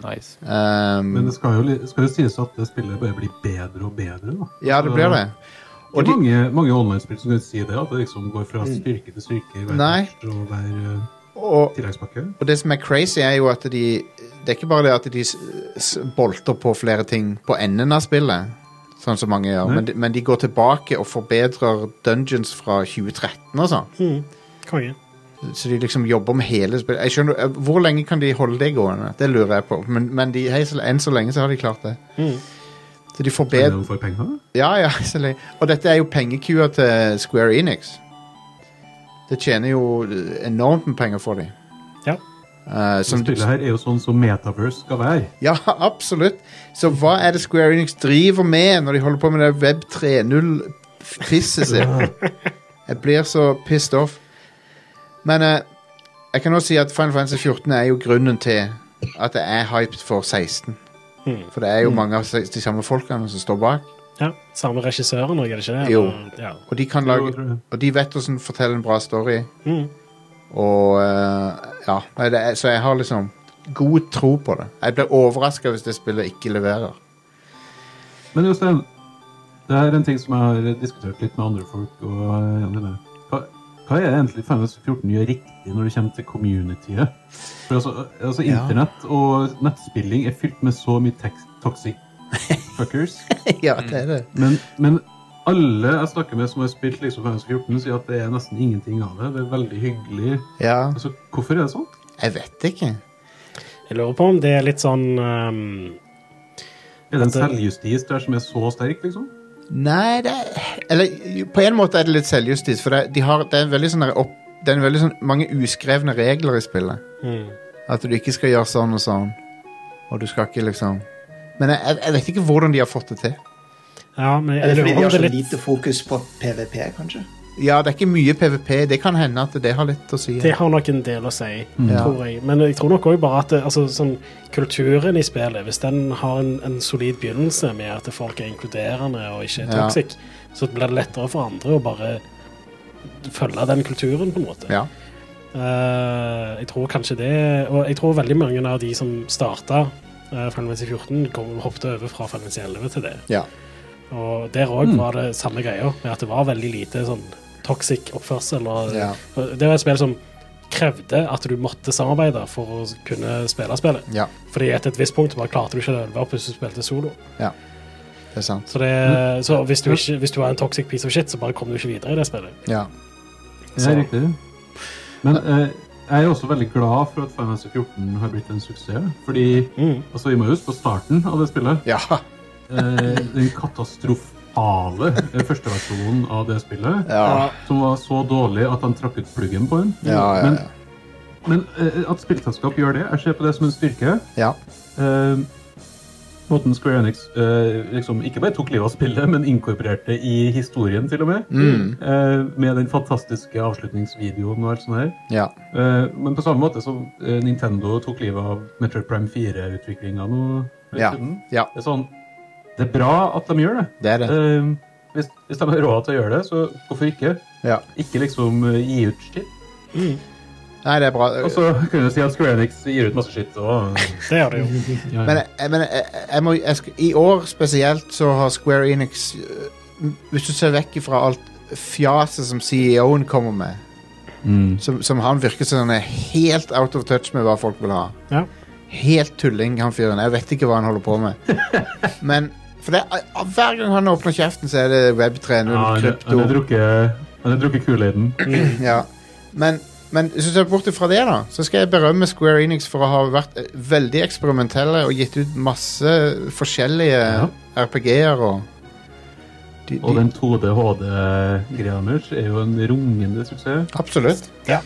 C: Nice.
A: Ehm,
F: Men det skal jo, li- skal jo sies at det spillet bare blir bedre og bedre. da.
A: ja, det blir det.
F: Det
A: Og
F: er
A: de, Mm.
F: mange, mange online-spill som kan si det, at det liksom går fra styrke til styrke i hver,
A: Nei.
F: og hver eh,
A: og,
F: tilleggspakke.
A: og det som er crazy, er jo at de Det er ikke bare det at de s- s- bolter på flere ting på enden av spillet, sånn som mange gjør,
F: Nei.
A: men de, men de går tilbake og forbedrer dungeons fra 2013 og sånn.
B: mm, konge.
A: Så de liksom jobber med hele spillet. Jeg skjønner, eh, Hvor lenge kan de holde det gående? Det lurer jeg på. Men, men de, hei, så, enn så lenge så har de klart det.
B: Mm.
A: Så de får
F: Er det
A: bedre
F: de får penger?
A: Ja, ja. Så lenge. Og dette er jo pengekua til Square Enix. Det tjener jo eh, enormt med penger for dem.
B: Ja.
A: Eh,
F: Det
A: som,
F: spillet her er jo sånn som Metaverse skal være.
A: ja, absolutt. Så hva er det Square Enix driver med når de holder på med det Web 3.0-pisset sitt? Jeg blir så pissed off. Men eh, jeg kan også si at Final Fantasy 14 er jo grunnen til at jeg er hyped for 16.
B: Mm.
A: For det er jo
F: Hmm.
A: mange av se- de samme folkene som står bak.
B: Ja, Samme regissøren òg, er det ikke det?
A: Jo.
B: Eller- Ja.
A: Og de, kan
F: Jo, jeg
A: lage,
F: tror det.
A: og de vet hvordan fortelle en bra story.
B: Mm.
A: Og eh, ja, nei, det er, Så jeg har liksom god tro på det. Jeg blir overraska hvis det spillet ikke leverer.
F: Men Jostein, det er en ting som jeg har diskutert litt med andre folk. og jeg er enig med. Hva, hva er det egentlig Final Fantasy 14 gjør riktig når det kommer til communityet? For altså, altså
A: Ja.
F: Internett og nettspilling er fylt med så mye tex- toxic fuckers.
A: ja, det er det.
F: Men, men alle jeg snakker med som har spilt liksom Final Fantasy 14, sier at det er nesten ingenting av det. Det er veldig hyggelig.
A: Ja.
F: Altså, Hvorfor er det sånn?
A: Jeg vet ikke.
B: Jeg lurer på om det er litt sånn ehm,
F: Er det en
B: At det-
F: selvjustis der som er så sterk, liksom?
A: Nei, det Eller jo, på en måte er det litt selvjustis, for det, de har, det er en veldig sånn der opp, det er en veldig sånn mange uskrevne regler i spillet.
B: mm.
A: At du ikke skal gjøre sånn og sånn. Og du skal ikke liksom Men jeg, jeg, jeg vet ikke hvordan de har fått det til.
B: Ja, men
D: Er
B: jeg
D: det
B: lurer
D: fordi
B: på om
D: de
B: det
D: har så
B: er litt
D: lite fokus på PVP, kanskje?
A: Ja, det er ikke mye PVP. Det kan hende at det har litt å si.
B: Det har nok en del å si,
A: Ja.
B: tror jeg. Men jeg tror nok òg bare at det, altså, sånn, kulturen i spillet, hvis den har en, en solid begynnelse med at folk er inkluderende og ikke er
A: Ja.
B: toxic, så blir det lettere for andre å bare følge den kulturen, på en måte.
A: Ja.
B: Eh, jeg tror kanskje det Og jeg tror veldig mange av de eh, som starta uh, Fanvency 14, kom, hoppet over fra Fanvency 11 til det.
A: ja. Mm.
B: Og der òg var det samme greia, med at det var veldig lite sånn toxic oppførsel. Og,
A: Ja.
B: og det var et spill som krevde at du måtte samarbeide for å kunne spille spillet.
A: Ja,
B: Fordi etter et visst punkt bare klarte du ikke det. Det var plutselig du spilte solo.
A: det er sant.
B: Så, det,
A: Mm.
B: så hvis, du ikke, hvis du var en toxic piece of shit, så bare kom du ikke videre i det spillet.
A: Ja.
F: Det er riktig. Men eh, jeg er også veldig glad for at Final Fantasy 14 har blitt en suksess. Fordi
B: Mm.
F: altså, vi må jo huske på starten av det spillet.
A: ja.
F: Eh, den katastrofale eh, førsteversjonen av det spillet.
A: Ja.
F: Som var så dårlig at han trakk ut pluggen på den.
A: Ja, ja,
F: Men,
A: ja.
F: men eh, at spillselskap gjør det, jeg ser på det som en styrke.
A: ja.
F: Eh, måten Square Enix eh, liksom ikke bare tok livet av spillet, men inkorporerte det i historien, til og med.
A: Mm.
F: Eh, med den fantastiske avslutningsvideoen og alt sånt her.
A: ja.
F: Eh, Men på samme måte som eh, Nintendo tok livet av Metroid Prime 4-utviklinga nå for en
A: Ja,
F: stund.
A: ja.
F: Det er sånn Det er bra at de gjør det.
A: Det er det.
F: Eh, Hvis, hvis de har råd til å gjøre det, så hvorfor ikke?
A: Ja.
F: Ikke liksom eh, gi ut skitt.
A: Nei, det er bra.
F: Og så kunne du si at Square Enix gir ut masse skitt og
B: Det gjør det
A: Mm.
B: jo.
F: ja,
A: Men, jeg, men jeg, jeg må, jeg, sk- i år spesielt så har Square Enix øh, Hvis du ser vekk fra alt fjaset som CEO-en kommer med,
F: Mm.
A: som, som han virker som han er helt out of touch med hva folk vil ha.
B: Ja.
A: Helt tulling, han fyren. Jeg vet ikke hva han holder på med. Men for det, er- Hver gang han åpner kjeften, så er det Web3.0,
F: Ja, han-
A: krypto
F: han har drukket- han har drukket Kool-Aiden.
A: ja. Men, men hvis du ser bort fra det, da, så skal jeg berømme Square Enix for å ha vært eh, veldig eksperimentelle og gitt ut masse forskjellige
F: Ja.
A: RPG-er og de,
F: Og
A: de,
F: den 2D-HD-greia deres er jo en rungende suksess.
A: Absolutt.
D: Ja,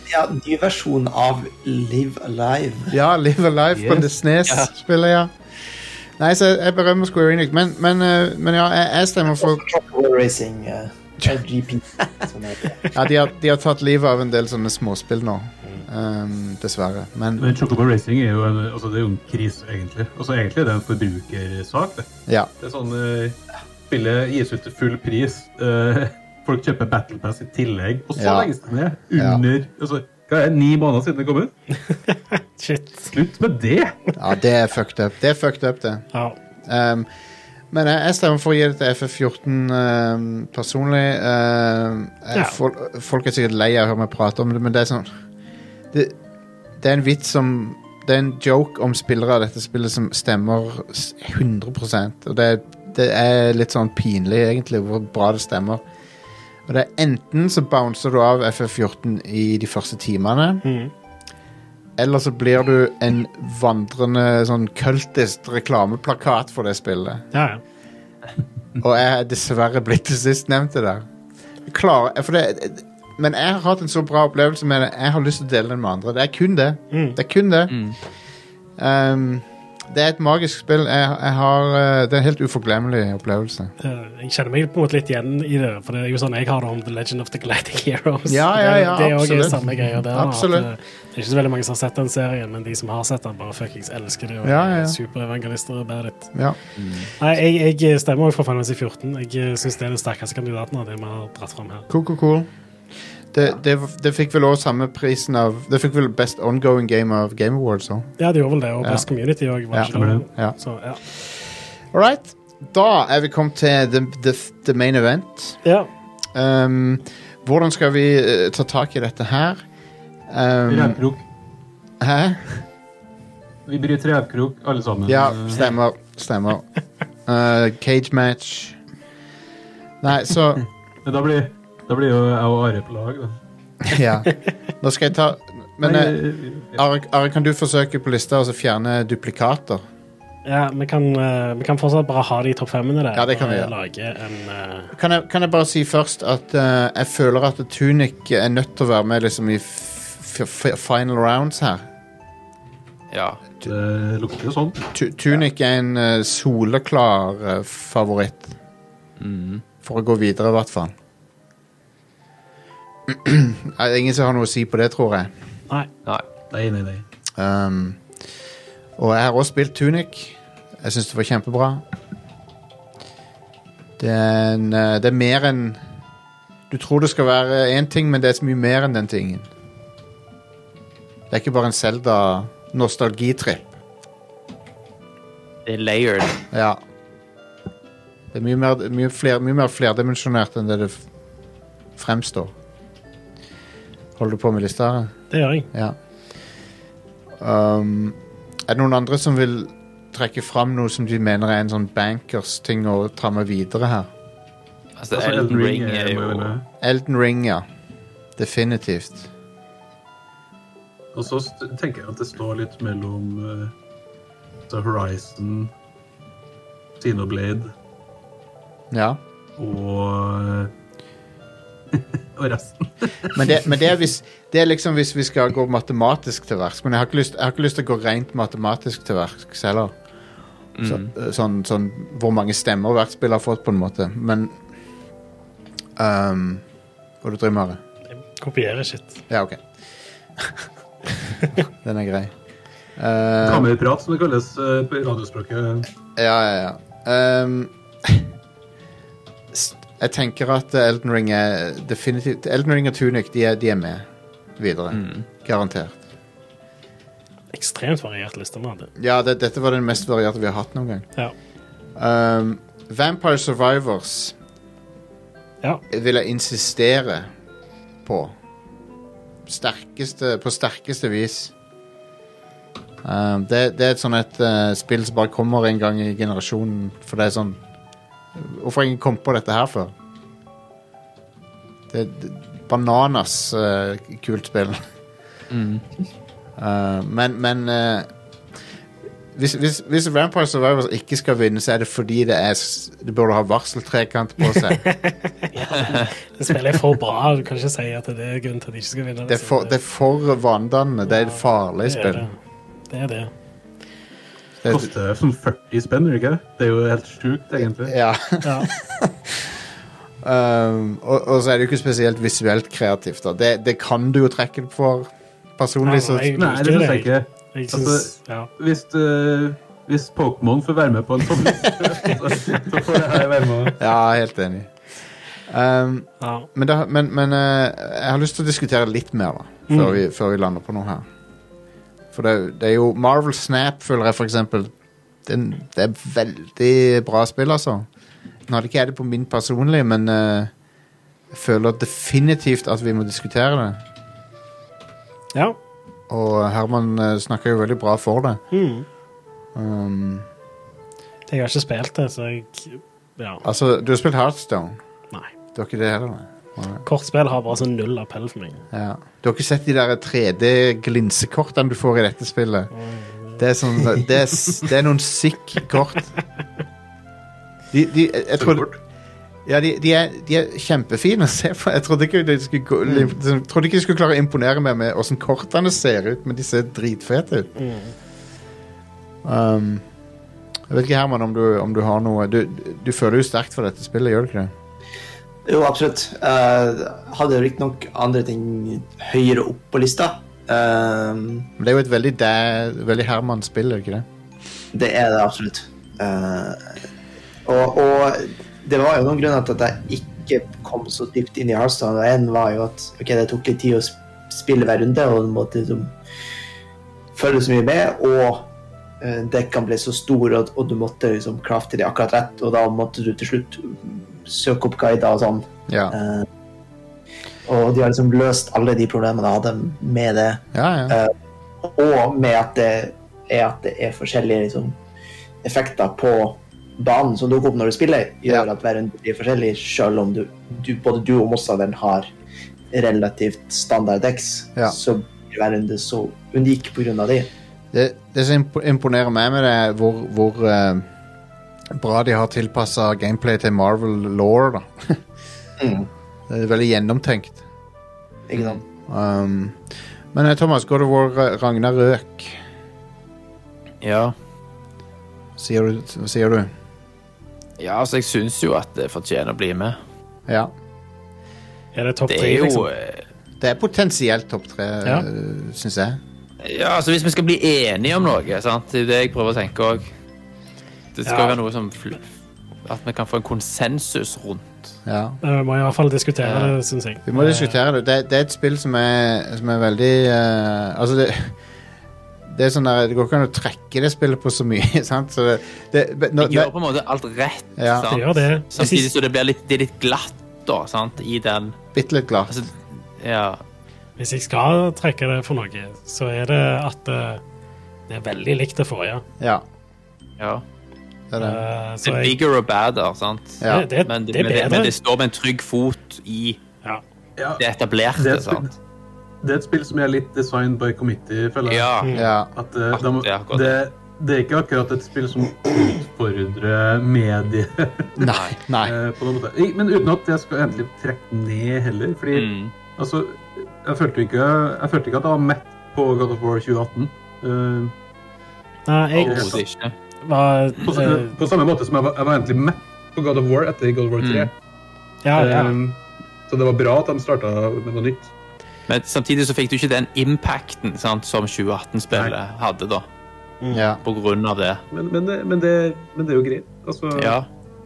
D: ny versjon av Live Alive.
A: Ja, Live Alive på
F: Yes.
A: det SNES-spillet, ja. Nei, så jeg- jeg berømmer Square Enix, men, men, eh, men ja, jeg, jeg stemmer for
D: Rock'n'roll Racing eh, GP. Som det heter.
A: Ja, de har, de har tatt livet av en del sånne småspill nå. Um, dessverre. Men
F: Mm. Men Chocobo Racing er jo en, altså det er jo en krise, egentlig. Altså Egentlig er det en forbrukersak. Det,
A: ja.
F: det er sånn uh, Spillet gis ut til full pris. eh, folk kjøper Battle Pass i tillegg, og så
A: Ja.
F: legges det ned.
A: Ja.
F: Under altså, Hva er det, Ni måneder siden det kom ut?
B: Shit.
F: Slutt med det!
A: ja, det er fucked up. Det er fucked up, det.
B: Ja.
A: Um, men jeg, jeg stemmer for å gi det til FF14 um, personlig. Um, jeg,
B: Ja.
A: folk, folk er sikkert lei av å høre meg prate om det, men det er sånn Det, det er en vits som Det er en joke om spillere av dette spillet som stemmer s- 100 Og det, det er litt sånn pinlig, egentlig, hvor bra det stemmer. Og det er Enten så bouncer du av FF14 i de første timene,
B: Mm.
A: eller så blir du en vandrende sånn kultist reklameplakat for det spillet.
B: Ja, ja.
A: Og jeg er dessverre blitt det sistnevnte der. Jeg Klarer, for det, men jeg har hatt en så bra opplevelse med det. Jeg har lyst til å dele den med andre. Det er kun det.
B: Mm.
A: Det er kun det.
C: Mm.
A: Ehm, det er et magisk spill. Jeg, jeg har, eh, det er en helt uforglemmelig opplevelse.
B: Eh, Jeg kjenner meg på en måte litt igjen i det, for det er jo sånn jeg har det om The Legend of the Galactic Heroes.
A: Ja, ja, ja,
B: det er også
A: absolutt.
B: samme greia der. da, at,
A: Absolutt.
B: eh, Det er ikke så veldig mange som har sett den serien, men de som har sett den, bare fuckings elsker det. Og
A: Ja, ja, ja.
B: er Superevangelister og bad it.
A: Ja.
B: Nei, jeg, jeg eh, stemmer også fra Final Fantasy 14. Jeg syns det er den sterkeste kandidaten av det vi har dratt fram her.
A: Cool, cool, cool. Det, det, det fikk vel også samme prisen av Det fikk vel Best Ongoing Game av Game Awards òg.
B: Ja, det gjorde vel det, og
A: Ja.
B: Best Community òg.
A: Ja, Ja.
B: Så, ja.
A: All right. Da er vi kommet til the, the, the main event.
B: ja.
A: Ehm, hvordan skal vi eh, ta tak i dette her? Ehm,
F: Revkrok.
A: hæ?
F: Vi bryter revkrok, alle sammen.
A: Ja,
F: Eh,
A: stemmer. Stemmer. Eh, cage match. Nei, så
F: men da blir, da blir jo jeg og Are på lag, da.
A: Ja. Nå skal jeg ta Men eh,
F: Nei,
A: Are, Are, kan du forsøke på lista og så fjerne duplikater?
B: ja vi, kan, eh, vi kan fortsatt bare ha de topp femmene der.
A: Ja, det kan vi
B: og
A: gjøre.
B: Lage en eh,
A: Kan jeg, kan jeg bare si først at eh, jeg føler at Tunic er nødt til å være med liksom i f f final rounds her.
C: Ja.
F: det lukter jo sånn.
A: Tu- Tunic er en eh, soleklar eh, favoritt. For å gå videre, i hvert fall. Er det Ingen som har noe å si på det, tror jeg.
B: Nei.
C: Nei.
F: Nei, nei, nei.
A: Um, og jeg har også spilt Tunic. Jeg syns det var kjempebra. Det er, en, eh, det er mer enn Du tror det skal være én ting, men det er så mye mer enn den tingen. Det er ikke bare en Selda-nostalgitripp.
C: Det er layered.
A: Ja. Det er mye mer, mye fler, mye mer flerdimensjonert enn det det f- fremstår. Holder du på med lista? her?
B: Det gjør jeg.
A: Ja. Um, er det noen andre som vil trekke fram noe som de mener er en sånn bankers-ting å ta med videre her?
C: Altså, Elden Ring er jo
A: Elden Ring, ja. Definitivt.
F: Og så st- tenker jeg at det står litt mellom eh, The Horizon, Xenoblade
A: Ja.
F: og eh, og resten.
A: Men, det, men det, er hvis, det er liksom hvis vi skal gå matematisk til verks. Men jeg har ikke lyst, jeg har ikke lyst til å gå rent matematisk til verks heller. Så, sånn, sånn hvor mange stemmer hvert spill har fått, på en måte. Men um, Hva du driver med? Are?
B: jeg kopierer shit.
A: Ja, OK. Den er grei.
F: Ta
A: Eh,
F: med i prat, som det kalles eh, på radiospråket.
A: ja, ja, ja. Um, s- jeg tenker at Elden Ring er definitivt Elden Ring og Tunic de er, de er med videre. Garantert.
B: Ekstremt variert liste vi hadde.
A: Ja, det, dette var den mest varierte vi har hatt noen gang.
B: Ja.
A: Um, Vampire Survivors
B: Ja.
A: vil jeg insistere på. Sterkeste, på sterkeste vis. Um, det, det er et sånn et eh, spill som bare kommer en gang i generasjonen, for det er sånn Hvorfor har ingen kommet på dette her før? Det er bananas eh, kult spill. Eh, men men eh, hvis, hvis, hvis Vampire Survivors ikke skal vinne, så er det fordi det er s- Det burde ha varseltrekant på seg.
B: Det spillet er for bra. Du kan ikke si at det er grunnen til at de ikke skal vinne.
A: Det er for, det er for vanedannende. Det er et farlig
B: det er
A: spill.
B: det. Det er det.
A: Det er-
F: Koster sånn 40 spenn, gjør det ikke? det? Det er jo helt sjukt, egentlig.
A: ja.
B: Ja.
A: Um, og, og så er det jo ikke spesielt visuelt kreativt. Da. Det, det kan du jo trekke det for personlig. Så,
B: Ja, jeg-
F: Nei, det syns jeg ikke.
B: Jeg
C: Altså,
B: synes, ja.
F: Hvis, eh, hvis Pokémon får være med på en sånn så, så får jeg her være med.
A: ja, helt enig. Um,
B: ja.
A: men da, men, men eh, jeg har lyst til å diskutere litt mer, da. Før, vi, før vi lander på noe her. For det, det er jo Marvel Snap, føler jeg, for eksempel. Den, det er veldig bra spill, altså. Nå hadde ikke jeg det på min personlige, men eh, jeg føler definitivt at vi må diskutere det.
B: ja.
A: Og Herman eh, snakker jo veldig bra for det.
B: Mm.
A: Um,
B: Jeg har ikke spilt det, så jeg Ja.
A: altså, du har spilt Heartstone.
B: Nei.
A: Du har ikke det heller, nei? Nei.
B: Kortspill har bare sånn null appell for meg.
A: Ja. Du har ikke sett de der 3D-glinsekortene du får i dette spillet? Det er, sånn, det er, s- det er noen sick kort. De, de, jeg, jeg trodde, ja, de, de, er, de er kjempefine å se på. Jeg trodde ikke de skulle, gå- liksom, trodde ikke de skulle klare å imponere meg med åssen kortene ser ut, men de ser dritfete ut. Um, jeg vet ikke, Herman, om du, om du har noe du, du føler jo sterkt for dette spillet, gjør du ikke det?
D: Jo, absolutt. Eh, hadde riktignok andre ting høyere opp på lista. Eh,
A: Men det er jo et veldig, dæ- veldig Herman-spill, er det ikke det?
D: Det er det absolutt. Eh, og, og det var jo noen grunner til at jeg ikke kom så dypt inn i Hearthstone. Og en var jo at ok, det tok litt tid å sp- spille hver runde, og du måtte liksom følge så mye med. Og eh, dekkene ble så store, og, og du måtte liksom crafte de akkurat rett. Og da måtte du til slutt søke opp guider og sånn.
A: Ja,
D: Eh, og de har liksom løst alle de problemene jeg hadde med det
A: ja. ja.
D: og med at det er, at det er forskjellige liksom, effekter på banen som dukker opp når du spiller, gjør at hver runde blir forskjellig, selv om du, du, både du og motstanderen har relativt standard decks,
A: Ja.
D: så blir hver runde så unik på grunn av det.
A: Det, det som impo- imponerer meg med det, er hvor, hvor eh, bra de har tilpassa gameplay til Marvel law, da.
D: Mm.
A: Det er veldig gjennomtenkt.
D: Ikke sant?
A: Um, men eh, Thomas, går det vår eh, Ragnar Røk,
C: Ja.
A: sier du? Sier du?
C: ja, altså, jeg syns jo at det fortjener å bli med.
A: Ja.
B: Er det topp
C: Det
B: tre,
C: er jo
B: liksom?
C: eh,
A: Det er potensielt topp tre,
B: Ja.
A: ja. syns jeg.
C: Ja, altså, hvis vi skal bli enige om noe, sant? det er jo det jeg prøver å tenke òg. Det skal
B: Ja.
C: være noe som fl- At vi kan få en konsensus rundt.
A: Ja.
B: Eh, Vi må i hvert fall diskutere
C: Ja.
B: det, syns jeg.
A: Vi må diskutere det. det. Det er et spill som er, som er veldig eh, Altså, det eh, det, er sånn der, det går ikke an å trekke det spillet på så mye. sant? Så det, det, men nå-
C: Det gjør på en måte alt rett.
A: Ja.
C: sant?
B: Det gjør det. Det
C: Samtidig
B: siste-
C: så det blir litt, det er litt glatt da, sant? i den
A: bitte litt glatt.
C: altså, Ja.
B: Hvis jeg skal trekke det for noe, så er det at eh, det er veldig likt det forrige.
A: Ja.
C: ja.
A: Det er det.
B: Eh,
C: Det
B: så
C: er
B: jeg,
C: bigger og badder, sant?
A: Ja.
B: det, det,
C: Men,
B: det er
C: men, det, men
B: bedre.
C: det står med en trygg fot i
B: Ja.
C: det etablerte,
F: Det er et spill-
C: sant?
F: Det er et spill som er litt design by committee, føler jeg.
C: Ja.
A: Ja.
F: At eh, de,
C: Ja, akkurat.
F: det, det er ikke akkurat et spill som utfordrer mediet.
A: Nei. Nei.
F: eh, på noen måte. I- Men uten at jeg skal endelig trekke ned heller. Fordi
C: Mm.
F: altså, jeg følte, jo ikke, jeg følte ikke at jeg var mett på God of War 2018. Eh,
B: Nei, jeg
C: Overhodet ikke.
B: var
F: på, sa-
B: eh,
F: på samme måte som jeg var, jeg var egentlig mett på God of War etter God of War 3.
C: Mm.
B: Ja, ja.
F: Eh, så det var bra at de starta med noe nytt.
C: Men samtidig så fikk du ikke den impacten sant, som 2018-spillet hadde, da,
A: Ja.
C: på grunn av det.
F: Men, men, det- men, det, men det er jo greit. Altså,
B: Mm.
C: Ja.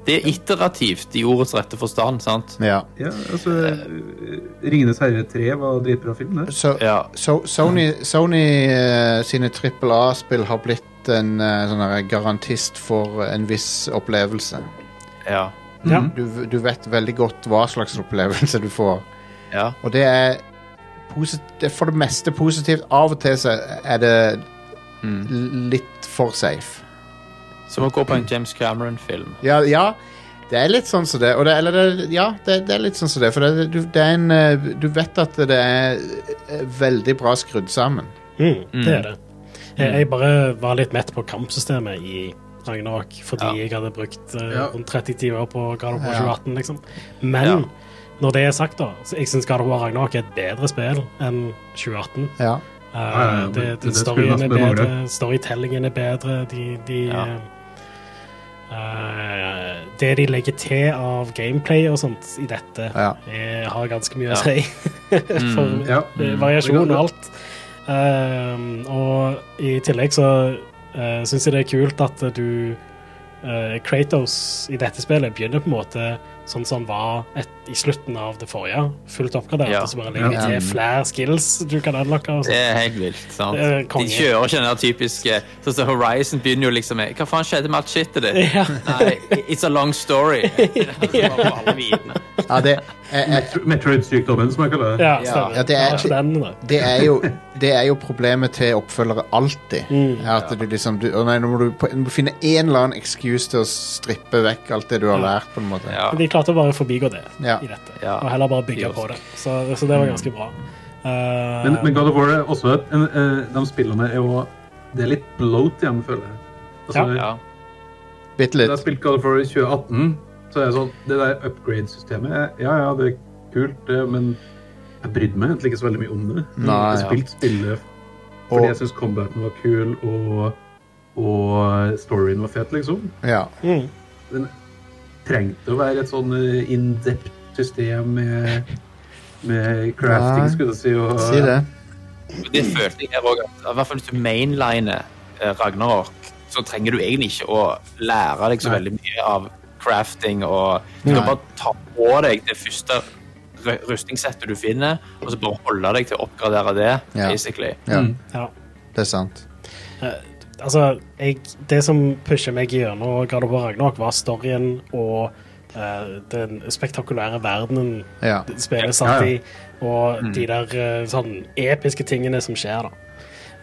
C: Det er iterativt i ordets rette forstand, sant?
A: ja.
F: ja, altså eh, 'Ringenes herre 3' var dritbra film, det.
A: Så,
C: Ja.
A: so, Sony, Sony eh, sine trippel A-spill har blitt en eh, sånn her garantist for en viss opplevelse.
C: Ja.
B: ja.
A: Du, du vet veldig godt hva slags opplevelse du får.
C: ja.
A: Og det er, posi- det er for det meste positivt. Av og til så er det
C: Mm.
A: l- litt for safe.
C: Som å gå på en James Cameron-film.
A: Ja, ja det er litt sånn som det. Og det, eller det, ja, det, det er litt sånn som det. For det, du, det er en, eh, du vet at det er eh, veldig bra skrudd sammen.
B: Mm, det
C: Mm.
B: er det. Jeg, jeg bare var litt mett på kampsystemet i Ragnarok fordi
C: Ja.
B: jeg hadde brukt eh,
F: Ja.
B: rundt 30 timer på God of War
A: Ja.
B: 2018, liksom. Men
C: Ja.
B: når det er sagt, da, så jeg syns God of War Ragnarok er et bedre spill enn 2018.
A: Ja.
B: Eh,
F: ja, ja, men
B: det,
F: det
B: det,
F: skulle
B: storyen er
F: nesten mangle.
B: bedre, storytellingen er bedre, de, de
C: Ja.
B: eh, eh, Det de legger til av gameplay og sånt i dette,
A: Ja.
B: eh, har ganske mye
C: Ja.
B: å si for
C: Mm.
F: Ja.
B: Eh, variasjon og alt. Ehm, og i tillegg så uh, syns jeg det er kult at du eh, Kratos i dette spillet begynner på en måte sånn som han var et, i slutten av det forrige. Fullt oppgradert,
C: Ja.
B: og så bare legger de
A: Ja.
B: til flere skills du kan unlocke. Og
C: Det
B: sånt.
C: er helt vilt. sant?
B: Det er
C: De
B: konge.
C: kjører ikke den der typiske sånn som Horizon begynner jo liksom med Hva faen skjedde med alt shitet ditt?
B: Ja.
C: Nei, it's a long story. Det er bare alle vitene.
A: ja det, jeg, jeg,
F: Metro- Metroid-sykdommen, som jeg kaller det.
B: Ja,
C: Ja.
B: stemmer.
A: Ja, det er-
B: Det var ikke den, da.
A: det er, jo, det er jo problemet til oppfølgere alltid.
B: Mm.
A: Er at du liksom, du, å nei, nå må du, på- du må finne en eller annen excuse til å strippe vekk alt det du har lært. på en måte.
C: Ja.
B: Men de klarte å bare forbigå det
A: Ja. Mm.
B: i dette,
C: Ja.
B: og heller bare bygge
C: Kiosk.
B: på det. Så, så det var ganske bra. Eh,
F: Men, men God of War er også et, en, eh, de spillene er jo Det er litt bloat igjen, føler jeg. Altså,
C: Ja.
A: Bitte
F: Da jeg
A: litt.
F: spilte God of War i 2018, så er det sånn Det der upgrade-systemet eh, Ja, ja, det er kult, det, men jeg brydde meg egentlig ikke så veldig mye om det.
A: Nei,
F: jeg
A: ja.
F: spilte spillet fordi
A: Og,
F: jeg syntes combaten var kul, og, og storyen var fet, liksom.
A: ja.
B: mm.
F: Trengte å være et sånn eh, in-depth system med, med crafting,
A: Nei.
F: skulle jeg si. Og,
A: Si det.
C: Og
A: Mm.
C: Det følte jeg her òg. I hvert fall hvis du mainliner eh, Ragnarok, så trenger du egentlig ikke å lære deg så
F: Nei.
C: veldig mye av crafting og Du
A: Nei.
C: kan bare ta på deg det første ru- rustningssettet du finner, og så bare holde deg til å oppgradere det,
A: Ja.
C: basically.
A: Ja,
F: Mm.
B: ja.
A: det er sant.
B: Altså, jeg, det som pusher meg gjennom God of War Ragnarok, var storyen og eh, den spektakulære verdenen
A: Ja.
B: spillet satt i, og de der eh, sånn episke tingene som skjer, da.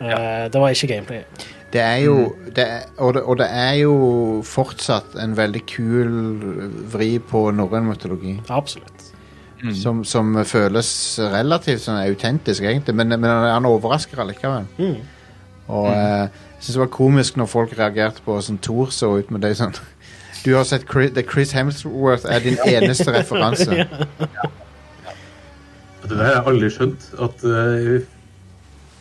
B: Eh, Det var ikke gameplay.
A: Det er jo det er, og, det, og det er jo fortsatt en veldig kul vri på norrøn mytologi.
B: Absolutt.
A: Som, som føles relativt sånn autentisk, egentlig, men, men han overrasker allikevel.
B: Mm.
A: Og eh, jeg synes det var komisk når folk reagerte på hvordan Thor så ut med det sånn Du har sett Chris, det Chris Hemsworth er din eneste referanse.
F: Vet du, Det har jeg aldri skjønt. At, eh,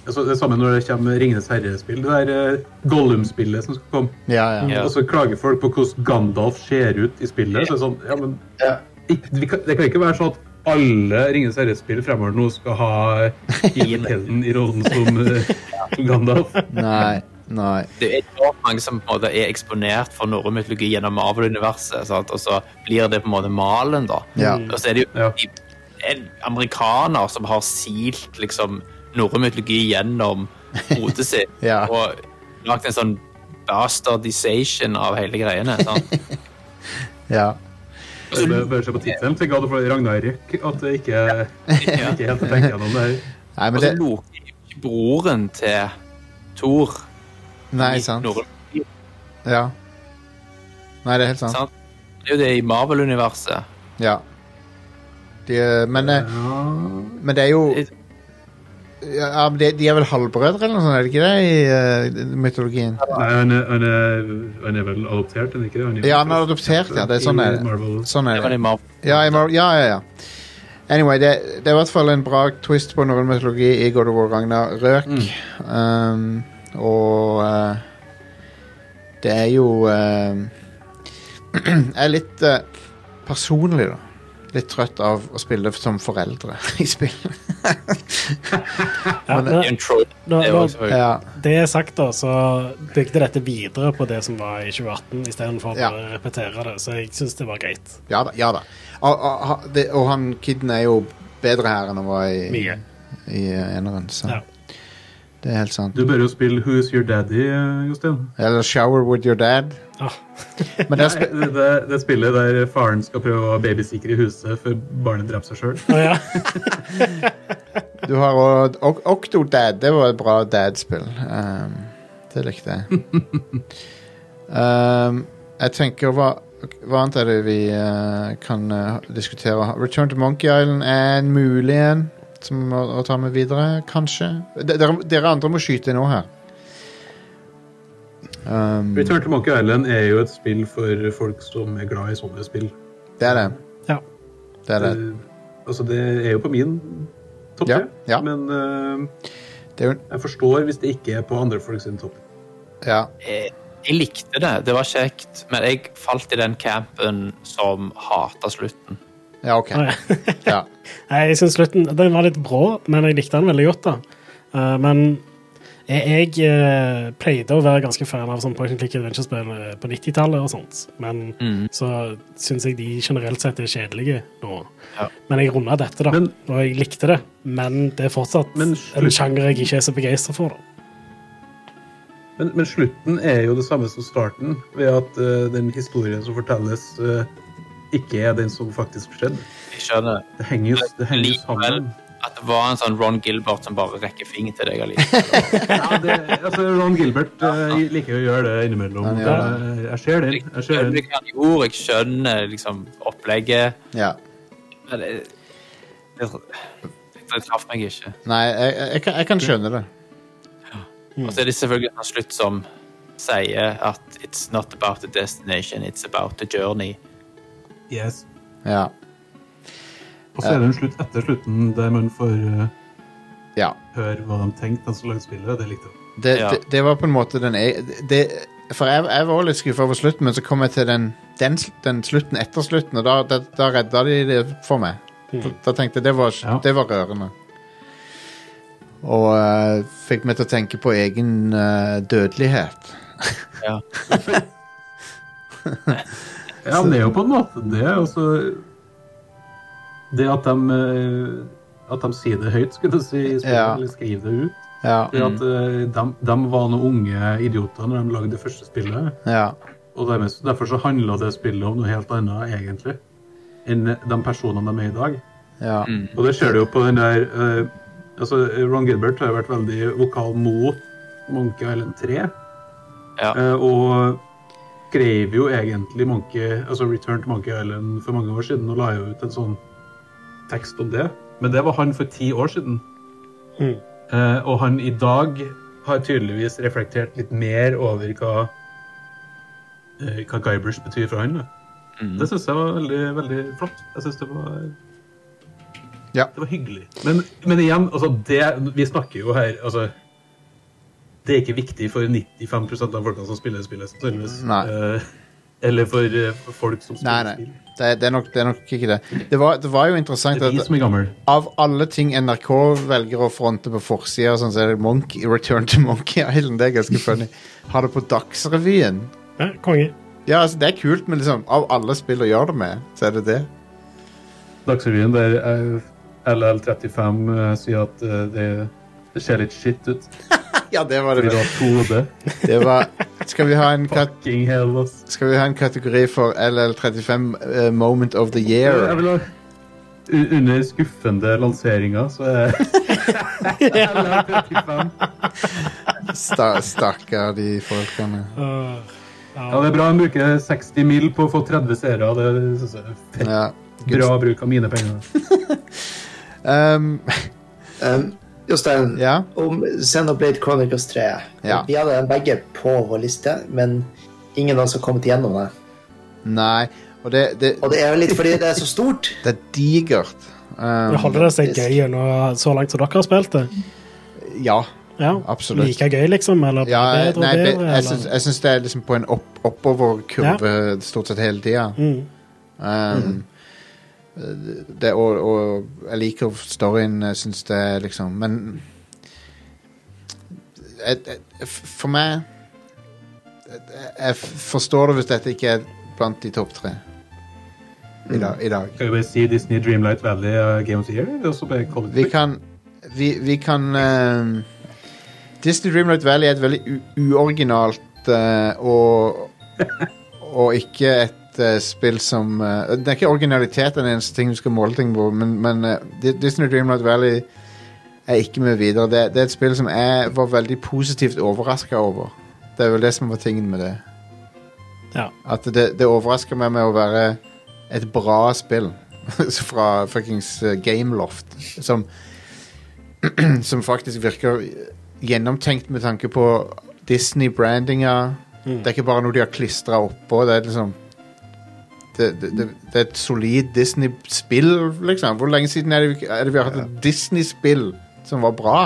F: altså, det er samme når det kommer Ringenes herre-spill. Det der uh, Gollum-spillet som skal komme.
A: Ja, ja.
C: Ja.
F: Og så klager folk på hvordan Gandalf ser ut i spillet. Så det er sånn, ja, men
D: Ja.
F: ikk- vi kan, Det kan ikke være sånn at alle Ringenes herre-spill fremover nå skal ha Ian Helen i rollen som eh, Gandalf.
A: Nei. Nei.
C: det er enormt mange som på en måte er eksponert for norrøn mytologi gjennom Marvel-universet, sant? og så blir det på en måte malen, da.
A: Ja.
C: Og så er det jo
F: Ja.
C: en amerikaner som har silt liksom norrøn mytologi gjennom hodet sitt
A: Ja.
C: og lagd en sånn bastardization av hele greiene. Sant?
A: Ja.
F: Du bør- bør se på tittelen. Tenk at du får Ragnarøk. At det ikke,
C: Ja.
F: ikke helt tenker gjennom det her.
A: Nei,
C: Og
A: men
C: så
A: det
C: loker ikke broren til Thor
A: Nei,
C: i
A: sant.
C: Norden.
A: Ja. Nei, det er helt sant.
C: Sant? Det er jo det i Marvel-universet.
A: Ja. De, eh, men, eh, men det er jo ja, men de, de er vel halvbrødre eller noe sånt, er det ikke det, i eh, mytologien?
F: Nei, han er, han, er, han er vel adoptert, er han ikke det? er
A: Ja, han er adoptert, ja. Det er sånn
F: I
A: er det.
F: Marvel.
A: Sånn
C: Det
A: er
C: var
A: det.
C: det i Marvel.
A: Ja, jeg må, ja, ja, ja. Anyway, det, det er i hvert fall en bra twist på norrøn mytologi i God of War Ragnar Røk. Um, og eh, det er jo eh, Jeg er litt eh, personlig, da. Litt trøtt av å spille som foreldre i spill.
B: Ja,
C: Det er
B: men,
C: en troll.
B: nå,
C: eh, Det er jo
B: nå,
C: selvfølgelig-
A: Ja,
B: det er sagt, da, så bygde dette videre på det som var i 2018, istedenfor
A: Ja.
B: å bare repetere det. Så jeg syns det var greit.
A: ja da. Ja, da. Og, og, ha- det, og han kiden er jo bedre her enn han var i,
B: Mye.
A: i eh, eneren, så
B: Ja.
A: det er helt sant.
F: Du bør jo spille Who's Your Daddy, eh, Jostein.
A: Eller Shower with your dad.
B: Ah,
A: Men der, spi-
F: Det, det, det spillet der faren skal prøve å babysikre huset før barnet dreper seg sjøl.
B: å ja.
A: Du har òg Ok- Octodad. Det var et bra dad-spill. Um, det likte jeg. Um, jeg tenker hva, hva annet er det vi eh, kan eh, diskutere? Return to Monkey Island er en mulig en som å, å ta med videre, kanskje. De, dere, dere andre må skyte nå her. Um,
F: Return to Monkey Island er jo et spill for folk som er glad i sånne spill.
A: det er det.
B: Ja.
A: Det er det.
F: Eh, altså, det er jo på min topp
A: Ja,
F: tre,
A: ja.
F: men eh,
A: det er jo,
F: jeg forstår hvis det ikke er på andre folk sin topp.
A: ja.
C: Jeg Eh, jeg likte det, det var kjekt, men jeg falt i den campen som hata slutten.
A: ja, OK.
B: Å, ja.
A: Ja.
B: Nei, jeg synes slutten den var litt brå, men jeg likte den veldig godt. da. Eh, men jeg, jeg eh, pleide å være ganske fan av sånn point and click adventure-spill eh, på 90-tallet og sånt, men så syns jeg de generelt sett er kjedelige nå.
C: Ja.
B: Men jeg runda dette, da,
F: Men-
B: og jeg likte det. Men det er fortsatt
F: Men
B: en
F: slutt-
B: sjanger jeg ikke er så begeistra for. da.
F: Men, men slutten er jo det samme som starten, ved at eh, den historien som fortelles, eh, ikke er den som faktisk skjedde.
C: Jeg skjønner
F: Det henger jo, det henger jo
C: likevel
F: sammen.
C: at det var en sånn Ron Gilbert som bare rekker fingeren til deg allikevel.
F: Ja, det, altså, Ron Gilbert eh, liker å gjøre det innimellom.
A: Han
F: og
A: gjør
F: det- Jeg ser den.
C: Jeg
F: Jeg ser
C: skjønner
F: den.
C: hva han gjorde, jeg skjønner liksom opplegget.
A: ja.
C: Men det, det, det traff meg ikke.
A: Nei, jeg, jeg, jeg, kan, jeg kan skjønne det.
F: Mm.
C: Og så er det selvfølgelig en sånn slutt som sier at it's not about the destination, it's about the journey.
F: Yes.
A: Ja.
F: Og så er det en slutt etter slutten der man får eh,
A: ja.
F: høre hva de tenkte, altså lagde spillet. Det likte jeg.
A: det,
C: Ja.
A: det, det var på en måte den e- det, For jeg, jeg var også litt skuffa over slutten, men så kom jeg til den, den, sl- den slutten etter slutten, og da, da, da redda de det for meg. Da, da tenkte jeg det var,
F: Mm. Ja.
A: det var rørende. Og eh, fikk meg til å tenke på egen eh, dødelighet.
C: Ja.
F: Ja, men det er jo på en måte det. Altså, det at de, eh, at de sier det høyt, skulle jeg si, i spillet,
A: Ja.
F: eller skriver det ut.
A: Ja.
F: Det at eh, de, de var noen unge idioter når de lagde det første spillet.
A: ja.
F: Og dermed, derfor så handla det spillet om noe helt annet, egentlig, enn de personene de er i dag.
A: ja.
F: Og det ser du jo på den der eh, altså Ron Gilbert har jo vært veldig vokal mot Monkey Island 3.
C: Ja.
F: eh, og skrev jo egentlig Monkey, altså Return to Monkey Island for mange år siden og la jo ut en sånn tekst om det. Men det var han for ti år siden.
A: Hmm.
B: Mm.
F: Eh, og han i dag har tydeligvis reflektert litt mer over hva eh, hva Guybrush betyr for han. Da. Det syns jeg var veldig, veldig flott. Jeg synes det var
A: Ja.
F: det var hyggelig. Men, men igjen, altså det, vi snakker jo her altså, Det er ikke viktig for 95 av folkene som spiller spillet, sannsynligvis.
A: Nei.
F: Eh, eller for eh, for folk som
A: Nei,
F: spiller
A: nei.
F: spill.
A: Det, det, er nok, det er nok ikke det. Det var, det var jo interessant
F: Det er
A: at
F: de som er gamle.
A: av alle ting NRK velger å fronte på forsida, og sånn, så er det Monkey, Return to Monkey Island. Det er ganske funny. Ha det på Dagsrevyen.
B: Ja, konge.
A: Ja, altså, det er kult, men liksom, av alle spill å gjøre det med, så er det det.
F: Dagsrevyen der eh, LL35 eh, sier at eh, det, det ser litt skitt ut.
A: ja, det var
F: Fordi
A: det.
F: du har to hoder.
A: det var, skal, vi ha en kat,
F: Fucking hell, ass.
A: skal vi ha en kategori for LL35 eh, Moment of the
F: Jeg
A: Year?
F: vil ha u- Under skuffende lanseringer, så er LR35.
A: Sta, Stakkar de folkene.
B: Øh,
F: Ja, det er bra de bruker 60 mil på å få 30 seere. Det synes jeg er fett.
A: Ja.
F: Bra bruk av mine penger.
A: Um,
D: Um, Jostein,
A: ja.
D: om Xenoblade Chronicles 3.
A: Ja.
D: Vi hadde dem begge på vår liste, men ingen av oss har kommet igjennom det.
A: Nei. Og det, det,
D: Og det er jo litt fordi det er så stort.
A: det er digert.
B: men
A: Um,
B: holder det seg gøy gjennom så langt som dere har spilt det?
A: ja,
B: Ja.
A: absolutt.
B: Like gøy, liksom? Eller
A: Ja, eh,
B: bedre
A: nei,
B: og
A: be,
B: bedre?
A: jeg syns-
B: eller?
A: jeg syns det er liksom på en opp, oppoverkurve stort sett hele tida.
B: Mm.
A: Um, det, og, og jeg liker storyen, jeg syns det er liksom Men jeg, jeg, f- For meg jeg, jeg forstår det hvis dette ikke er blant de topp tre i, da,
B: Mm.
A: i dag.
F: Kan vi bare si Disney Dreamlight Valley er Game of the Year? Eller så bare kalle det
A: Vi kan Vi, vi kan eh, Disney Dreamlight Valley er et veldig u uoriginalt eh, og Og ikke et eh, spill som eh, Det er ikke originalitet den eneste ting du skal måle ting på, men, men eh, Di- Disney Dreamlight Valley er ikke med videre. Det, det er et spill som jeg var veldig positivt overraska over. Det er vel det som var tingen med det.
B: Ja.
A: At det, det overrasker meg med å være et bra spill fra fuckings eh, Gameloft. Som, som faktisk virker gjennomtenkt med tanke på Disney-brandinga. Det er ikke bare noe de har klistra oppå. Det er liksom det, det, det, det er et solid Disney-spill, liksom. Hvor lenge siden er det, vi- er det vi har hatt et Disney-spill som var bra?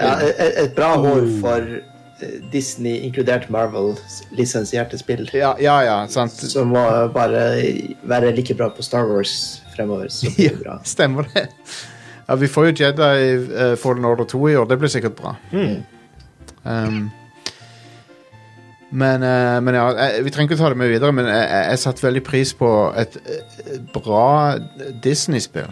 D: Ja, et, et bra år for eh, Disney, inkludert Marvels lisensierte spill.
A: Ja, ja, ja sant.
D: Som må bare være like bra på Star Wars fremover. Så blir det bra.
A: Stemmer det. Ja, vi får jo Jedi eh, Fallen Order 2 i år. Det blir sikkert bra. Um, men, eh, men ja, eh, vi trenger ikke ta det med videre, men jeg, jeg, jeg satte veldig pris på et eh, bra Disney-spill.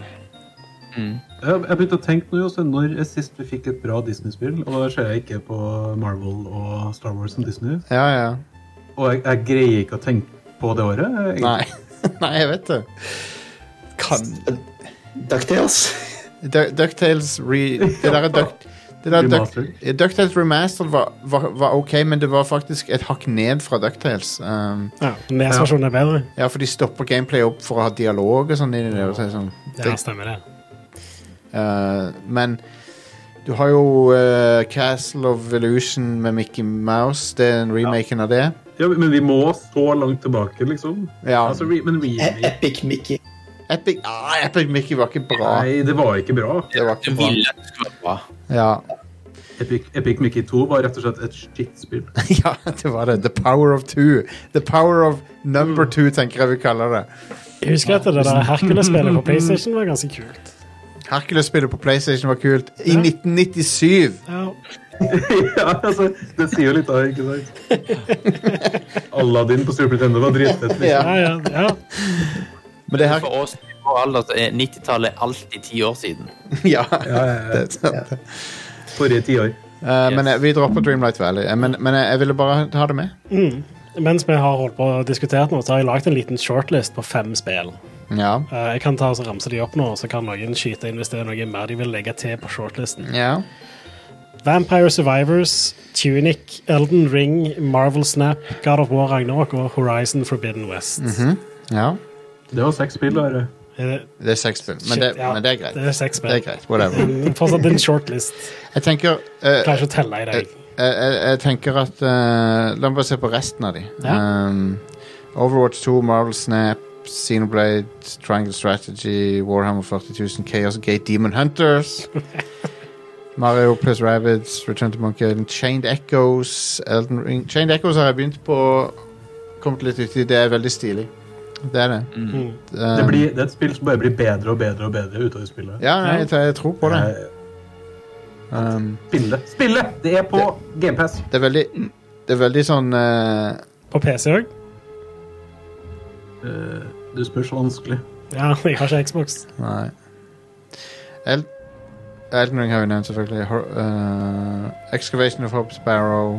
F: Jeg jeg begynte å tenke nå, Jostein, når er sist vi fikk et bra Disney-spill? Og da ser jeg ikke på Marvel og Star Wars som Disney.
A: Ja, ja.
F: Og jeg, jeg greier ikke å tenke på det året. Jeg,
A: Nei. Nei, jeg vet det. Kan
D: DuckTales.
A: Du- DuckTales re... Det der er Duck... Det der Duck,
F: Remastered.
A: Ja, DuckTales Remastered var, var, var ok, men det var faktisk et hakk ned fra DuckTales. Um,
B: ja. Nes-versjonen er bedre.
A: ja, for de stopper gameplay opp for å ha dialog og sånn inni det. Og så er det sånn,
B: Ja, stemmer det.
A: Eh, men du har jo eh, Castle of Illusion med Mickey Mouse. Det er en remaken av det.
F: Ja, men vi må så langt tilbake, liksom.
A: Ja.
F: Altså, re, men
D: E-
F: remake
D: Epic Mickey.
A: Epic, ah, Epic Mickey var ikke bra.
F: Nei, det var ikke bra.
A: Det var ikke
C: Jeg
A: bra.
C: ville at det skulle være bra.
A: Ja.
F: Epic, Epic Mickey 2 var rett og slett et skittspill.
A: ja, det var det. The power of two. The power of number
F: Mm.
A: two, tenker jeg vi kaller det.
B: Jeg husker at det der Hercules-spillet på PlayStation var ganske kult.
A: Hercules-spillet på PlayStation var kult. I 1997!
B: Ja.
F: ja, altså, det sier jo litt av, ikke sant? Aladdin på Super Nintendo var dritfett. Liksom.
A: Ja.
B: Ja, ja, ja.
A: Men det her
C: For oss i vår alder så er 90-tallet alltid ti år siden.
A: Ja.
F: Ja, ja, ja.
A: Det er sant.
F: Forrige tiår.
A: Eh, men eh, vi dropper Dreamlight Valley. Eh, Men, men eh, jeg ville bare ha det med.
B: Mm. Mens vi har holdt på og diskutert nå, så har jeg laget en liten shortlist på fem spill.
A: Ja.
B: Eh, Jeg kan ta og så ramse de opp nå, så kan noen skyte inn hvis det er noe mer de vil legge til på shortlisten.
A: Ja.
B: Vampire Survivors, Tunic, Elden Ring, Marvel Snap, God of War Ragnarok og Horizon Forbidden West.
A: Mhm. ja.
F: Det var seks spill. Are.
B: Er det-
A: Det er seks spill, men,
B: shit,
A: det-
B: ja,
A: men det er greit.
B: Det er seks spill.
A: Det er greit, Whatever.
B: Men Fortsatt en shortlist.
A: Jeg tenker eh,
B: Klarer ikke å telle i dag.
A: jeg, jeg, jeg tenker at eh, La meg bare se på resten av de.
B: Ja.
A: Um, Overwatch 2, Marvel Snap, Xenoblade, Triangle Strategy, Warhammer 40.000, Chaos Gate, Demon Hunters. Mario pluss Rabbids, Return to Monkey Island, Chained Echoes Elden Ring. Chained Echoes har jeg begynt på kommet litt uti. Det er veldig stilig. Det er det.
B: Mm.
A: Um,
F: Det, blir, det er et spill som bare blir bedre og bedre og bedre utover spillet.
A: Ja, nei, jeg, jeg tror på det.
F: Eh,
A: Um,
F: Spille! Spille! Det er på GamePass.
A: det er veldig Det er veldig sånn eh,
B: På PC òg?
F: Uh, du spør så vanskelig.
B: Ja, jeg har ikke Xbox.
A: Nei. El Elden Ring har vi nevnt, selvfølgelig. Hor- eh, Excavation of Hope Sparrow.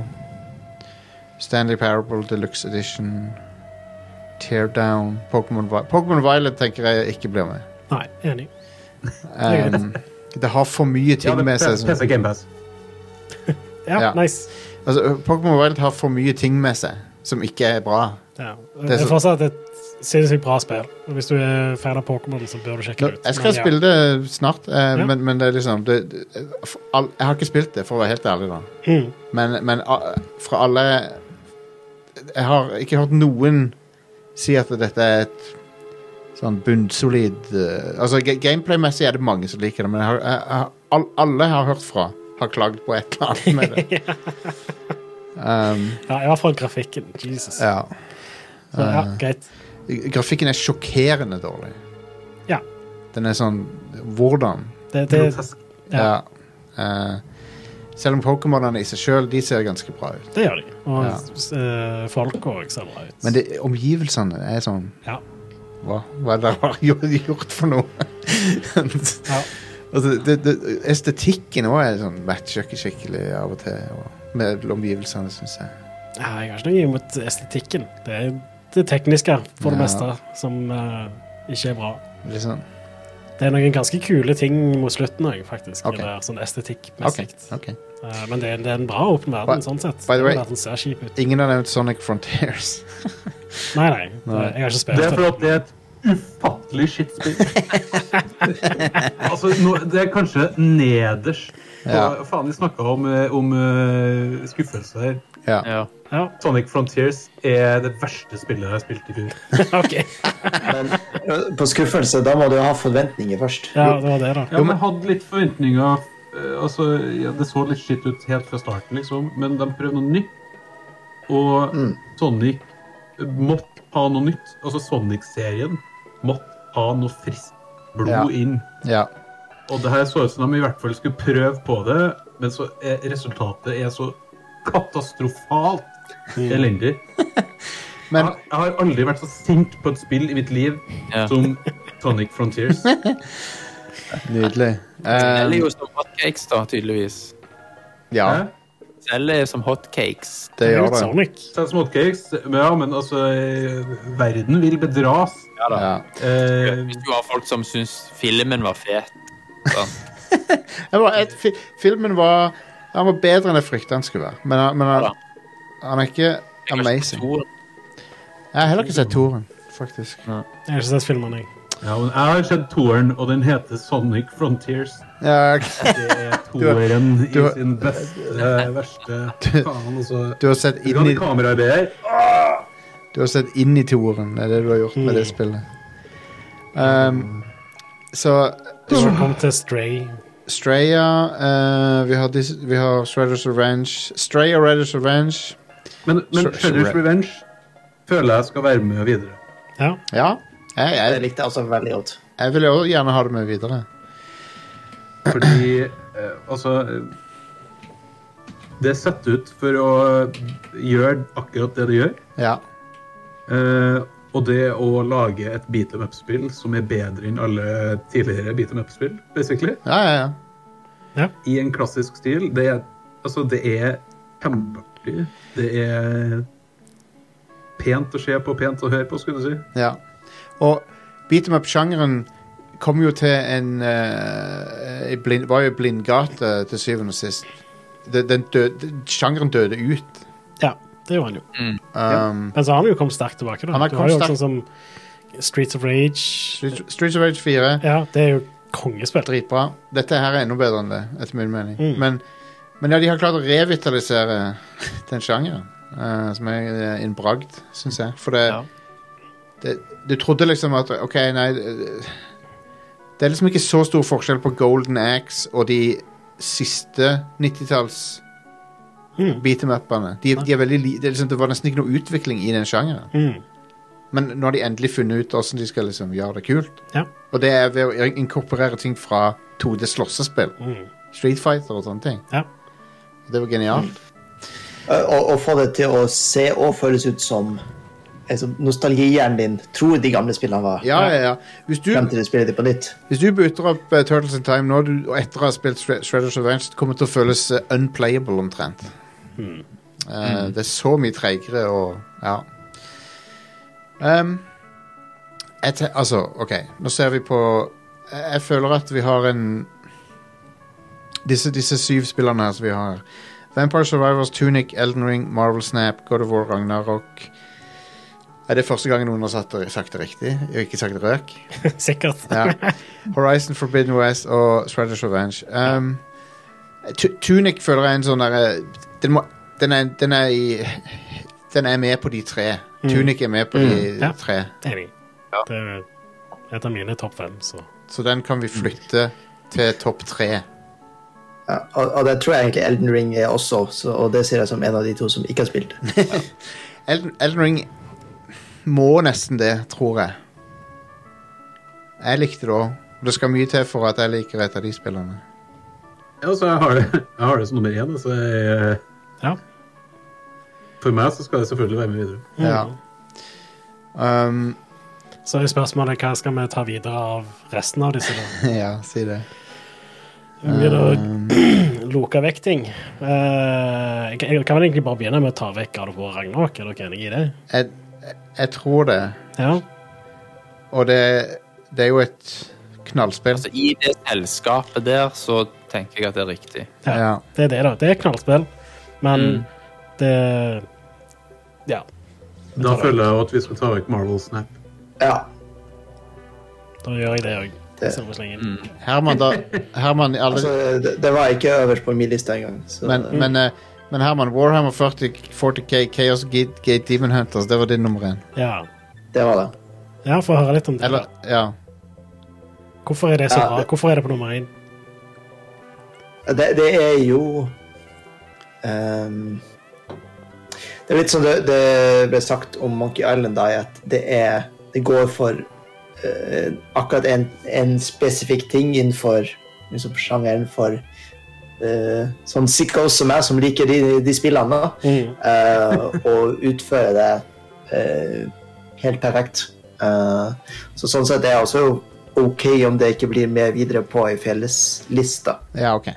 A: Stanley Parable Deluxe Edition. Teardown. Pokémon Vi- Pokémon Violet tenker jeg ikke blir med.
B: Nei, enig. er
A: Um, det har for mye ting med seg. som-
E: PC Gamepass.
B: Ja,
A: Ja.
B: nice.
A: Altså, Pokémon Wild har for mye ting med seg som ikke er bra.
B: Ja.
A: er
B: Det er
A: så-
B: fortsatt et sinnssykt bra spill. Og Hvis du er fan av Pokémon, så bør du sjekke det ut.
A: Jeg skal
B: Men ja.
A: spille det snart, eh,
B: Ja.
A: men, men det er liksom det, det- for all, Jeg har ikke spilt det, for å være helt ærlig. da
B: Mm.
A: Men, men a- fra alle Jeg har ikke hørt noen si at dette er et sånn bunnsolid eh, Altså ga- Gameplay-messig er det mange som liker det, men jeg har, jeg, jeg, har- all, alle jeg har hørt fra, har klagd på et eller annet med det. um,
B: Ja, I hvert fall grafikken. Jesus.
A: ja.
B: Så, ja,
A: Eh,
B: greit.
A: Grafikken er sjokkerende dårlig.
B: Ja.
A: Den er sånn Hvordan?
B: Det, det,
F: Grotesk.
B: ja,
A: Ja. Eh, selv om Pokémonene i seg sjøl, de ser ganske bra ut.
B: det gjør de. Og
A: Ja.
B: eh, folk òg ser bra ut.
A: Men det, omgivelsene er sånn
B: Ja.
A: Hva, hva er det dere har gjort- gjort for noe?
B: Ja.
A: altså, det, det, estetikken òg er sånn matcher ikke skikkelig av og til. Og med omgivelsene, syns jeg.
B: ja, jeg har ikke noe imot estetikken. Det er det tekniske,
A: Ja.
B: for det meste, som eh, ikke er bra.
A: Litt sånn.
B: Det er noen ganske kule ting mot slutten òg, faktisk.
A: Ok.
B: i Det der, sånn estetikkmessig.
A: Ok, ok.
B: Eh, men det er, det er en bra åpen verden,
A: By-
B: sånn sett.
A: by the way-
B: Verden ser kjip ut.
A: Ingen har nevnt Sonic Frontiers.
B: Nei, nei,
A: Nei.
B: jeg har ikke
F: Det
B: spilt
F: er
B: det.
F: for at det er et ufattelig skittspill. altså, nå, det er kanskje nederst. på-
A: Ja.
F: Faen, vi snakka om, eh, om eh, skuffelse her.
A: Ja.
C: Ja.
B: Ja,
F: Sonic Frontiers er det verste spillet jeg har spilt i fjor.
B: ok.
D: Men eh, på skuffelse, da må du ha forventninger først.
B: Ja, det var det, da.
F: Ja, men jeg hadde litt forventninger. eh, Altså, ja, det så litt skitt ut helt fra starten, liksom, men de prøvde noe nytt. Og
A: Mm.
F: Sonic måtte ha noe nytt. Altså, Sonic-serien måtte ha noe friskt blod
A: Ja.
F: inn.
A: ja.
F: Og det her så ut som de i hvert fall skulle prøve på det, men så er resultatet er så katastrofalt elendig.
A: Men-
F: jeg, jeg har aldri vært så sint på et spill i mitt liv
C: Ja.
F: som Sonic Frontiers.
A: Nydelig.
C: Selger
A: Um,
C: jo som hotcakes, da, tydeligvis.
A: ja,
F: Hæ?
C: Selger som hotcakes.
A: det sånn,
B: Det er
A: gjør
B: jo
A: det.
B: Sonic.
F: Så er det Småcakes, men ja, men altså eh, Verden vil bedras.
C: Ja, da.
A: Ja.
F: Eh,
C: Hvis du har folk som syns filmen var fet sant?
A: Jeg var, et, fi, filmen var Han var bedre enn jeg frykta han skulle være. Men, han- men
C: Ja da.
A: han, han er ikke
C: Jeg har ikke
A: amazing.
C: sett
A: Jeg har heller ikke sett toeren, faktisk.
B: Jeg har ikke sett filmene, jeg.
F: ja, men jeg har sett toeren, og den heter Sonic Frontiers.
A: Ja,
F: Det er toeren
A: du har-
F: i sin beste, eh, verste Faen, altså.
A: du har sett
F: Du
A: inn
F: hadde
A: i,
F: kameraarbeid her.
A: du har sett inn i toeren. Det er det du har gjort med
C: Mm.
A: det spillet. Um, så
B: Så kom til Stray.
A: Straya eh, vi, har dis, vi har Shredders Revenge. Straya Redders Revenge.
F: Men, men
A: Så- så
F: Shredder's
A: rett.
F: Revenge føler jeg skal være med videre.
B: Ja.
A: Ja. Jeg,
D: Det
A: jeg,
D: likte jeg også veldig godt.
A: jeg vil jo gjerne ha det med videre.
F: Fordi eh, altså eh, Det er satt ut for å gjøre akkurat det det gjør.
A: Ja.
F: Eh, og det å lage et beat em up-spill som er bedre enn alle tidligere beat em up-spill, basically,
A: Ja, ja, ja.
F: i en klassisk stil, det er, altså, det er kjempeartig. Det er pent å se på, pent å høre på, skulle du si.
A: Ja. Og beat em up-sjangeren kom jo til en eh, i blind, Var jo i blindgate til syvende og sist. Den, den døde, sjangeren døde ut.
B: ja, det gjorde han jo.
A: Um,
B: Men så har han jo kommet sterkt tilbake. Da.
A: Han har
B: Du har jo
A: kommet
B: sånn som Streets of Rage.
A: Streets- Streets of Rage 4
B: Ja, det er jo kongespill.
A: dritbra. Dette her er enda bedre enn det, etter min mening. Men, men ja, de har klart å revitalisere den sjangeren, eh, som er eh, en bragd, syns jeg. For det,
C: Ja.
A: det Du trodde liksom at OK, nei eh, Det er liksom ikke så stor forskjell på Golden Axe og de siste 90-talls
B: Mm.
A: beat em up-ene. De, de er veldig li- det, er liksom, det var nesten ikke noe utvikling i den sjangeren.
B: Mm.
A: Men nå har de endelig funnet ut hvordan de skal liksom gjøre det kult.
B: Ja.
A: Og det er ved å inkorporere ting fra 2D-slåssespill.
B: Mm.
A: Street Fighter og sånne ting.
B: Ja.
A: Det var genialt.
D: Eh, Å, å få det til å se og føles ut som altså, nostalgihjernen din tror de gamle spillene var.
A: Ja, ja, ja. Hvis du,
D: Frem til du spiller de på nytt.
A: hvis du booter opp eh, Turtles in Time nå, du, og etter å ha spilt Shred- Shredder's Revenge, det kommer til å føles eh, unplayable omtrent. Eh, Det er så mye treigere og Ja. Ehm, jeg te altså, OK, nå ser vi på Jeg, jeg føler at vi har en disse, disse syv spillerne her som vi har Vampire Survivors, Tunic, Elden Ring, Marvel Snap, God of War, Ragnarok Er det første gangen noen har sagt det, sagt det riktig? Og ikke sagt røk?
B: Sikkert.
A: ja. Horizon Forbidden West og Shredder's Revenge. Um, Tu- Tunic føler jeg er en sånn derre den, må- den, er- den er i Den er med på de tre. Tunic er med på de
B: Ja.
A: tre.
B: Enig. Det er et av mine topp fem, så
A: Så den kan vi flytte til topp tre.
D: Ja, og, og det tror jeg egentlig Elden Ring er også, så, og det ser jeg som en av de to som ikke har spilt det.
A: Elden, Elden Ring må nesten det, tror jeg. Jeg likte det òg. Det skal mye til for at jeg liker et av de spillerne.
G: Ja, så jeg har det, jeg har det som nummer én. Så jeg,
B: Ja.
G: For meg så skal det selvfølgelig være med videre.
A: Ja. Um,
B: Så er spørsmålet hva skal vi ta videre av resten av disse. da?
A: ja, si det.
B: Det blir da loka vekk ting. Eh, jeg jeg kan vel egentlig bare begynne med å ta vekk God of War Ragnarok. Er dere enige i det?
A: Jeg, jeg, jeg tror det.
B: Ja.
A: Og det, det er jo et knallspill.
C: Altså, I det selskapet der så tenker jeg at det er riktig.
B: ja.
A: ja.
B: Det er det, da. Det er knallspill, men det Ja. Vi
G: Da
B: tar det.
G: føler jeg jo at vi skal ta vekk Marvel Snap.
D: Ja,
B: Da gjør jeg det òg.
D: Det-
A: Herman, da, Herman alle,
D: altså, det, det var ikke øverst på min liste engang. Så,
A: men, men, eh, men Herman, Warhammer 40, 40K, Chaos Gate, Gate Demon Hunters, det var din nummer én.
B: Ja.
D: det var det.
B: ja, få høre litt om det.
A: Eller,
B: da.
A: ja.
B: Hvorfor er det så
D: Ja,
B: bra?
D: det-
B: Hvorfor er det på nummer én?
D: Det, det er jo ehm, Det er litt som det, det ble sagt om Monkey Island, da, at det, er, det går for eh, akkurat en, en spesifikk ting innenfor liksom, sjangeren for eh, sånn sickos som meg, som liker de, de spillene, da,
B: Mm.
D: eh, og utfører det eh, helt perfekt. Eh, så sånn sett er det også OK om det ikke blir med videre på ei fellesliste.
A: ja, ok.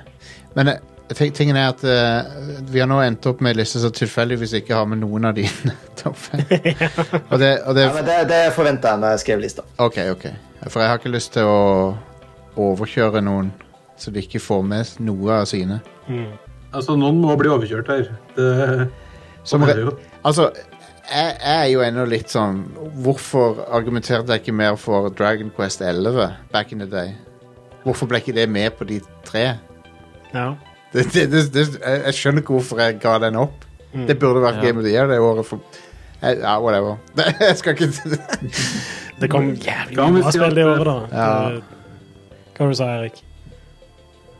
A: Men eh, ting- tingen er at eh, vi har nå endt opp med en liste som tilfeldigvis ikke har med noen av dine topp fem. Og det, og det
D: Ja, men det, det forventa jeg når jeg skrev lista.
A: Ok, ok. For jeg har ikke lyst til å overkjøre noen, så de ikke får med noe av sine.
G: Altså, noen må bli overkjørt her. Det,
A: Som
G: sånn
A: re-
G: er det jo.
A: Altså, jeg, jeg er jo ennå litt sånn Hvorfor argumenterte jeg ikke mer for Dragon Quest 11 back in the day? Hvorfor ble ikke det med på de tre?
B: Ja.
A: Det, det, det, det, jeg jeg skjønner ikke hvorfor jeg ga den opp.
B: Mm.
A: Det burde vært Game of the Year det året. For, jeg, ja, whatever. Jeg skal ikke
B: Det kom jævlig
G: Kan vi
B: Mm. bra
G: si
B: spill
G: at-
B: det året, da.
A: Ja.
B: Det- Hva var det du sa du, Erik?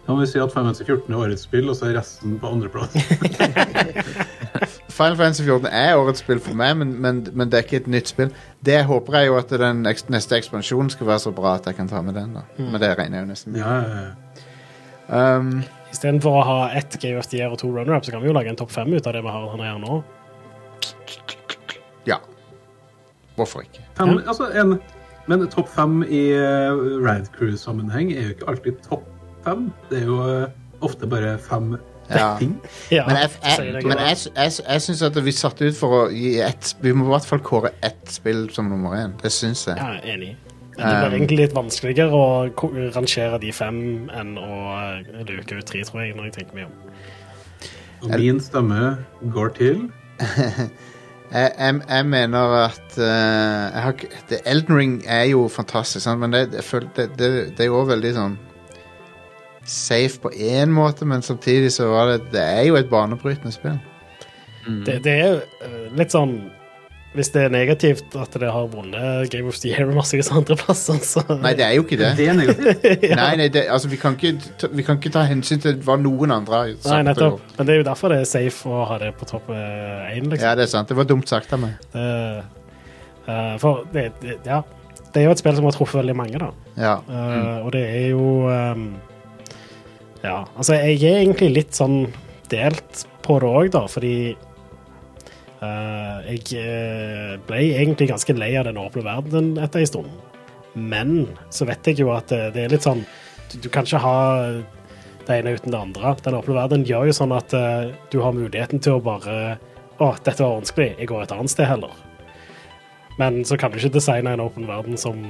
G: Kan vi si at 514 er årets spill, og så er resten på andreplass?
A: Final Fantasy 14 er årets spill for meg, men, men, men det er ikke et nytt spill. Det håper jeg jo at den eks- neste ekspansjonen skal være så bra at jeg kan ta med den. da
B: Mm.
A: Men det regner jeg jo nesten med.
G: Ja, ja, ja.
A: Um,
B: Istedenfor å ha ett Game of the Year og to runner-up, så kan vi jo lage en topp fem ut av det vi har her nede nå.
A: ja. Hvorfor ikke?
G: Fem, altså en, men topp fem i eh, Rad Crew-sammenheng er jo ikke alltid topp fem. Det er jo eh, ofte bare fem
A: Ja.
G: ting.
B: Ja,
A: Men jeg,
B: sier
A: jeg,
B: det
A: men
B: greit.
A: jeg, jeg, jeg syns at vi satte ut for å gi ett Vi må i hvert fall kåre ett spill som nummer én. Det syns jeg.
B: Ja, enig. Men det blir egentlig litt vanskeligere å ko- rangere de fem enn å eh, luke ut tre, tror jeg, når jeg tenker meg om.
G: Og min stemme går til
A: Jeg, jeg, jeg mener at eh, jeg har, ikke- det, Elden Ring er jo fantastisk, sant? men det, jeg føler- det, det, det er jo også veldig sånn safe på én måte, men samtidig så var det Det er jo et banebrytende spill.
B: Det, det er eh, litt sånn Hvis det er negativt at det har vunnet Game of the Year og massevis av andreplasser, så
A: Nei, det er jo ikke det.
G: Det er negativt.
A: Nei, nei, det, altså, vi, kan ikke, ta- vi kan ikke ta hensyn til hva noen andre har sagt.
B: Nei,
A: og
B: nettopp.
A: gjort.
B: Men det er jo derfor det er safe å ha det på topp eh, én, liksom.
A: Ja, det er sant. Det var dumt sagt av meg.
B: Det, eh, for det, det, ja. det er jo et spill som har truffet veldig mange, da.
A: Ja.
B: Eh, Og det er jo ehm, Ja, altså jeg er egentlig litt sånn delt på det òg, da, fordi eh, Eh, jeg eh, ble egentlig ganske lei av den åpne verden etter en stund. Men så vet jeg jo at eh, det er litt sånn Du, du kan ikke ha det ene uten det andre. Den åpne verden gjør jo sånn at eh, du har muligheten til å bare Å, dette var vanskelig. Jeg går et annet sted heller. Men så kan du ikke designe en åpen verden som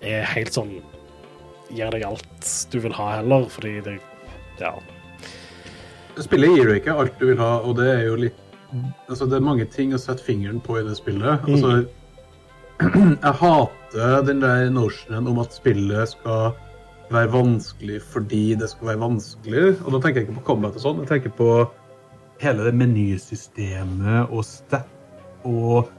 B: er helt sånn Gir deg alt du vil ha heller, fordi det Ja.
G: Spillet gir deg ikke alt du vil ha, og det er jo litt Altså, det er mange ting å sette fingeren på i det spillet. Altså, jeg hater den der notionen om at spillet skal være vanskelig fordi det skal være vanskelig. Og da tenker jeg ikke på combat og sånn, jeg tenker på
F: hele det menysystemet og step og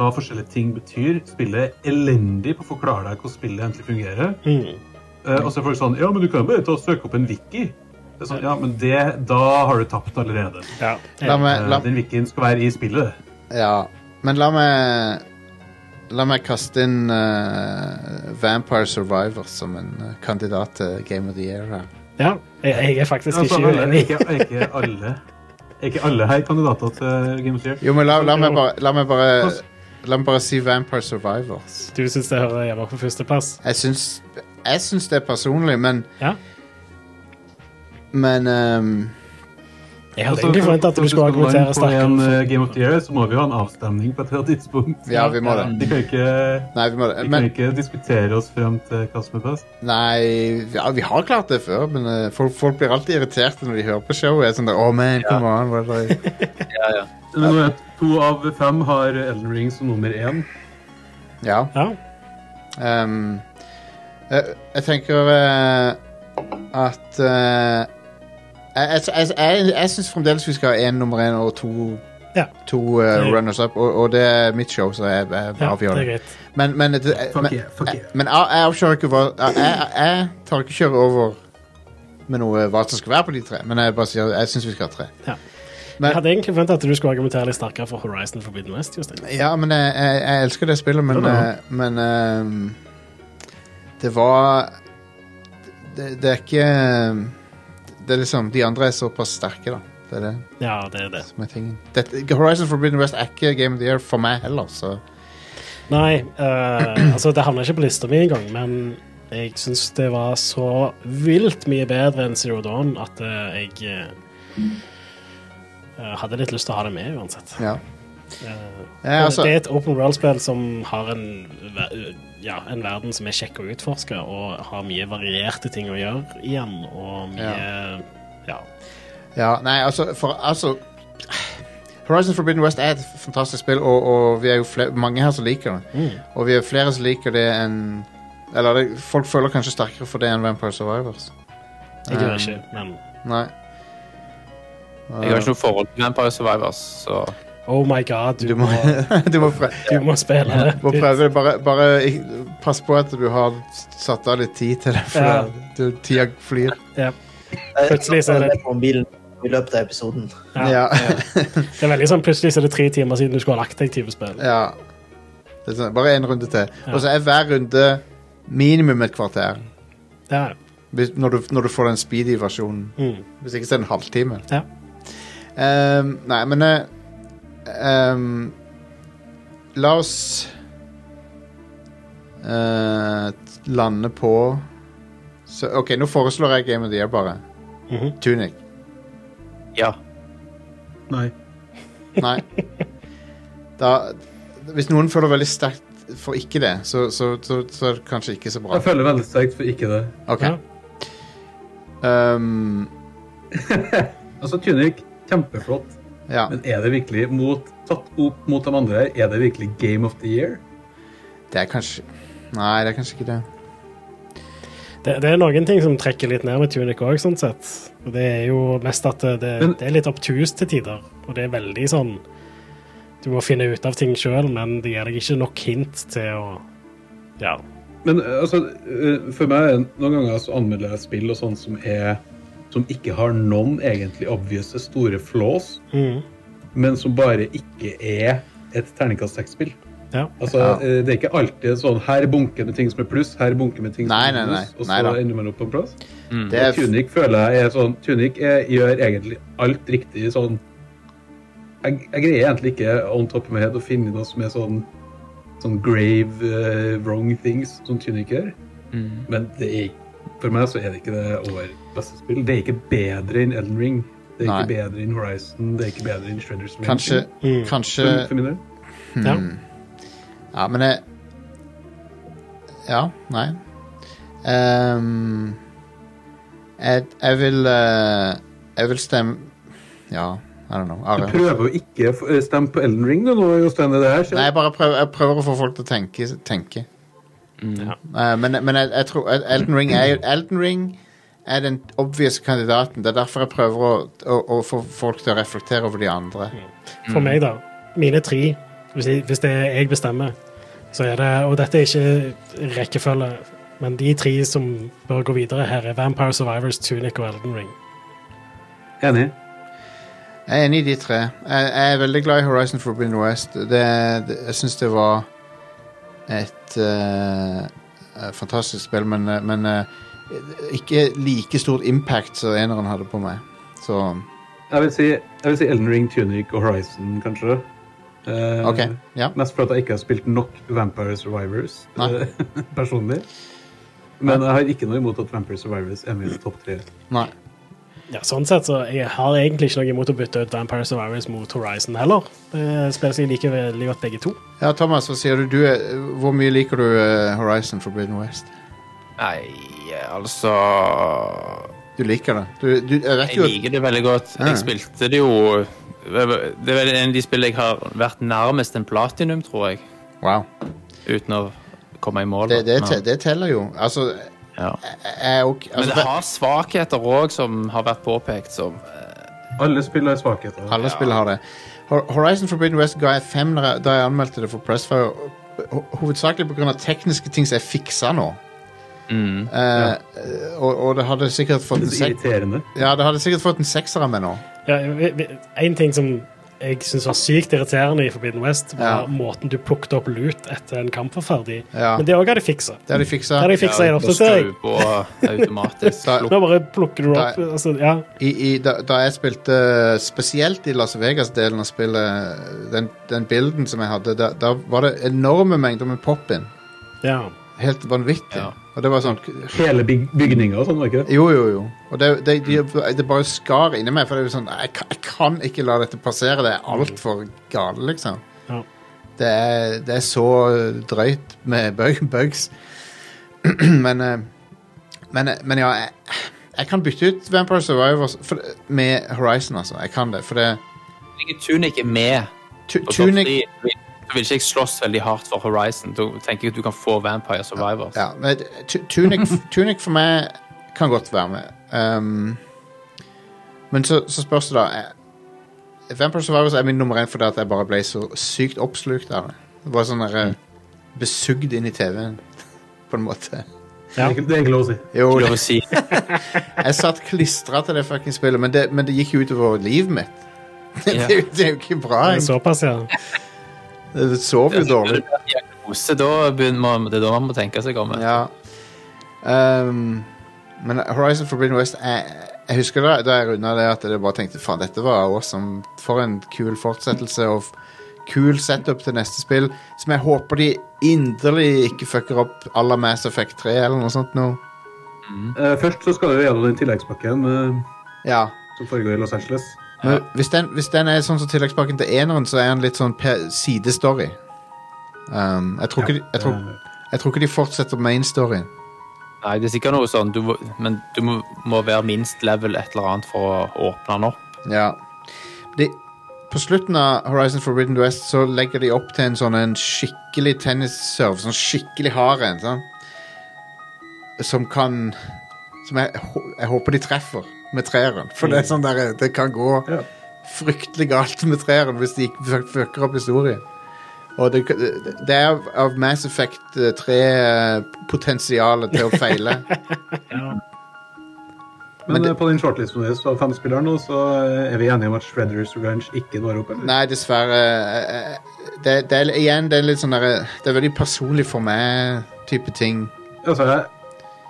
F: hva forskjellige ting betyr. Spillet er elendig på å forklare deg hvordan spillet egentlig fungerer.
B: Mm.
F: Eh, og så er folk sånn Ja, men du kan jo bare ta og søke opp en wiki. Det er sånn, ja, men det, da har du tapt allerede.
B: ja.
A: La meg,
F: Eh,
A: la,
F: Den wikien skal være i spillet.
A: Ja, men la meg La meg kaste inn eh, Vampire Survivor som en eh, kandidat til Game of the Year her.
B: ja. Jeg, jeg er faktisk
F: Altså,
B: ikke
F: alle,
B: uenig.
F: ikke, ikke alle Er ikke alle her kandidater til Game of the Year?
A: Jo, men la, la, meg, bare, la, meg, bare, la meg bare si Vampire Survivors.
B: Du syns det hører hjemme på førsteplass?
A: Jeg syns, jeg syns det er personlig, men
B: Ja.
A: Men ehm,
B: Jeg hadde
F: Altså,
B: egentlig forventa at
F: for
B: du skulle
F: skal
B: argumentere
F: lande på en eh,
B: sterkere.
F: Game of the Year, så må vi jo ha en avstemning på et eller annet tidspunkt.
A: Ja, vi må det.
F: De kan ikke,
A: Nei, vi må det.
F: vi kan
A: Men,
F: ikke diskutere oss frem til hva som er best.
A: nei ja, vi har klart det før, men eh, folk, folk blir alltid irriterte når de hører på showet. Jeg er Sånn der, oh, man, come on, hva er det?
C: Ja, ja.
G: Men nå er To av fem har Elden Ring som nummer én.
A: Ja.
B: Ja.
A: Ehm, jeg, jeg tenker eh, at eh, Jeg, jeg, jeg, jeg syns fremdeles vi skal ha én nummer én og to,
B: Ja.
A: to eh,
B: Det-
A: runners up, og, og det er mitt show, så jeg, jeg
B: ja, det
A: avgjør
B: er
A: det.
B: greit.
A: Men, men, det- jeg- men,
G: Fuck yeah, fuck yeah.
A: men jeg, jeg avkjører ikke hva jeg, jeg, jeg tar ikke kjøret over med noe hva som skal være på de tre, men jeg bare sier jeg syns vi skal ha tre.
B: Ja.
A: Men-
B: Jeg hadde egentlig forventa at du skulle argumentere litt sterkere for Horizon Forbidden West. Justin.
A: Ja, men jeg, jeg, jeg elsker det spillet, men, eh, men ehm, Det var det, det er ikke Det er liksom De andre er såpass sterke, da. Det er det
B: Ja, det er det.
A: som er tingen. Dette, Horizon Forbidden West er ikke Game of the Year for meg heller, så
B: Nei, eh, altså, det havna ikke på lista mi engang, men jeg syns det var så vilt mye bedre enn Zero Dawn at eh, jeg eh, eh, hadde litt lyst til å ha det med uansett.
A: ja.
B: Eh,
A: Eh, altså,
B: det er et open world-spill som har en, ver- ja, en verden som er kjekk å utforske, og har mye varierte ting å gjøre igjen, og mye Ja.
A: Ja, nei, altså, for, altså Horizon Forbidden West er et fantastisk spill, og, og vi er jo fle- mange her som liker det. Og vi er flere som liker det enn Eller det, folk føler kanskje sterkere for det enn Vampire Survivors.
B: Jeg gjør
A: Um,
B: ikke, men
A: Nei.
C: Jeg har ikke noe forhold til Vampire Survivors, så
B: Oh my god, du,
A: Du
B: må,
A: må, du må, prøve,
B: du må spille det.
A: må prøve det. Bare, bare ik- pass på at du har satt av litt tid til det, for
B: Ja.
A: det- du- tida flyr.
D: Eh,
B: Plutselig så er det-
D: på mobilen i løpet av episoden.
B: Ja.
A: Ja.
B: Det er veldig sånn, Plutselig så er det tre timer siden du skulle ha lagt deg til å spille.
A: ja. Det er sånn, bare én runde til.
B: Ja.
A: Og så er hver runde minimum et kvarter.
B: Ja.
A: Hvis, når, du, når du får den speedy versjonen.
B: Mm.
A: Hvis ikke så er det en halvtime.
B: Ja.
A: Ehm, nei, men eh, ehm, La oss eh, lande på så, OK, nå foreslår jeg Game of the Year, bare.
B: Mhm.
A: Tunic.
C: ja.
G: Nei.
A: Nei. Da, hvis noen føler veldig sterkt for ikke det, så, så, så, så er det kanskje ikke så bra.
G: Jeg føler veldig sterkt for ikke det.
A: OK.
B: Ja.
A: Ehm,
G: Altså, Tunic, kjempeflott.
A: ja.
G: Men er det virkelig mot, tatt opp mot de andre her, er det virkelig Game of the Year?
A: Det er kanskje Nei, det er kanskje ikke det.
B: Det, det er noen ting som trekker litt ned med Tunic òg, sånn sett. Og det er jo mest at det, det,
G: Men-
B: det er litt obtust til tider. Og det er veldig sånn Du må finne ut av ting sjøl, men det gir deg ikke nok hint til å Ja.
G: Men eh, altså, eh, for meg, er det noen ganger så anmelder jeg spill og sånn som er som ikke har noen egentlig obvious store flaws,
B: Mm.
G: men som bare ikke er et terningkast seks-spill.
B: Ja.
G: Altså,
A: Ja.
G: eh, Det er ikke alltid sånn her bunker med ting som er pluss, her bunker med ting som
A: Nei,
G: er
A: nei, nei.
G: pluss, og
A: Nei da.
G: så ender man opp på en plass.
A: Mm. Det er,
G: Tunic føler jeg er sånn Tunic er, gjør egentlig alt riktig sånn jeg, jeg greier egentlig ikke on top of my head å finne noe som er sånn, sånn grave eh, wrong things som Tyniker.
A: Mm.
G: Men det er, for meg så er det ikke det over beste spill. Det er ikke bedre enn Elden Ring. Det er ikke
A: Nei.
G: bedre enn Horizon. Det er ikke bedre enn Shredders Mansion.
A: Kanskje,
B: Mm.
A: kanskje
G: For, for min del.
B: Ja.
A: Ja, men jeg Ja, nei. Ehm, jeg, jeg vil eh, Jeg vil stemme Ja, I don't know.
G: Du
A: Are.
G: prøver å ikke f- eh, stemme på Elden Ring du, nå, Jostein. er Det her,
A: Nei,
G: så.
A: jeg bare prøver, jeg prøver å få folk til å tenke. tenke.
C: Mm.
A: Eh, men men jeg, jeg tror eh, Elden Ring er, Elden Ring er den obvious kandidaten. Det er derfor jeg prøver å, å, å få folk til å reflektere over de andre.
B: For meg, da. Mine tre, hvis, jeg, hvis det er jeg bestemmer, så er det Og dette er ikke rekkefølge, men de tre som bør gå videre her, er Vampire Survivors, Tunic og Elden Ring.
G: Enig.
A: Jeg er enig i de tre. Jeg, jeg er veldig glad i Horizon Forbidden West. Det, det, jeg syns det var et eh, eh, fantastisk spill, men, eh, men eh, ikke like stort impact som eneren hadde på meg. Så
G: Jeg vil, si, jeg vil si Elden Ring, Tunic og Horizon, kanskje. Eh,
A: OK.
F: Mm.
A: Ja.
G: Mest fordi jeg ikke har spilt nok Vampire Survivors
A: Nei.
G: eh, personlig. Men jeg har ikke noe imot at Vampire Survivors er med i topp tre.
A: Nei.
B: Ja, sånn sett, så jeg har egentlig ikke noe imot å bytte ut Vampire Survivors mot Horizon heller. Det spiller seg like veldig godt, begge to.
A: Ja, Thomas, hva sier du? du er, hvor mye liker du eh, Horizon Forbidden West?
C: Nei, altså
A: Du liker det. Du, du, jeg vet
C: Jeg
A: jo
C: liker det veldig godt.
A: Ja.
C: Jeg spilte det jo Det er vel en av de spillene jeg har vært nærmest en platinum, tror jeg.
A: Wow.
C: Uten å komme i mål.
A: Det, det,
C: Men-
A: te, det teller jo. Altså,
C: ja.
A: jeg, jeg, er ok-
C: Men
A: altså
C: det har svakheter òg, som har vært påpekt. Som,
G: Alle spill har svakheter.
A: Alle spill har det. Hor- Horizon Forbidden West ga jeg fem når jeg- da jeg anmeldte det for Pressfire. ho- Hovedsakelig pga. tekniske ting som jeg fiksa nå.
C: mm.
A: Eh, og, og det hadde sikkert fått en
G: Det er
A: sek
G: irriterende.
A: Ja, det hadde sikkert fått en sekser av meg nå.
B: Ja, vi- vi- en ting som jeg syns var sykt irriterende i Forbidden West, var
A: Ja.
B: måten du plukket opp lut etter en kamp var ferdig.
A: Ja.
B: Men det òg hadde jeg fiksa.
A: Det har de
B: Det
A: fiksa.
B: hadde jeg fiksa i en oppdatering.
C: Skru på automatisk.
A: Da-
C: slukk.
B: Nå bare plukker du opp
A: Da-
B: altså, ja.
A: I, i, da, da jeg spilte eh, spesielt i Las Vegas-delen av spillet, eh, den, den bilden som jeg hadde, da, da var det enorme mengder med pop-in.
B: ja.
A: Helt vanvittig.
C: Ja.
A: Og det var sånn
G: Hele byg bygninger og sånn, var ikke det?
A: Jo, jo, jo. Og det, det, de, det bare skar inni meg. For det er jo sånn Jeg, kan- jeg kan ikke la dette passere. Det er altfor galt, liksom.
B: Ja.
A: Det, er, det er så drøyt med bug, bugs. men, eh, men eh, Men ja, jeg, jeg kan bytte ut Vampire Survivors for, med Horizon, altså. Jeg kan det. For det
C: Ligger Tunic er med
A: tu,
C: på topp
A: Tunic
C: tre, så vil ikke jeg slåss veldig hardt for Horizon. Da tenker jeg at du kan få Vampire Survivors.
A: Ja, men tu- tunic, tunic for meg kan godt være med. Ehm, men så, så spørs det da eh, Vampire Survivors er min nummer én fordi at jeg bare ble så sykt oppslukt av det. Det var sånn der, eh, besugd inn i TV-en, på en måte.
G: Det er ikke- Det er ikke lov å si.
A: Jo,
C: Ikke lov å si.
A: jeg satt klistra til det fucking spillet, men det, men det gikk jo utover livet mitt. det,
C: Ja.
A: er jo- det er jo ikke bra.
B: Det er
A: Jeg
B: Såpass, ja.
A: jeg sov jo dårlig.
C: Diagnose, da begynner man, det er da man må tenke seg om.
A: Ja. Ehm, men Horizon Forbidden West jeg, jeg husker da, da jeg runda det, at jeg bare tenkte faen, dette var awesome. For en kul fortsettelse og f- kul setup til neste spill. Som jeg håper de inderlig ikke fucker opp à la Mass Effect 3 eller noe sånt nå. Mm.
G: Eh, først så skal du gjennom den tilleggspakken eh,
A: Ja.
G: som foregår i Los Angeles.
A: Men Hvis, den, hvis den er sånn som tilleggspakken til eneren, så er den litt sånn pe- sidestory. Ehm, jeg, tror ikke, de- jeg, tror,
G: Eh,
A: jeg tror ikke de fortsetter main storyen.
C: Nei, det er sikkert noe sånn, du må, men du må, må være minst level et eller annet for å åpne den opp.
A: Ja. De, på slutten av Horizon Forbidden West så legger de opp til en sånn en skikkelig tennisserve. Sånn skikkelig hard en. Sånn, som kan Som jeg, hå- jeg håper de treffer med treeren. For det er sånn der, det kan gå
G: Ja.
A: fryktelig galt med treeren hvis de ikke fuck- fucker opp historien. Og det, det er av- av Mass Effect 3-potensialet til å feile.
G: Men,
A: Men det-
G: eh, på den shortlisten vår av fem spillere nå, så eh, er vi enige om at Shredders Revenge ikke når opp. eller?
A: Nei, dessverre. eh, eh, Det, det er igjen det er litt sånn derre Det er veldig personlig for meg type ting.
G: Altså, jeg,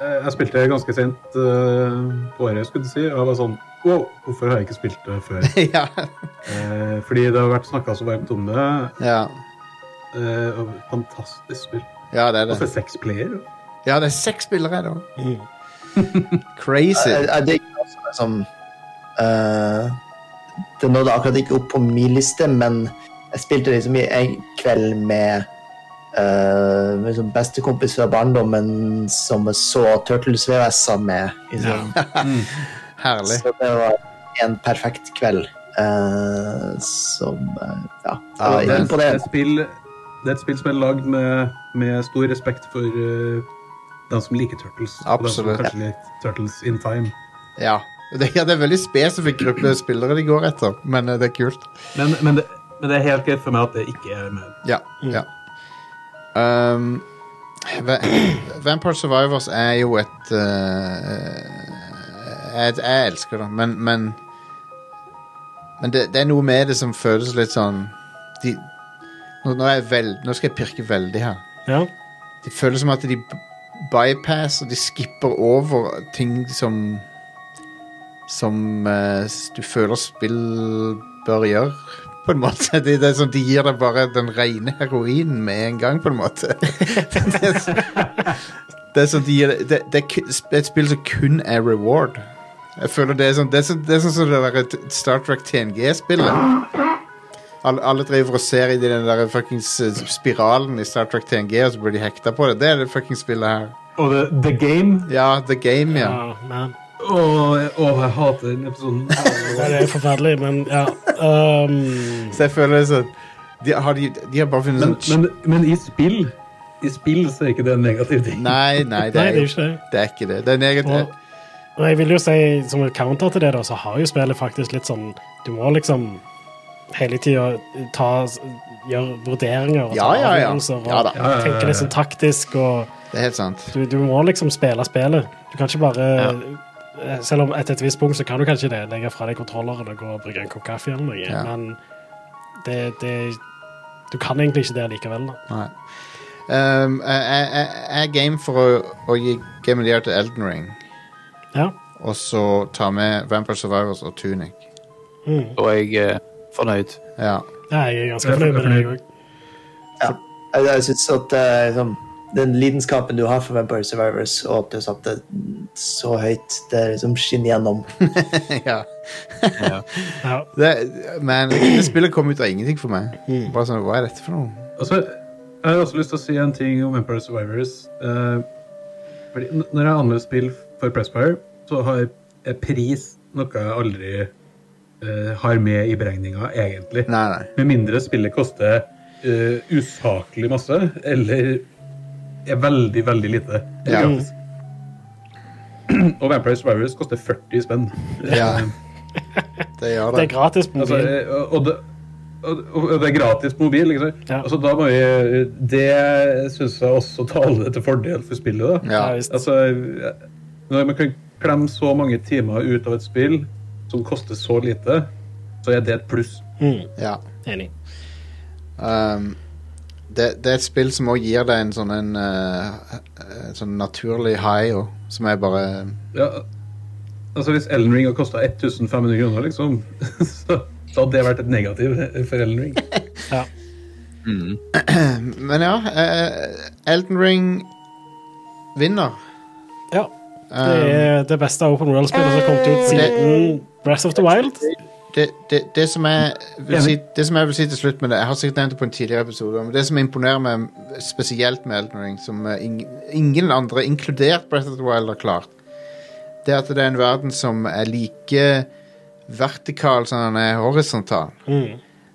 G: eh, jeg spilte ganske sent eh, på året, skulle du si. Og jeg var sånn Wow, hvorfor har jeg ikke spilt det før?
A: ja.
G: Eh, fordi det har vært snakka så varmt om det.
A: ja.
G: eh, og fantastisk spill.
A: Ja, det er
G: Og
A: det.
G: for seks player.
A: Ja, det er seks spillere, da. Crazy.
D: Jeg, jeg digger også Eh, det som sånn, eh, Det nådde akkurat ikke opp på min liste, men jeg spilte liksom i en kveld med eh, med liksom bestekompis fra barndommen som jeg så Turtles VHS-er med. Liksom.
A: Herlig.
D: Så det var en perfekt kveld. eh, som eh, Ja.
A: Ja,
D: Jeg var
A: det-
F: Det er
D: imponerende.
F: et spill, det er et spill som er lagd med, med stor respekt for eh, dem som liker Turtles.
A: Absolutt.
F: Og dem som kanskje liker Turtles in time.
A: Ja. Det, ja, det er en veldig spesifikk gruppe spillere de går etter, men eh, det er kult.
F: Men, men, det, men det er helt greit for meg at det ikke er med.
A: Ja. ja. Um, Va- Vampire Survivors er jo et eh, jeg, jeg elsker det, men Men, men det, det er noe med det som føles litt sånn de, nå, nå, er jeg veld, nå skal jeg pirke veldig her.
B: Ja.
A: Det føles som at de b- bypasser, de skipper over ting som Som eh, s- du føler spill bør gjøre, på en måte. Det, det er sånn, de gir deg bare den rene heroinen med en gang, på en måte. det, er så, det er sånn de gir deg- det, det, er ku- sp- et spill som kun er reward. Jeg føler Det er sånn det er sånn, det er sånn som det der t- Star Trek TNG-spillet. Alle, alle driver og ser i den der fuckings eh, spiralen i Star Trek TNG, og så blir de hekta på det. Det er det fuckings spillet her.
F: Og The, the Game
A: Ja, The Game, ja.
B: ja men,
F: Åh, jeg- åh, jeg hater den episoden.
B: det er forferdelig, men ja. Um,
A: Så jeg føler det sånn de har, de, de har bare funnet
F: Men,
A: sånn
F: men, men i spill I spill så er ikke det en negativ ting.
A: Nei, nei, det
B: nei,
A: er,
B: det er jo ikke det.
A: det er ikke det. Det er negativt.
B: Og, og jeg vil jo si, som en counter til det, da, så har jo spillet faktisk litt sånn Du må liksom hele tida ta Gjøre vurderinger og ta
A: Ja, ja, ja.
B: avgjørelser og
A: Ja da.
B: tenke litt sånn taktisk og
A: Det er helt sant.
B: du, du må liksom spille spillet. Du kan ikke bare eh, Selv om etter et visst punkt så kan du kanskje det, legge fra deg kontrolleren og gå og brygge en kopp kaffe eller noe,
A: Ja.
B: men det, det Du kan egentlig ikke det likevel, da.
A: Nei. Um, jeg, jeg, jeg- jeg er game for å, å gi Game of the Year til Elden Ring,
B: Ja.
A: og så ta med Vampire Survivors og Tunic.
B: Mm.
C: Og jeg er fornøyd.
A: Ja.
B: ja jeg er ganske fornøyd med det, jeg òg.
D: Jeg, jeg synes at eh, liksom, den lidenskapen du har for Vampire Survivors, og at du satte så høyt, det liksom skinner gjennom.
A: ja.
B: Ja.
A: Det, men det spillet kom ut av ingenting for meg. Bare sånn, Hva er dette for noe?
F: Og så jeg har også lyst til å si en ting om Empire Survivors. Eh, fordi n- når jeg anmelder spill for Pressfire, så har er pris noe jeg aldri eh, har med i beregninga, egentlig.
A: Nei, nei.
F: Med mindre spillet koster eh, usaklig masse, eller er veldig, veldig lite.
A: Ja.
F: gratis. Og Vampire Survivors koster 40 spenn.
A: Ja. Det gjør
B: Det er
A: det.
B: gratis på
F: Altså,
B: mobilen.
F: og, og, det, og, og det er gratis på mobil. Ikke sant?
B: Ja.
F: Altså, da må vi, det syns jeg også taler til fordel for spillet. Da.
A: Ja.
B: Ja, visst.
F: Altså, når man kan klemme så mange timer ut av et spill som koster så lite, så er det et pluss.
B: Mm,
A: ja.
B: enig.
A: Um, det, det er et spill som også gir deg en sånn en eh, eh, sånn naturlig high, og, som er bare
F: Ja, altså, hvis Ellen Ring har kosta 1500 kroner, liksom, så, så hadde det vært et negativ for Ellen Ring.
B: Ja.
A: Men ja, eh, Elden Ring vinner.
B: ja. Det
A: Um,
B: er det beste open world-spillet som har kommet ut siden Breath of the Wild.
A: det, det, det, som jeg vil si, det som jeg vil si til slutt med det Jeg har sikkert nevnt det på en tidligere episode men Det som imponerer meg spesielt med Elden Ring Som eh, ing, ingen andre, inkludert Breath of the Wild har klart Det er at det er en verden som er like Vertikal som den er horisontal
B: Mm.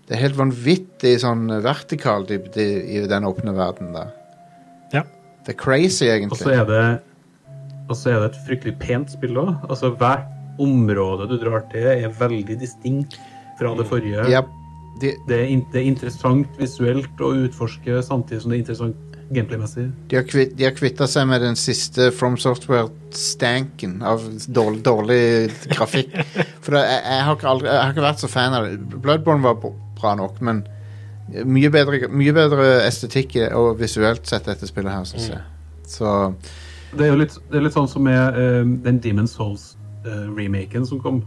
A: Det er helt vanvittig sånn vertikal dybde i i den åpne verden der
B: Ja.
A: Det er crazy
F: Og så
A: egentlig
F: er det og så er det et fryktelig pent spill òg. Altså, hvert område du drar til, er veldig distinkt fra det forrige.
A: Ja, de,
F: Det, er in det er interessant visuelt å utforske, samtidig som det er interessant gameplay-messig.
A: De har, kvitt, de har kvittet seg med den siste From Software-stanken av dårlig, dårlig grafikk. For det, jeg, jeg, har ikke aldri, jeg har ikke vært så fan av det. Bloodborne var bo- bra nok, men mye bedre, mye bedre estetikk og visuelt sett dette spillet her, synes jeg. Så
F: Det er jo litt, det er litt sånn som med eh, den Demon Souls-remaken som kom.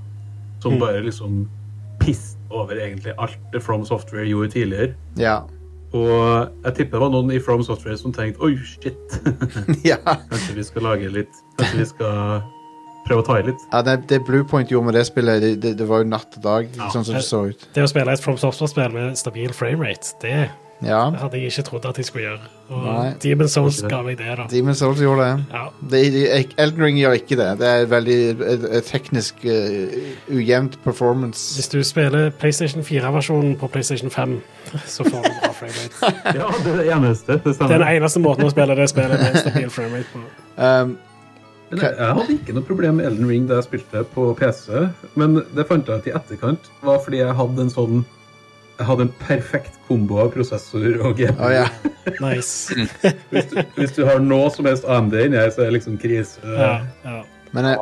F: Som bare liksom pisset over egentlig alt det From Software gjorde tidligere.
A: Ja.
F: Og jeg tipper det var noen i From Software som tenkte oi, shit.
A: ja.
F: Kanskje vi skal lage litt Kanskje vi skal prøve å ta i litt.
A: ja det, det Bluepoint gjorde med det spillet, det, det, det var jo natt og dag, sånn som det så ut.
B: Det å spille et From Software-spill med stabil framerate, det
A: Ja.
B: hadde jeg ikke trodd at jeg skulle gjøre. Og
A: Nei.
B: Demon Souls ga meg det, da.
A: Demon's Souls gjorde det.
B: Ja.
A: det de- Elden Ring gjør ikke det. Det er veldig eh, eh, teknisk eh, ujevnt performance.
B: Hvis du spiller PlayStation 4-versjonen på PlayStation 5, så får du bra framerate.
F: Ja, det er det eneste. Det
B: Det er
F: stemmer.
B: den eneste måten å spille det spillet med stabil framerate på.
A: Um,
F: Men jeg jeg hadde ikke noe problem med Elden Ring da jeg spilte på PC, men det fant jeg ut i etterkant var fordi jeg hadde en sånn jeg hadde en perfekt kombo av prosessor og GPU.
A: å ja.
B: Nice.
F: hvis, du, hvis du har noe som helst AMD inni her, så er det liksom krise.
B: Ja, ja.
A: Men jeg,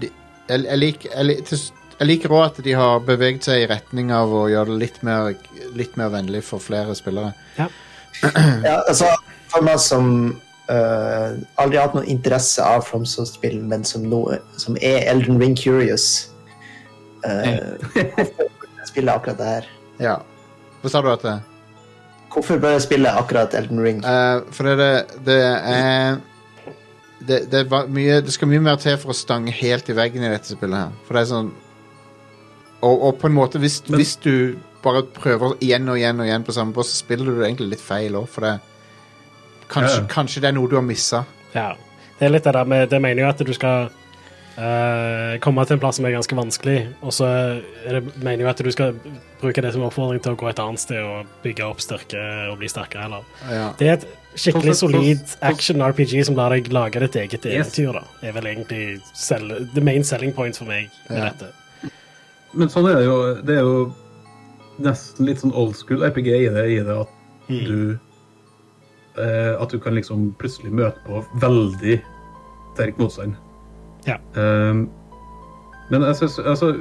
A: de- jeg, jeg, liker- jeg, lik- til s- jeg liker òg at de har beveget seg i retning av å gjøre det litt mer, litt mer vennlig for flere spillere.
D: Ja, altså, for meg som eh, aldri har hatt noen interesse av FromSoft-spill, men som, nå- som er Elden Ring Curious eh, Hvorfor bør jeg spille akkurat det her?
A: Ja. Hva sa du at det
D: Hvorfor bør jeg spille akkurat Elden Ring?
A: Eh, For det, det, det er det, det, er va- mye, det skal mye mer til for å stange helt i veggen i dette spillet her. For det er sånn Og, og på en måte, hvis, hvis du bare prøver igjen og igjen og igjen på samme båt, så spiller du det egentlig litt feil òg, for det kanskje,
F: Ja, ja.
A: kanskje det er noe du har missa.
B: ja. Det er litt det der med Det mener jo at du skal eh, komme til en plass som er ganske vanskelig, og så er det, mener jo at du skal bruke det som oppfordring til å gå et annet sted og bygge opp styrke og bli sterkere, eller
A: Ja.
B: Det er et skikkelig
F: Sånn sett,
B: solid
F: sånn-
B: action-RPG som lar deg lage ditt eget
F: Yes.
B: eventyr, da. Det er vel egentlig sel- the main selling point for meg med
A: Ja.
B: dette.
F: Men sånn er det jo. Det er jo nesten litt sånn old school RPG i det, i det at du eh, At du kan liksom plutselig møte på veldig sterk motstand.
B: Ja.
F: Ehm, men jeg synes, altså,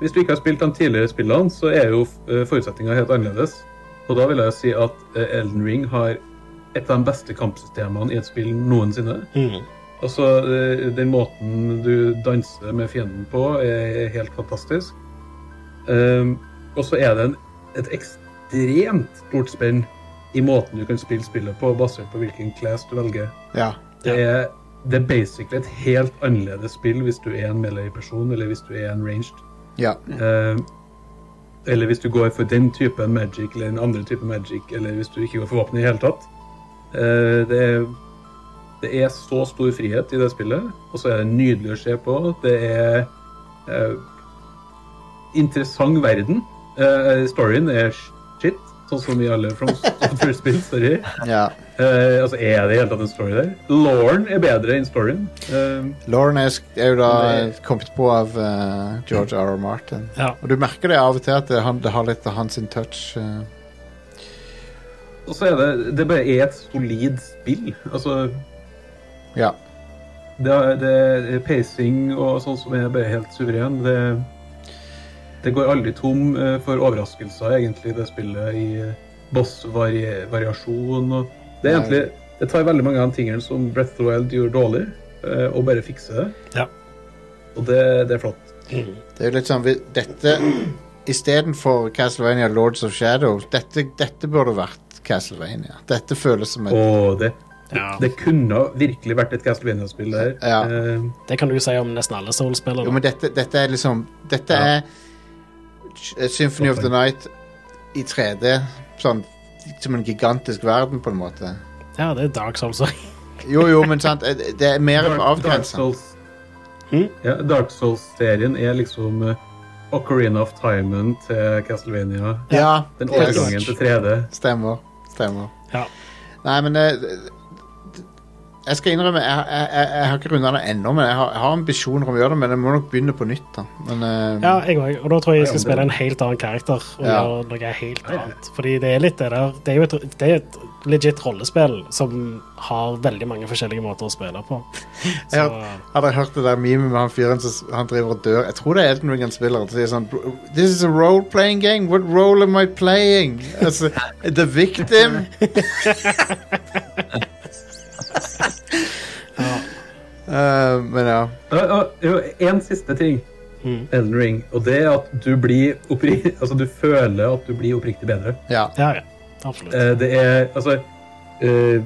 F: hvis du ikke har spilt de tidligere spillene, så er jo eh, forutsetninga helt annerledes. Og da vil jeg si at eh, Elden Ring har et av de beste kampsystemene i et spill noensinne.
B: Mm.
F: Altså, eh, den måten du danser med fienden på, er helt fantastisk. Ehm, og så er det en, et ekstremt stort spenn i måten du kan spille spillet på, basert på hvilken class du velger.
A: Ja.
F: Det er, det er basically et helt annerledes spill hvis du er en melee-person, eller hvis du er en ranged.
A: ja.
F: Ehm, eller hvis du går for den typen magic eller den andre typen magic, eller hvis du ikke går for våpen i det hele tatt. Eh, det, er, det er så stor frihet i det spillet, og så er det nydelig å se på. Det er eh, interessant verden. Eh, storyen er shit, sånn som i alle From Software-spill. Sorry.
A: ja.
F: Eh, altså, er det i det hele tatt en story der? Lauren er bedre enn storyen. Eh,
A: Lauren er, sk- er jo da kommet på av eh, George R. R. Martin.
B: Ja.
A: Og du merker det av og til at det, han, det har litt av hans touch. eh.
F: og så er det, det bare er et solid spill. Altså,
A: ja.
F: Det, er- det er pacing og sånn som er bare helt suveren. Det, det går aldri tom eh, for overraskelser, egentlig, det spillet i eh, boss-variasjon. og Det er
A: Nei.
F: egentlig Det tar veldig mange av de tingene som Breath of the Wild gjør dårlig, eh, og bare fikser det.
B: Ja.
F: Og det, det er flott.
A: Det er jo litt sånn vi- Dette Istedenfor Castlevania Lords of Shadow Dette, dette burde vært Castlevania. Dette føles som et
F: Og det,
B: Ja.
F: det kunne virkelig vært et Castlevania-spill, det her.
A: Ja.
F: Eh,
B: Det kan du si om nesten alle
A: Jo,
B: Soul-spillere.
A: men dette, dette er liksom Dette
F: Ja.
A: er Symphony of the Night i 3D. Sånn som en gigantisk verden, på en måte.
B: Ja, det er Dark Souls òg.
A: Jo, jo, men sant eh, Det er mer på
F: Dark, Dark
A: avgrensa.
F: Souls Hmm? ja, Dark Souls-serien er liksom eh, Ocarina of Timen til Castlevania.
A: Ja.
F: Den
A: det er-
F: overgangen til 3D.
A: Stemmer. Stemmer.
B: Ja.
A: Nei, men eh, d- Jeg skal innrømme, jeg, jeg, jeg, jeg har ikke runda det ennå, men jeg har, jeg har ambisjoner om å gjøre det. Men jeg må nok begynne på nytt, da. Men, eh,
B: Ja, jeg òg. Og da tror jeg jeg skal
F: Ja, men det-
B: spille en helt annen karakter. Og
A: Ja.
B: gjøre noe helt annet. Fordi det er litt det der Det er jo et, det er et legit rollespill som har veldig mange forskjellige måter å spille på. Så
A: Jeg har, har dere hørt det der meme med han fyren som s- han driver og dør? Jeg tror det er Elden Ring han spiller. Han sier sånn This is a role-playing game. What role am I playing? Altså, the victim? Eh, men ja.
F: Én siste ting,
B: Mm.
F: Elden Ring, og det er at du blir oppri... Altså, du føler at du blir oppriktig bedre.
A: ja.
B: Ja, ja. Absolutt.
F: Eh, Det er Altså eh,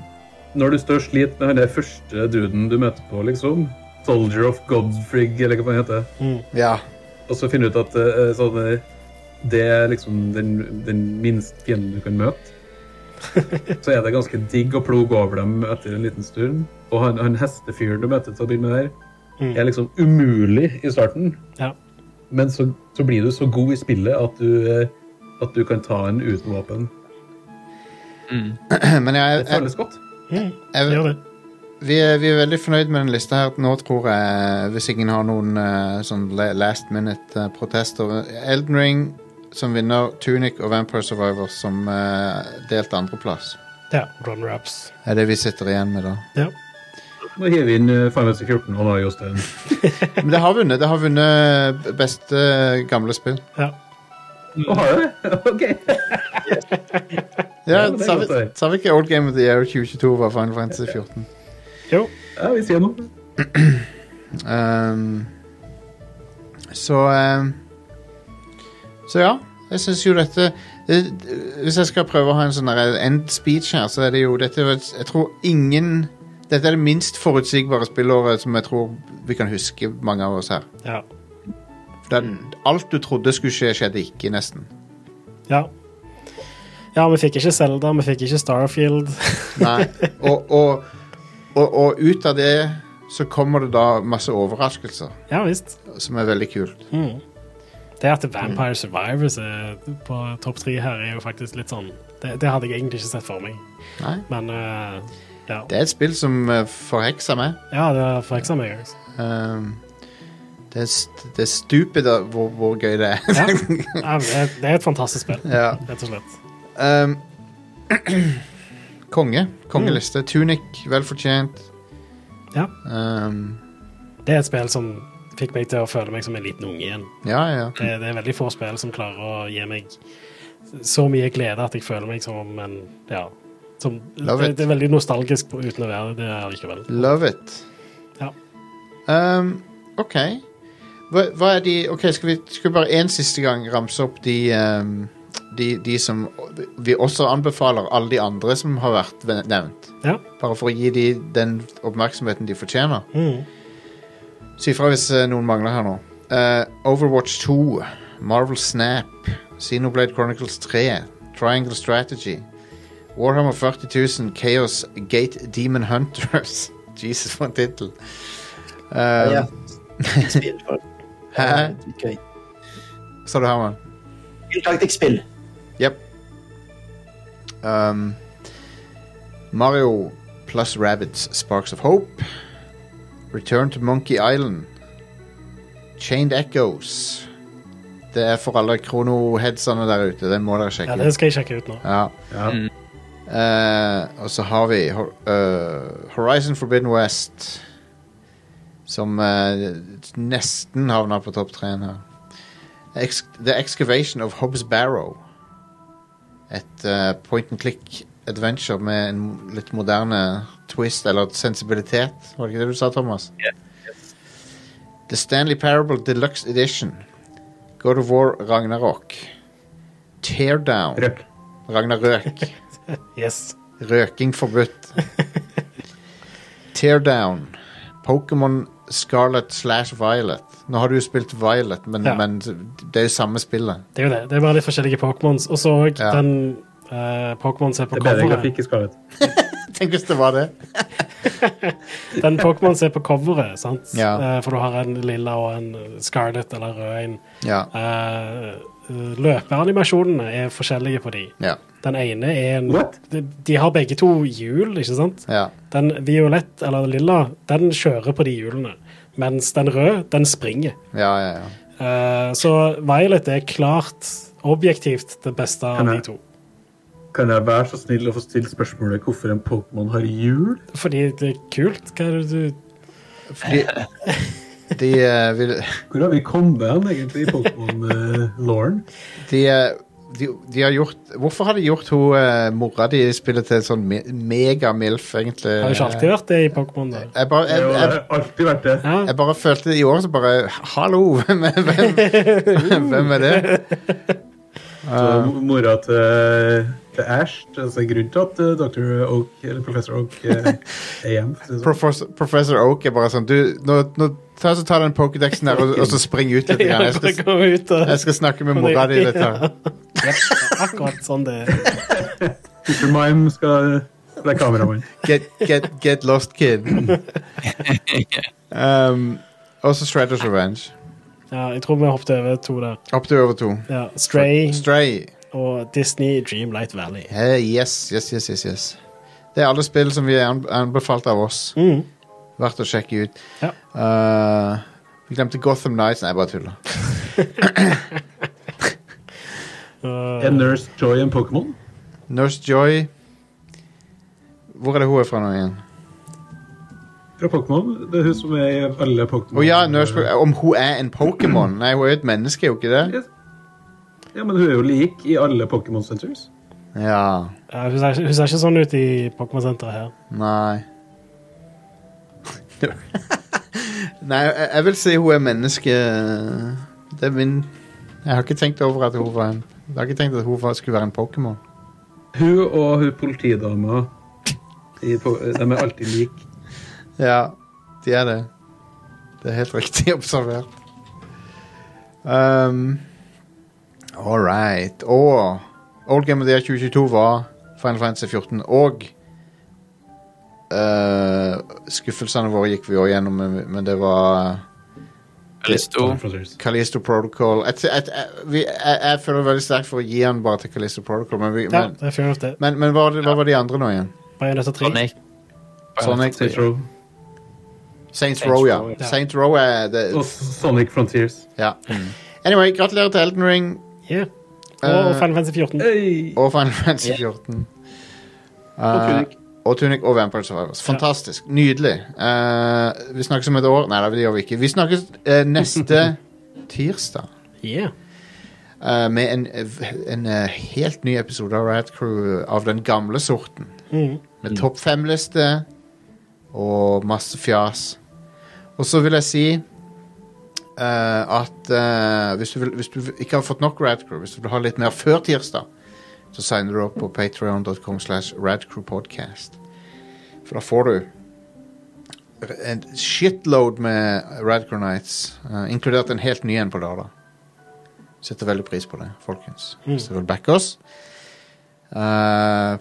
F: Når du står og sliter med den der første duden du møter på, liksom Soldier of Godfrig, eller hva faen det heter.
A: Ja.
F: Og så finner du ut at eh, sånn, eh, det er liksom den, den minste fienden du kan møte. Så er det ganske digg å ploge over dem etter en liten stund. Og han, han hestefyren du møter til å begynne med der, er liksom umulig i starten.
B: Ja.
F: Men så, så blir du så god i spillet at du, eh, at du kan ta en uten våpen.
A: Men jeg,
F: Det
A: jeg,
F: føles godt.
A: jeg,
B: Gjør Mm, det.
A: vi, er, vi er veldig fornøyd med den lista her nå, tror jeg. Hvis ingen har noen eh, sånn la- last minute-protester. Elden Ring som vinner, Tunic og Vampire Survivor som eh, delt andreplass.
B: Ja. Run wraps.
A: Det er det vi sitter igjen med, da.
B: Ja.
F: Nå hiver vi inn eh, Final Fantasy 14 og da, Jostein.
A: Men det har vunnet. Det har vunnet b- beste eh, gamle spill.
B: ja.
F: Å, har du det? OK.
A: Ja,
F: Ja, det er
A: sa vi,
F: godt å høre.
A: sa vi ikke Old Game of the Year 2022 var Final Fantasy 14?
B: Jo.
F: Ja, vi sier noe.
A: Ehm, så ehm, Så ja. Jeg syns jo dette det- det- Hvis jeg skal prøve å ha en sånn der end speech her, så er det jo dette er et- Jeg tror ingen Dette er det minst forutsigbare spillåret som jeg tror vi kan huske, mange av oss her.
B: Ja.
A: Det, alt du trodde skulle skje, skjedde ikke, nesten.
B: ja. Ja, vi fikk ikke Zelda, vi fikk ikke Starfield.
A: Nei. Og, og, og, og ut av det så kommer det da masse overraskelser,
B: Ja visst.
A: som er veldig kult.
B: Mm. Det at Vampire Survivors er på topp tre her, er jo faktisk litt sånn Det, det hadde jeg egentlig ikke sett for meg,
A: Nei.
B: men eh, ja.
A: Det er et spill som eh, forhekser meg.
B: ja, det forheksa meg også.
A: Um, det, er st det er stupid av hvor, hvor gøy det er.
B: Ja. Ja, men det, det er et fantastisk spill,
A: ja.
B: rett og slett.
A: um, konge. Kongeliste. Tunic, vel fortjent.
B: Mm. Ja.
A: Um,
B: Det er et spill som fikk meg til å føle meg som en liten unge igjen.
A: ja, ja.
B: Det, det er veldig få spill som klarer å gi meg så mye glede at jeg føler meg som en ja, som,
A: Love
B: det,
A: it.
B: det er veldig nostalgisk uten å være det, det er likevel.
A: Love it.
B: Ja.
A: Um, OK. Hva, hva er de OK, skal vi, skal vi bare en siste gang ramse opp de, um, de De som vi også anbefaler alle de andre som har vært ve- nevnt?
B: Ja.
A: Bare for å gi de den oppmerksomheten de fortjener.
B: Mm.
A: Si ifra hvis eh, noen mangler her nå. Eh, Overwatch 2, Marvel Snap, Xenoblade Chronicles 3, Triangle Strategy, Warhammer 40 000, Chaos Gate Demon Hunters. Jesus, for en tittel. Eh,
D: Ja. Spill for
A: Hæ?
D: Gøy.
A: Sa du Herman?
D: Taktikkspill.
A: Jepp. Um, Mario pluss Rabbits Sparks of Hope. Return to Monkey Island. Chained Echoes. Det er for alle kronoheadsene der ute. Den må dere
B: ja,
A: sjekke
B: det
A: ut.
B: skal jeg sjekke ut nå.
A: Ja.
F: Ja.
A: Eh, og så har vi Hor- eh, Horizon Forbidden West, som eh, nesten havna på topp tre her. Ex The Excavation of Hobbs Barrow. Et eh, point and click adventure med en litt moderne twist, eller sensibilitet. Var det ikke det du sa, Thomas? The Stanley Parable Deluxe Edition. God of War Ragnarok. Teardown.
F: Røk.
A: Ragnarøk.
B: Yes.
A: Røking forbudt. Teardown. Pokémon Scarlet slash Violet. Nå har du jo spilt Violet, men,
B: Ja.
A: men det er jo samme spillet.
B: Det er jo det. Det er bare litt forskjellige Pokémons. Og så òg
A: Ja.
B: den uh, Pokémon som er på
F: Det er bedre
B: coveret.
F: grafikk i Scarlett.
A: Tenk hvis det var det.
B: Den Pokémon som er på coveret, sant?
A: Ja.
B: Eh, for du har en lilla og en scarlet eller rød en.
A: Ja.
B: Eh, løpeanimasjonene er forskjellige på de.
A: Ja.
B: Den ene er en
F: What?
B: de, de har begge to hjul, ikke sant?
A: ja.
B: Den violett eller lilla, den kjører på de hjulene. Mens den røde, den springer.
A: ja, ja, ja.
B: Eh, så Violet er klart objektivt det beste av
F: Kan
B: de
F: jeg-
B: to.
F: Kan jeg være så snill å få stilt spørsmålet hvorfor en Pokémon har hjul?
B: Fordi det er kult. Hva er det du
A: Fordi De, eh, vil-
G: eh,
F: Hvor har vi kommet hen, egentlig, i Pokémon-lauren?
A: de eh, de, de har gjort Hvorfor har de gjort hun eh, mora di i spillet til en sånn me mega-MILF, egentlig?
B: Det har jo ikke alltid vært det i Pokémon. da.
A: Eh. Jeg bare,
G: Det
A: jeg,
G: har
A: jeg,
G: alltid vært det.
B: Ja.
A: jeg bare følte i år så bare Hallo, hvem er, hvem, hvem er det?
G: Så mora til, til Ash Det er altså grunnen til at eh, Dr. Oak, eller professor Oak eh, er hjemme. for å si det sånn.
A: Professor, Eh, Professor Oak er bare sånn Du, nå, nå ta, så ta den pokédexen der og, og så spring ut litt.
B: Ja,
A: Grann. Jeg,
B: bare
A: skal,
B: gå ut og
A: jeg skal snakke med mora di litt her.
B: Akkurat sånn det er.
G: Teacher Mime skal være kameramann.
A: Get, get, get lost, kid. Um, og så Shredders Revenge.
B: Ja, jeg tror vi hoppet over to der.
A: Opp til over to.
B: Ja, Stray
A: Stray.
B: og Disney Dreamlight Valley.
A: Hey, yes, yes, yes, yes, yes. Det er alle spill som vi er anb- anbefalt av oss.
B: Mm.
A: Verdt å sjekke ut.
B: Ja.
A: Uh, vi glemte Gotham Nights. Nei, jeg bare tuller.
B: Uh, Eh,
G: Er Nurse Joy en Pokémon?
A: Nurse Joy. Hvor er det hun er fra nå igjen?
G: Fra Pokémon? Det er hun som er i alle Pokémon.
A: Å ja, Nurse Joy. Om hun er en Pokémon? Nei, hun er jo et menneske, er hun ikke det?
G: Ja, men hun er jo lik i alle Pokémon Centers.
A: Ja.
B: ja, hun, ser, ikke- hun ser ikke sånn ut i Pokémon-senteret her.
A: Nei. Nei, jeg, jeg vil si hun er menneske. Det er min Jeg har ikke tenkt over at hun var en Jeg har ikke tenkt at hun var, skulle være en Pokémon.
G: Hun og hun politidama i po- De er alltid like.
A: Ja, de er det. Det er helt riktig observert. Um, all right. Og Old Game of the Year 2022 var Final Fantasy 14 og eh, Skuffelsene våre gikk vi òg gjennom, men- men det var
C: Listo.
A: Kalisto Protocol jeg, jeg, jeg, vi- jeg, jeg føler veldig sterkt for å gi han bare til Kalisto Protocol, men, vi,
B: Ja,
A: men,
B: det er fair of det.
A: men, men hva, var det- hva var de andre nå igjen?
B: Bayonetta 3.
C: Sonic.
A: Sonic.
G: Saints Row.
A: Saints
C: Saints
A: Row, ja.
C: Row,
B: ja.
A: Saints Row er det,
G: Og Sonic Frontiers.
A: ja. Anyway, gratulerer til Elden Ring
B: Yeah.
A: Eh,
B: Og Final Fantasy 14.
G: Hey!
A: og Final Fantasy 14.
G: Og
A: Eh,
G: Tunic.
A: og Tunic og Vampire Survivors. Fantastisk. Nydelig. Eh, vi snakkes om et år. Nei, det gjør vi ikke. Vi snakkes eh, neste tirsdag.
B: Yeah.
A: eh, med en, en eh, helt ny episode av Riot Crew av den gamle sorten.
B: Mm.
A: Med topp fem-liste og masse fjas. Og så vil jeg si eh, at eh, hvis, du vil, hvis du ikke har fått nok Radcrew, hvis du vil ha litt mer før tirsdag, så signer du opp på patreon.com slash radcrewpodcast. For da får du en shitload med Radcrew Nights, eh, inkludert en helt ny en på lørdag. Setter veldig pris på det, folkens. Hvis dere vil backe oss. Eh,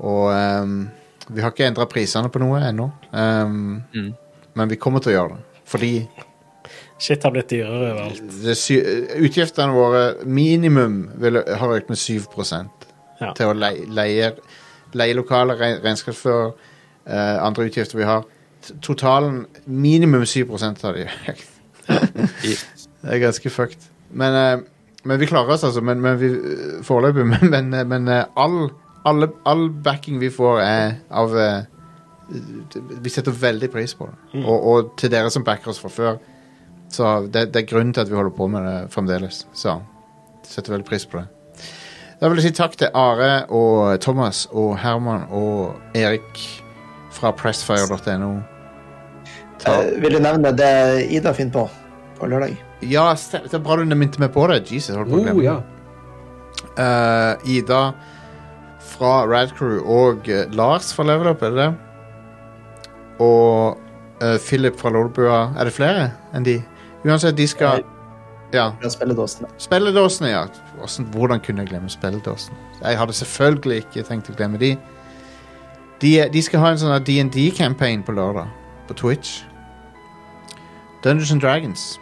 A: og ehm, vi har ikke endra prisene på noe ennå. Ehm,
C: Mm.
A: Men vi kommer til å gjøre det. Fordi
B: Shit har blitt dyrere overalt.
A: det sy utgiftene våre minimum vil, har økt med 7
B: Ja.
A: til å leie, leie, leie lokale re regnskapsfører, eh, andre utgifter vi har. T- Totalen minimum 7 av de økt. Det er ganske fucked. Men, eh, men vi klarer oss, altså. Men, men vi, eh, foreløpig. Men, men, eh, men eh, all, alle, all backing vi får, er av eh, Vi setter veldig pris på det.
G: Mm.
A: Og, og til dere som backer oss fra før, så det, det er grunnen til at vi holder på med det fremdeles. Så setter veldig pris på det. Da vil jeg si takk til Are og Thomas og Herman og Erik fra pressfire.no. Ta-
D: Eh, vil du nevne det Ida finner på på lørdag?
A: Ja, stem- det er bra du minte meg på det. Jesus, jeg holdt på å glemme
G: Oh,
A: det.
G: ja.
A: Eh, Ida fra Radcrew og eh, Lars fra Level Up, er det det? Og eh, Philip fra Lolbua. Er det flere enn de? Uansett, de skal Ja.
D: Fra spilledåsene.
A: Spelledåsene, ja. Hvordan, hvordan kunne jeg glemme spelledåsene? Jeg hadde selvfølgelig ikke tenkt å glemme de. De, de skal ha en sånn D&D-campaign på lørdag. På Twitch. Dungeons and Dragons.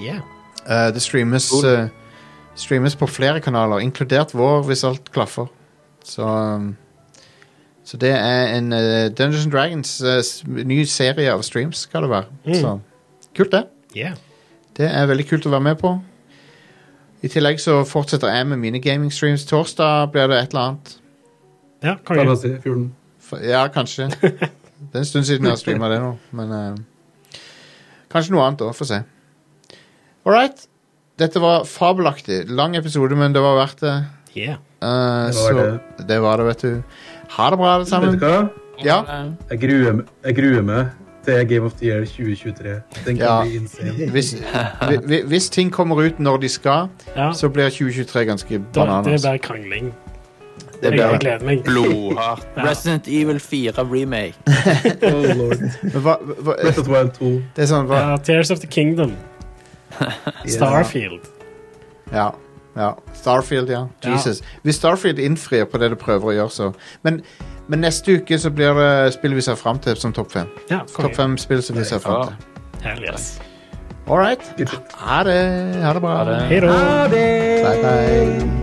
B: Yeah.
A: Eh, det streames, eh, streames på flere kanaler, inkludert vår, hvis alt klaffer. Så, um, så det er en eh, Dungeons and Dragons eh, s- ny serie av streams, skal det være. Så kult, det.
B: Yeah.
A: Det er veldig kult å være med på. I tillegg så fortsetter jeg med mine gaming-streams. Torsdag blir det et eller annet.
B: Ja,
G: Final
B: konge.
G: Fantasy 14.
A: F- Ja, kanskje. Det er en stund siden jeg har streama det nå, men eh, Kanskje noe annet òg, få se. All right. Dette var fabelaktig. Lang episode, men det var verdt det.
B: Yeah.
A: Eh,
F: Det var
A: så det var det, vet du. Ha det bra, alle
F: Vet
A: sammen.
F: du hva?
A: Ja.
F: Jeg gruer, meg- jeg gruer meg til Game of the Year 2023. Den kan
A: Ja.
F: bli insane.
A: Hvis, hvi- hvi- hvis ting kommer ut når de skal,
B: Ja,
A: så blir 2023 ganske
B: da, det
A: bananas.
B: er bare krangling. Jeg,
C: Det blir
B: jeg gleder meg.
C: blodhardt. Resident Evil 4 remake.
F: Oh lord.
A: Men hva, hva,
F: Breath of the Wild 2.
A: det er sånn, hva,
B: Ja, Uh, Tears of the Kingdom. Starfield.
A: ja, ja. Starfield, ja.
B: Ja.
A: Jesus. Hvis Starfield innfrir på det det prøver å gjøre, så. Men, men neste uke så blir det spill vi ser fram til som topp fem.
B: Ja,
A: Topp
B: konge.
A: fem spill som vi ser fram til.
B: Hell yes.
A: All right. Ha det. Ha det bra.
C: Ha det.
B: Hei da.
A: Bye, bye.